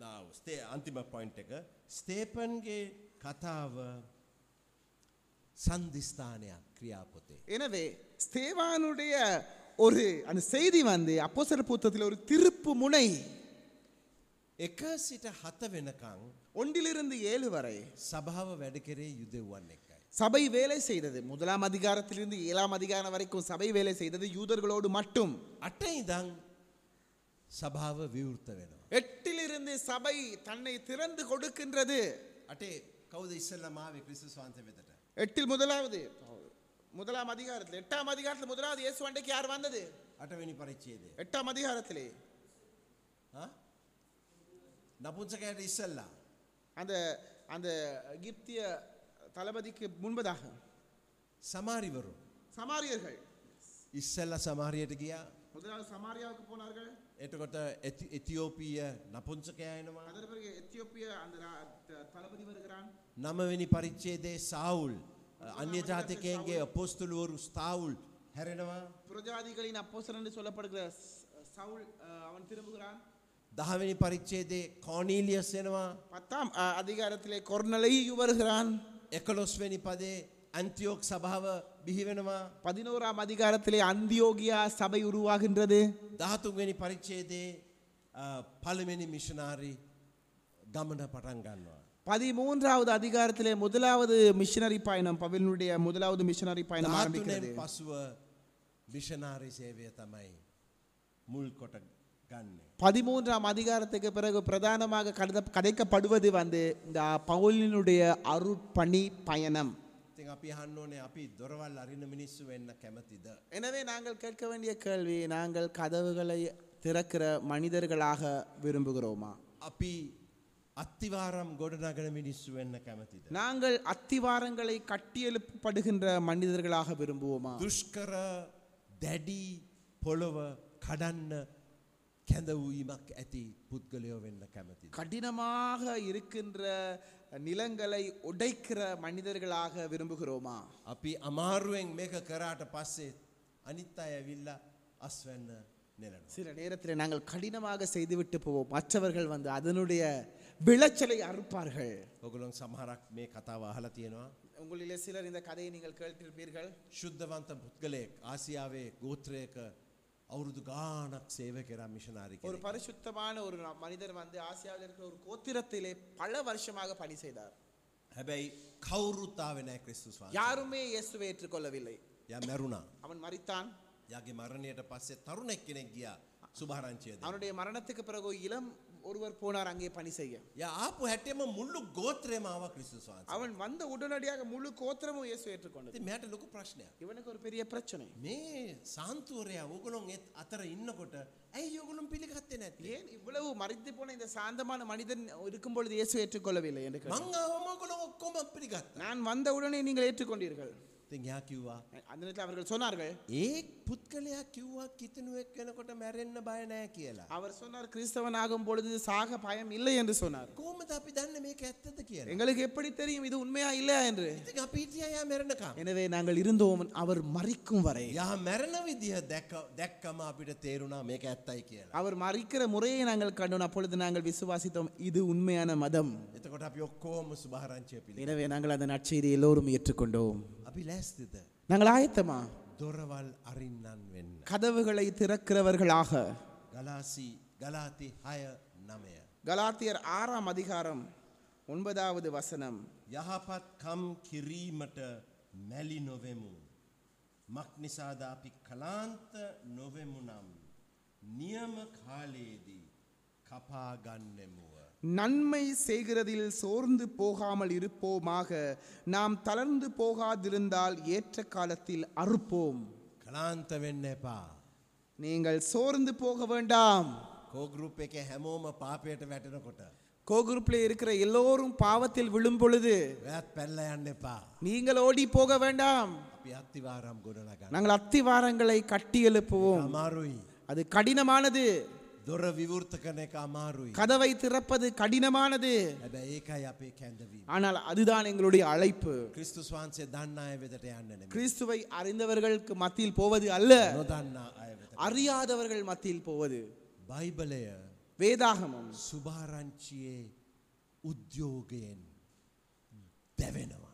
[SPEAKER 2] ස්තේ Uh, අන්තිම පොයින්් එක ස්තේපන්ගේ කතාව සන්ධිස්ථානයක් ක්‍රියාපොතේ.
[SPEAKER 1] எனவே ஸ்தேவானுடைய ஒரு அந்த செய்தி வந்து அப்போஸ்தலர் புத்தகத்தில் ஒரு திருப்பு முனை
[SPEAKER 2] එක සිට හත වෙනකං
[SPEAKER 1] ஒன்றிலிருந்து ஏழு வரை
[SPEAKER 2] සභාව වැඩ කරේ යුදෙව්වන් එක්කයි.
[SPEAKER 1] சபை வேலை செய்தது முதலாம் அதிகாரத்திலிருந்து ஏழாம் அதிகாரம் வரைக்கும் சபை வேலை செய்தது யூதர்களோடு மட்டும்
[SPEAKER 2] අට ඉදං සභාව විවෘත වෙනවා.
[SPEAKER 1] எட்டிலிருந்து சபை தன்னை திறந்து கொடுக்கின்றது
[SPEAKER 2] අටේ කවද ඉස්සල්ලමාවේ ක්‍රිස්තුස් වන්ත වෙතට.
[SPEAKER 1] எட்டில் முதலாவது முதலாம் அதிகாரத்தில் எட்டாம் அதிகாரத்தில் முதலாவது இயேசு அண்டைக்கு யார் வந்தது
[SPEAKER 2] අටවැනි පරිච්චේදය.
[SPEAKER 1] எட்டாம் அதிகாரத்திலே
[SPEAKER 2] නපුංසකයට ඉස්සල්ලා.
[SPEAKER 1] அந்த அந்த எகிப்திய தளபதிக்கு முன்பதாக
[SPEAKER 2] සමාරිවරු.
[SPEAKER 1] சமாரியர்கள்
[SPEAKER 2] ඉස්සල්ල සමාරියට ගියා
[SPEAKER 1] முதலாவது சமாரியாவுக்கு போனார்கள்
[SPEAKER 2] එතකොට ඇති- එතියෝපීය නපුංසකයනවා.
[SPEAKER 1] அதன் பிறகு எத்தியோப்பிய அந்த ரா- த- தளபதி வருகிறான்
[SPEAKER 2] නමවෙනි පරිච්චේදේ සවුල් අන්‍ය ජාතිකයන්ගේ අපොස්තුළුවරු ස්ථාවුල් හැරෙනවා.
[SPEAKER 1] புரஜாதிகளின் அப்போஸ்தலன் என்று சொல்லப்படுகிற ச- சவுல் அஹ், அவன் திரும்புகிறான்
[SPEAKER 2] දහවැනි පරිච්චේදේ කෝනීලියස් එනවා
[SPEAKER 1] பத்தாம் அஹ், அதிகாரத்திலே கொர்நலை வருகிறான்
[SPEAKER 2] එකලොස්වැනි පදේ ඇන්තියෝක් සභාව බිහිවෙනවා
[SPEAKER 1] பதினோராம் அதிகாரத்திலே அந்தியோகியா சபை உருவாகின்றது
[SPEAKER 2] දහතුන්වැනි පරිච්චේදේ පළමෙනි මිෂනාරි ගමන පටන් ගන්නවා.
[SPEAKER 1] பதிமூன்றாவது அதிகாரத்திலே முதலாவது மிஷனரி பயணம் பவிலனுடைய முதலாவது மிஷனரி பயணம்
[SPEAKER 2] ධාතුනෙන්
[SPEAKER 1] ஆரம்பிக்கிறது
[SPEAKER 2] පසුව මිෂනාරි සේවය තමයි මුල් කොට ගන්නේ.
[SPEAKER 1] பதிமூன்றாம் அதிகாரத்துக்கு பிறகு பிரதானமாக கருத கதைக்கப்படுவது வந்து இந்த பவுலினுடைய அருட்பணி பயணம்
[SPEAKER 2] ඉතින් අපි අහන්න ඕනේ අපි දොරවල් අරින මිනිස්සු වෙන්න කැමතිද.
[SPEAKER 1] எனவே நாங்கள் கேட்க வேண்டிய கேள்வி நாங்கள் கதவுகளை திறக்கிற மனிதர்களாக விரும்புகிறோமா
[SPEAKER 2] අපි අත්තිවාරම් ගොඩනගන මිනිස්සු වෙන්න කැමතිද.
[SPEAKER 1] நாங்கள் அத்திவாரங்களை கட்டியெழுப்பப்படுகின்ற மனிதர்களாக விரும்புவோமா
[SPEAKER 2] දුෂ්කර දැඩි පොළොව කඩන්න කැඳවීමක් ඇති පුද්ගලයෝ වෙන්න කැමතිද.
[SPEAKER 1] கடினமாக இருக்கின்ற நிலங்களை உடைக்கிற மனிதர்களாக விரும்புகிறோமா
[SPEAKER 2] අපි අමාරුවෙන් මේක කරාට පස්සේ අනිත් අය ඇවිල්ල අස්වැන්න නෙලනවා.
[SPEAKER 1] சில நேரத்தில் நாங்கள் கடினமாக செய்துவிட்டு போவோம் மற்றவர்கள் வந்து அதனுடைய விளைச்சலை அறுப்பார்கள்
[SPEAKER 2] ඔගොලොන් සමහරක් මේ කතාව අහලා තියෙනවා.
[SPEAKER 1] உங்களிலே சிலர் இந்த கதையை நீங்கள் கேட்டிருப்பீர்கள்
[SPEAKER 2] ශුද්ධවන්ත පුද්ගලයෙක් ආසියාවේ ගෝත්‍රයක අවුරුදු ගානක් சேவை කරා මිෂනාරි
[SPEAKER 1] ஒரு பரிசுத்தமான ஒரு நா- மனிதர் வந்து ஆசியாவில் இருக்கிற ஒரு கோத்திரத்திலே பல வருஷமாக பணி செய்தார்
[SPEAKER 2] හැබැයි කවුරුත්තාව නෑ ක්‍රිස්තුස් වහන්සේ.
[SPEAKER 1] யாருமே இயேசுவை ஏற்றுக்கொள்ளவில்லை
[SPEAKER 2] යා මැරුණා.
[SPEAKER 1] அவன் மறித்தான்
[SPEAKER 2] යාගේ මරණයට පස්සේ තරුණෙක් කෙනෙක් ගියා සුභාරංචියද.
[SPEAKER 1] அவனுடைய மரணத்துக்கு பிறகு இளம் ஒருவர் போனார் அங்கே பணி செய்ய
[SPEAKER 2] යා ආපු හැටියම මුල්ලු ගෝත්‍රයමාව ක්‍රිස්තුස් වහන්සේ.
[SPEAKER 1] அவன் வந்த உடனடியாக முழு கோத்திரமும் இயேசு ஏற்றுக்கொண்டது
[SPEAKER 2] ඉතින් මෙයාට ලොකු ප්‍රශ්නයක්.
[SPEAKER 1] இவனுக்கு ஒரு பெரிய பிரச்சனை
[SPEAKER 2] මේ සාන්තුවරයා ඕගොලොන් එත් අතර ඉන්නකොට ඇයි ඔගොලුම් පිළිගත්තේ නැති.
[SPEAKER 1] ஏன் இவ்வளவு மறைத்து போன இந்த சாந்தமான மனிதன் இருக்கும் பொழுது இயேசு ஏற்றுக்கொள்ளவில்லை என்று கேட்டான்.
[SPEAKER 2] මංආවමකොළ ඔක්කොම පිළිගත්.
[SPEAKER 1] நான் வந்தவுடனே நீங்கள் ஏற்றுக்கொண்டீர்கள்
[SPEAKER 2] ති යා කිව්වා.
[SPEAKER 1] அந்த நேரத்தில் அவர்கள் சொன்னார்கள்
[SPEAKER 2] ඒ පුද්ගලයා කිව්වා කිතනුවෙක් වෙනකොට මැරෙන්න්න බයනෑ කියලා.
[SPEAKER 1] அவர் சொன்னார் கிறிஸ்தவனாகும் பொழுது சாக பயம் இல்லை என்று சொன்னார்
[SPEAKER 2] කෝමද අපි දන්න මේක ඇත්තද කියලා.
[SPEAKER 1] எங்களுக்கு எப்படி தெரியும் இது உண்மையா இல்லையா என்று
[SPEAKER 2] ඉතින් අපිටිය අයා මැරණකම්.
[SPEAKER 1] எனவே நாங்கள் இருந்தோம் அவர் மறிக்கும் வரை
[SPEAKER 2] යා මැරණ විදිහ දැක- දැක්කම අපිට තේරුණා මේක ඇත්තයි කියලා.
[SPEAKER 1] அவர் மறிக்கிற முறையை நாங்கள் கண்டோம் அப்பொழுது நாங்கள் விசுவாசித்தோம் இது உண்மையான மதம்
[SPEAKER 2] එතකොට අපි ඔක්කෝම සුභාරංචය පිළි.
[SPEAKER 1] எனவே நாங்கள் அந்த நற்செய்தியை எல்லோரும் ஏற்றுக்கொண்டோம்
[SPEAKER 2] අපි ලැස්තිද.
[SPEAKER 1] நாங்கள் ஆயத்தமா
[SPEAKER 2] දොරවල් අරින්නන් වෙන්න.
[SPEAKER 1] கதவுகளை திறக்கிறவர்களாக
[SPEAKER 2] ගලාසී ගලාති හය නමය.
[SPEAKER 1] கலாத்தியர் ஆறாம் அதிகாரம் ஒன்பதாவது வசனம்
[SPEAKER 2] යහපත්කම් කිරීමට මැලි නොවෙමු. මක් නිසාද අපි කලාන්ත නොවෙමු නම් නියම කාලයේදී කපාගන්නෙමුව.
[SPEAKER 1] நன்மை செய்கிறதில் சோர்ந்து போகாமல் இருப்போமாக நாம் தளர்ந்து போகாதிருந்தால் ஏற்ற காலத்தில் அறுப்போம்
[SPEAKER 2] කලාන්ත වෙන්න එපා.
[SPEAKER 1] நீங்கள் சோர்ந்து போக வேண்டாம்
[SPEAKER 2] කෝගරුප් එක හැමෝම පාපයට වැටෙනකොට.
[SPEAKER 1] கோகுருப்பில் இருக்கிற எல்லோரும் பாவத்தில் விழும் பொழுது
[SPEAKER 2] වැත් පැල්ල යන්න එපා.
[SPEAKER 1] நீங்கள் ஓடி போக வேண்டாம்
[SPEAKER 2] අපි අත්තිවාරම් ගොඩනගන්න.
[SPEAKER 1] நாங்கள் අත්திவாரங்களை கட்டி எழுப்புவோம்
[SPEAKER 2] අමාරුයි.
[SPEAKER 1] அது කடினமானது
[SPEAKER 2] දොර විවෘත කන එක අමාරුයි.
[SPEAKER 1] கதவை திறப்பது கடினமானது
[SPEAKER 2] හැබැ ඒකයි අපේ කැඳවීම.
[SPEAKER 1] ஆனால் அதுதான் எங்களுடைய அழைப்பு
[SPEAKER 2] ක්‍රිස්තුස් වහන්සේ දන්න අය වෙතට යන්න නෙමෙයි.
[SPEAKER 1] கிறிஸ்துவை அறிந்தவர்களுக்கு மத்தியில் போவது அல்ல
[SPEAKER 2] නොදන්න අය වෙත.
[SPEAKER 1] அறியாதவர்கள் மத்தியில் போவது
[SPEAKER 2] බයිබලය
[SPEAKER 1] வேதாகமம்
[SPEAKER 2] සුභාරංචියයේ උද්‍යෝගයෙන් දැවෙනවා.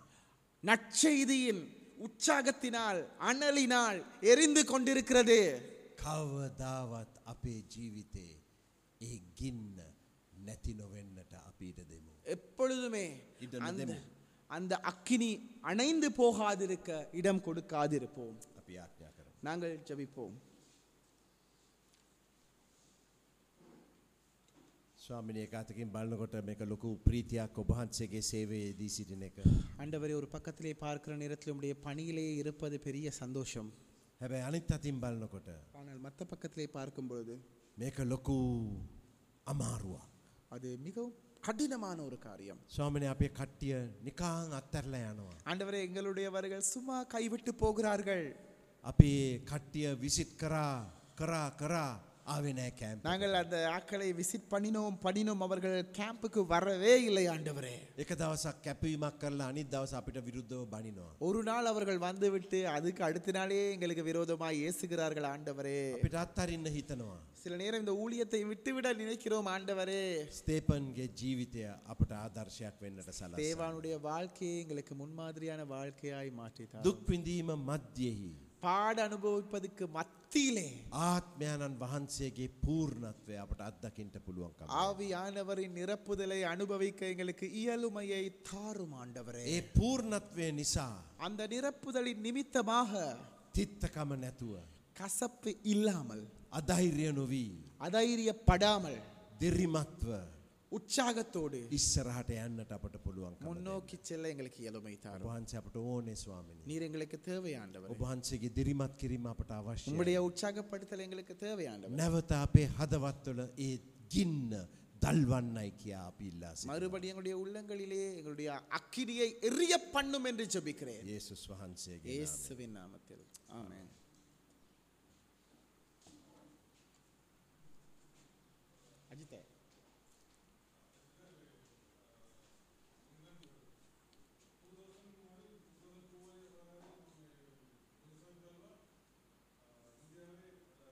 [SPEAKER 1] நற்செய்தியின் உற்சாகத்தினால் அனலினால் எரிந்து கொண்டிருக்கிறது
[SPEAKER 2] කවදාවත් අපේ ජීවිතේ ඒ ගින්න නැති නොවෙන්නට අපිට දෙමු.
[SPEAKER 1] எப்பொழுதுமே
[SPEAKER 2] இடம் தரும்.
[SPEAKER 1] அந்த அந்த அக்கினி அணைந்து போகாதிருக்க இடம் கொடுக்காதிருப்போம்
[SPEAKER 2] අපි ආඥා කරමු.
[SPEAKER 1] நாங்கள் ஜெபிப்போம்
[SPEAKER 2] ස්වාමිනී ඒකාතකින් බලනකොට මේක ලොකු ප්‍රීතියක් ඔබහන්සේගේ සේවයේදී සිටින එක.
[SPEAKER 1] ஆண்டவரே ஒரு பக்கத்திலே பார்க்கிற நேரத்தில் உம்முடைய பணியிலே இருப்பது பெரிய சந்தோஷம்
[SPEAKER 2] හැබැයි අනිත් අතින් බලනකොට
[SPEAKER 1] ஆனால் மற்ற பக்கத்திலே பார்க்கும் பொழுது
[SPEAKER 2] මේක ලොකු අමාරුවක්.
[SPEAKER 1] அது மிகவும் கடினமான ஒரு காரியம்
[SPEAKER 2] ස්වාමිනී අපේ කට්ටිය නිකාං අත්තරලා යනවා.
[SPEAKER 1] ஆண்டவரே எங்களுடையவர்கள் சும்மா கைவிட்டு போகிறார்கள்
[SPEAKER 2] අපි ඒ කට්ටිය විසිට් කරා කරා කරා ආවේ නෑ කැම්ප්.
[SPEAKER 1] நாங்கள் அந்த ஆக்களை விசிட் பண்ணினோம் பண்ணினோம் அவர்கள் கேம்புக்கு வரவே இல்லை ஆண்டவரே
[SPEAKER 2] එක දවසක් කැපවීමක් කරලා අනිත් දවස අපිට විරුද්ධව බනිනවා.
[SPEAKER 1] ஒரு நாள் அவர்கள் வந்துவிட்டு அதுக்கு அடுத்த நாளே எங்களுக்கு விரோதமாய் ஏசுகிறார்கள் ஆண்டவரே
[SPEAKER 2] අපිට අත්හරින්න හිතනවා.
[SPEAKER 1] சில நேரம் இந்த ஊழியத்தை விட்டுவிட நினைக்கிறோம் ஆண்டவரே
[SPEAKER 2] ස්තේපන්ගේ ජීවිතය අපට ආදර්ශයක් වෙන්නට සලස.
[SPEAKER 1] தேவானுடைய வாழ்க்கையை எங்களுக்கு முன்மாதிரியான வாழ்க்கையாய் மாற்றித்தார்
[SPEAKER 2] දුක් පිඳීම මධ්‍යෙහි.
[SPEAKER 1] பாட அனுபவிப்பதுக்கு மத்தியிலே
[SPEAKER 2] ආත්මයණන් වහන්සේගේ පූර්ණත්වය අපට අත්දකින්ට පුළුවන්කම.
[SPEAKER 1] ஆவியானவரின் நிரப்புதலை அனுபவிக்க எங்களுக்கு இயலுமையை தாரும் ஆண்டவரே
[SPEAKER 2] ඒ පූර්ණත්වය නිසා
[SPEAKER 1] அந்த நிரப்புதலின் நிமித்தமாக
[SPEAKER 2] තිත්තකම නැතුව.
[SPEAKER 1] கசப்பு இல்லாமல்
[SPEAKER 2] අධෛර්ය නොවී.
[SPEAKER 1] அதைரியப்படாமல்
[SPEAKER 2] දෙරිමත්ව
[SPEAKER 1] உற்சாகத்தோடு
[SPEAKER 2] ඉස්සරහට යන්නට අපට පුළුවන්කම.
[SPEAKER 1] முன்னோக்கி செல்ல எங்களுக்கு இயலுமை தாரும்
[SPEAKER 2] වහන්ස අපට ඕනේ ස්වාමිනි.
[SPEAKER 1] நீர் எங்களுக்கு தேவையாண்டவர்
[SPEAKER 2] ඔබහන්සේගේ දිරිමත් කිරීම අපට අවශ්‍ය.
[SPEAKER 1] உங்களுடைய உற்சாகப்படுத்தல் எங்களுக்கு தேவையாண்டவர்
[SPEAKER 2] නැවත අපේ හදවත්වල ඒ ගින්න දල්වන්නයි කියා අපි ඉල්ලා සිටිනවා.
[SPEAKER 1] மறுபடி எங்களுடைய உள்ளங்களிலே எங்களுடைய அக்கினியை எரிய பண்ணும் என்று ஜெபிக்கிறேன்
[SPEAKER 2] යේසුස් වහන්සේගේ
[SPEAKER 1] இயேசுவின் நாமத்தில் ஆமென் அஜித்தே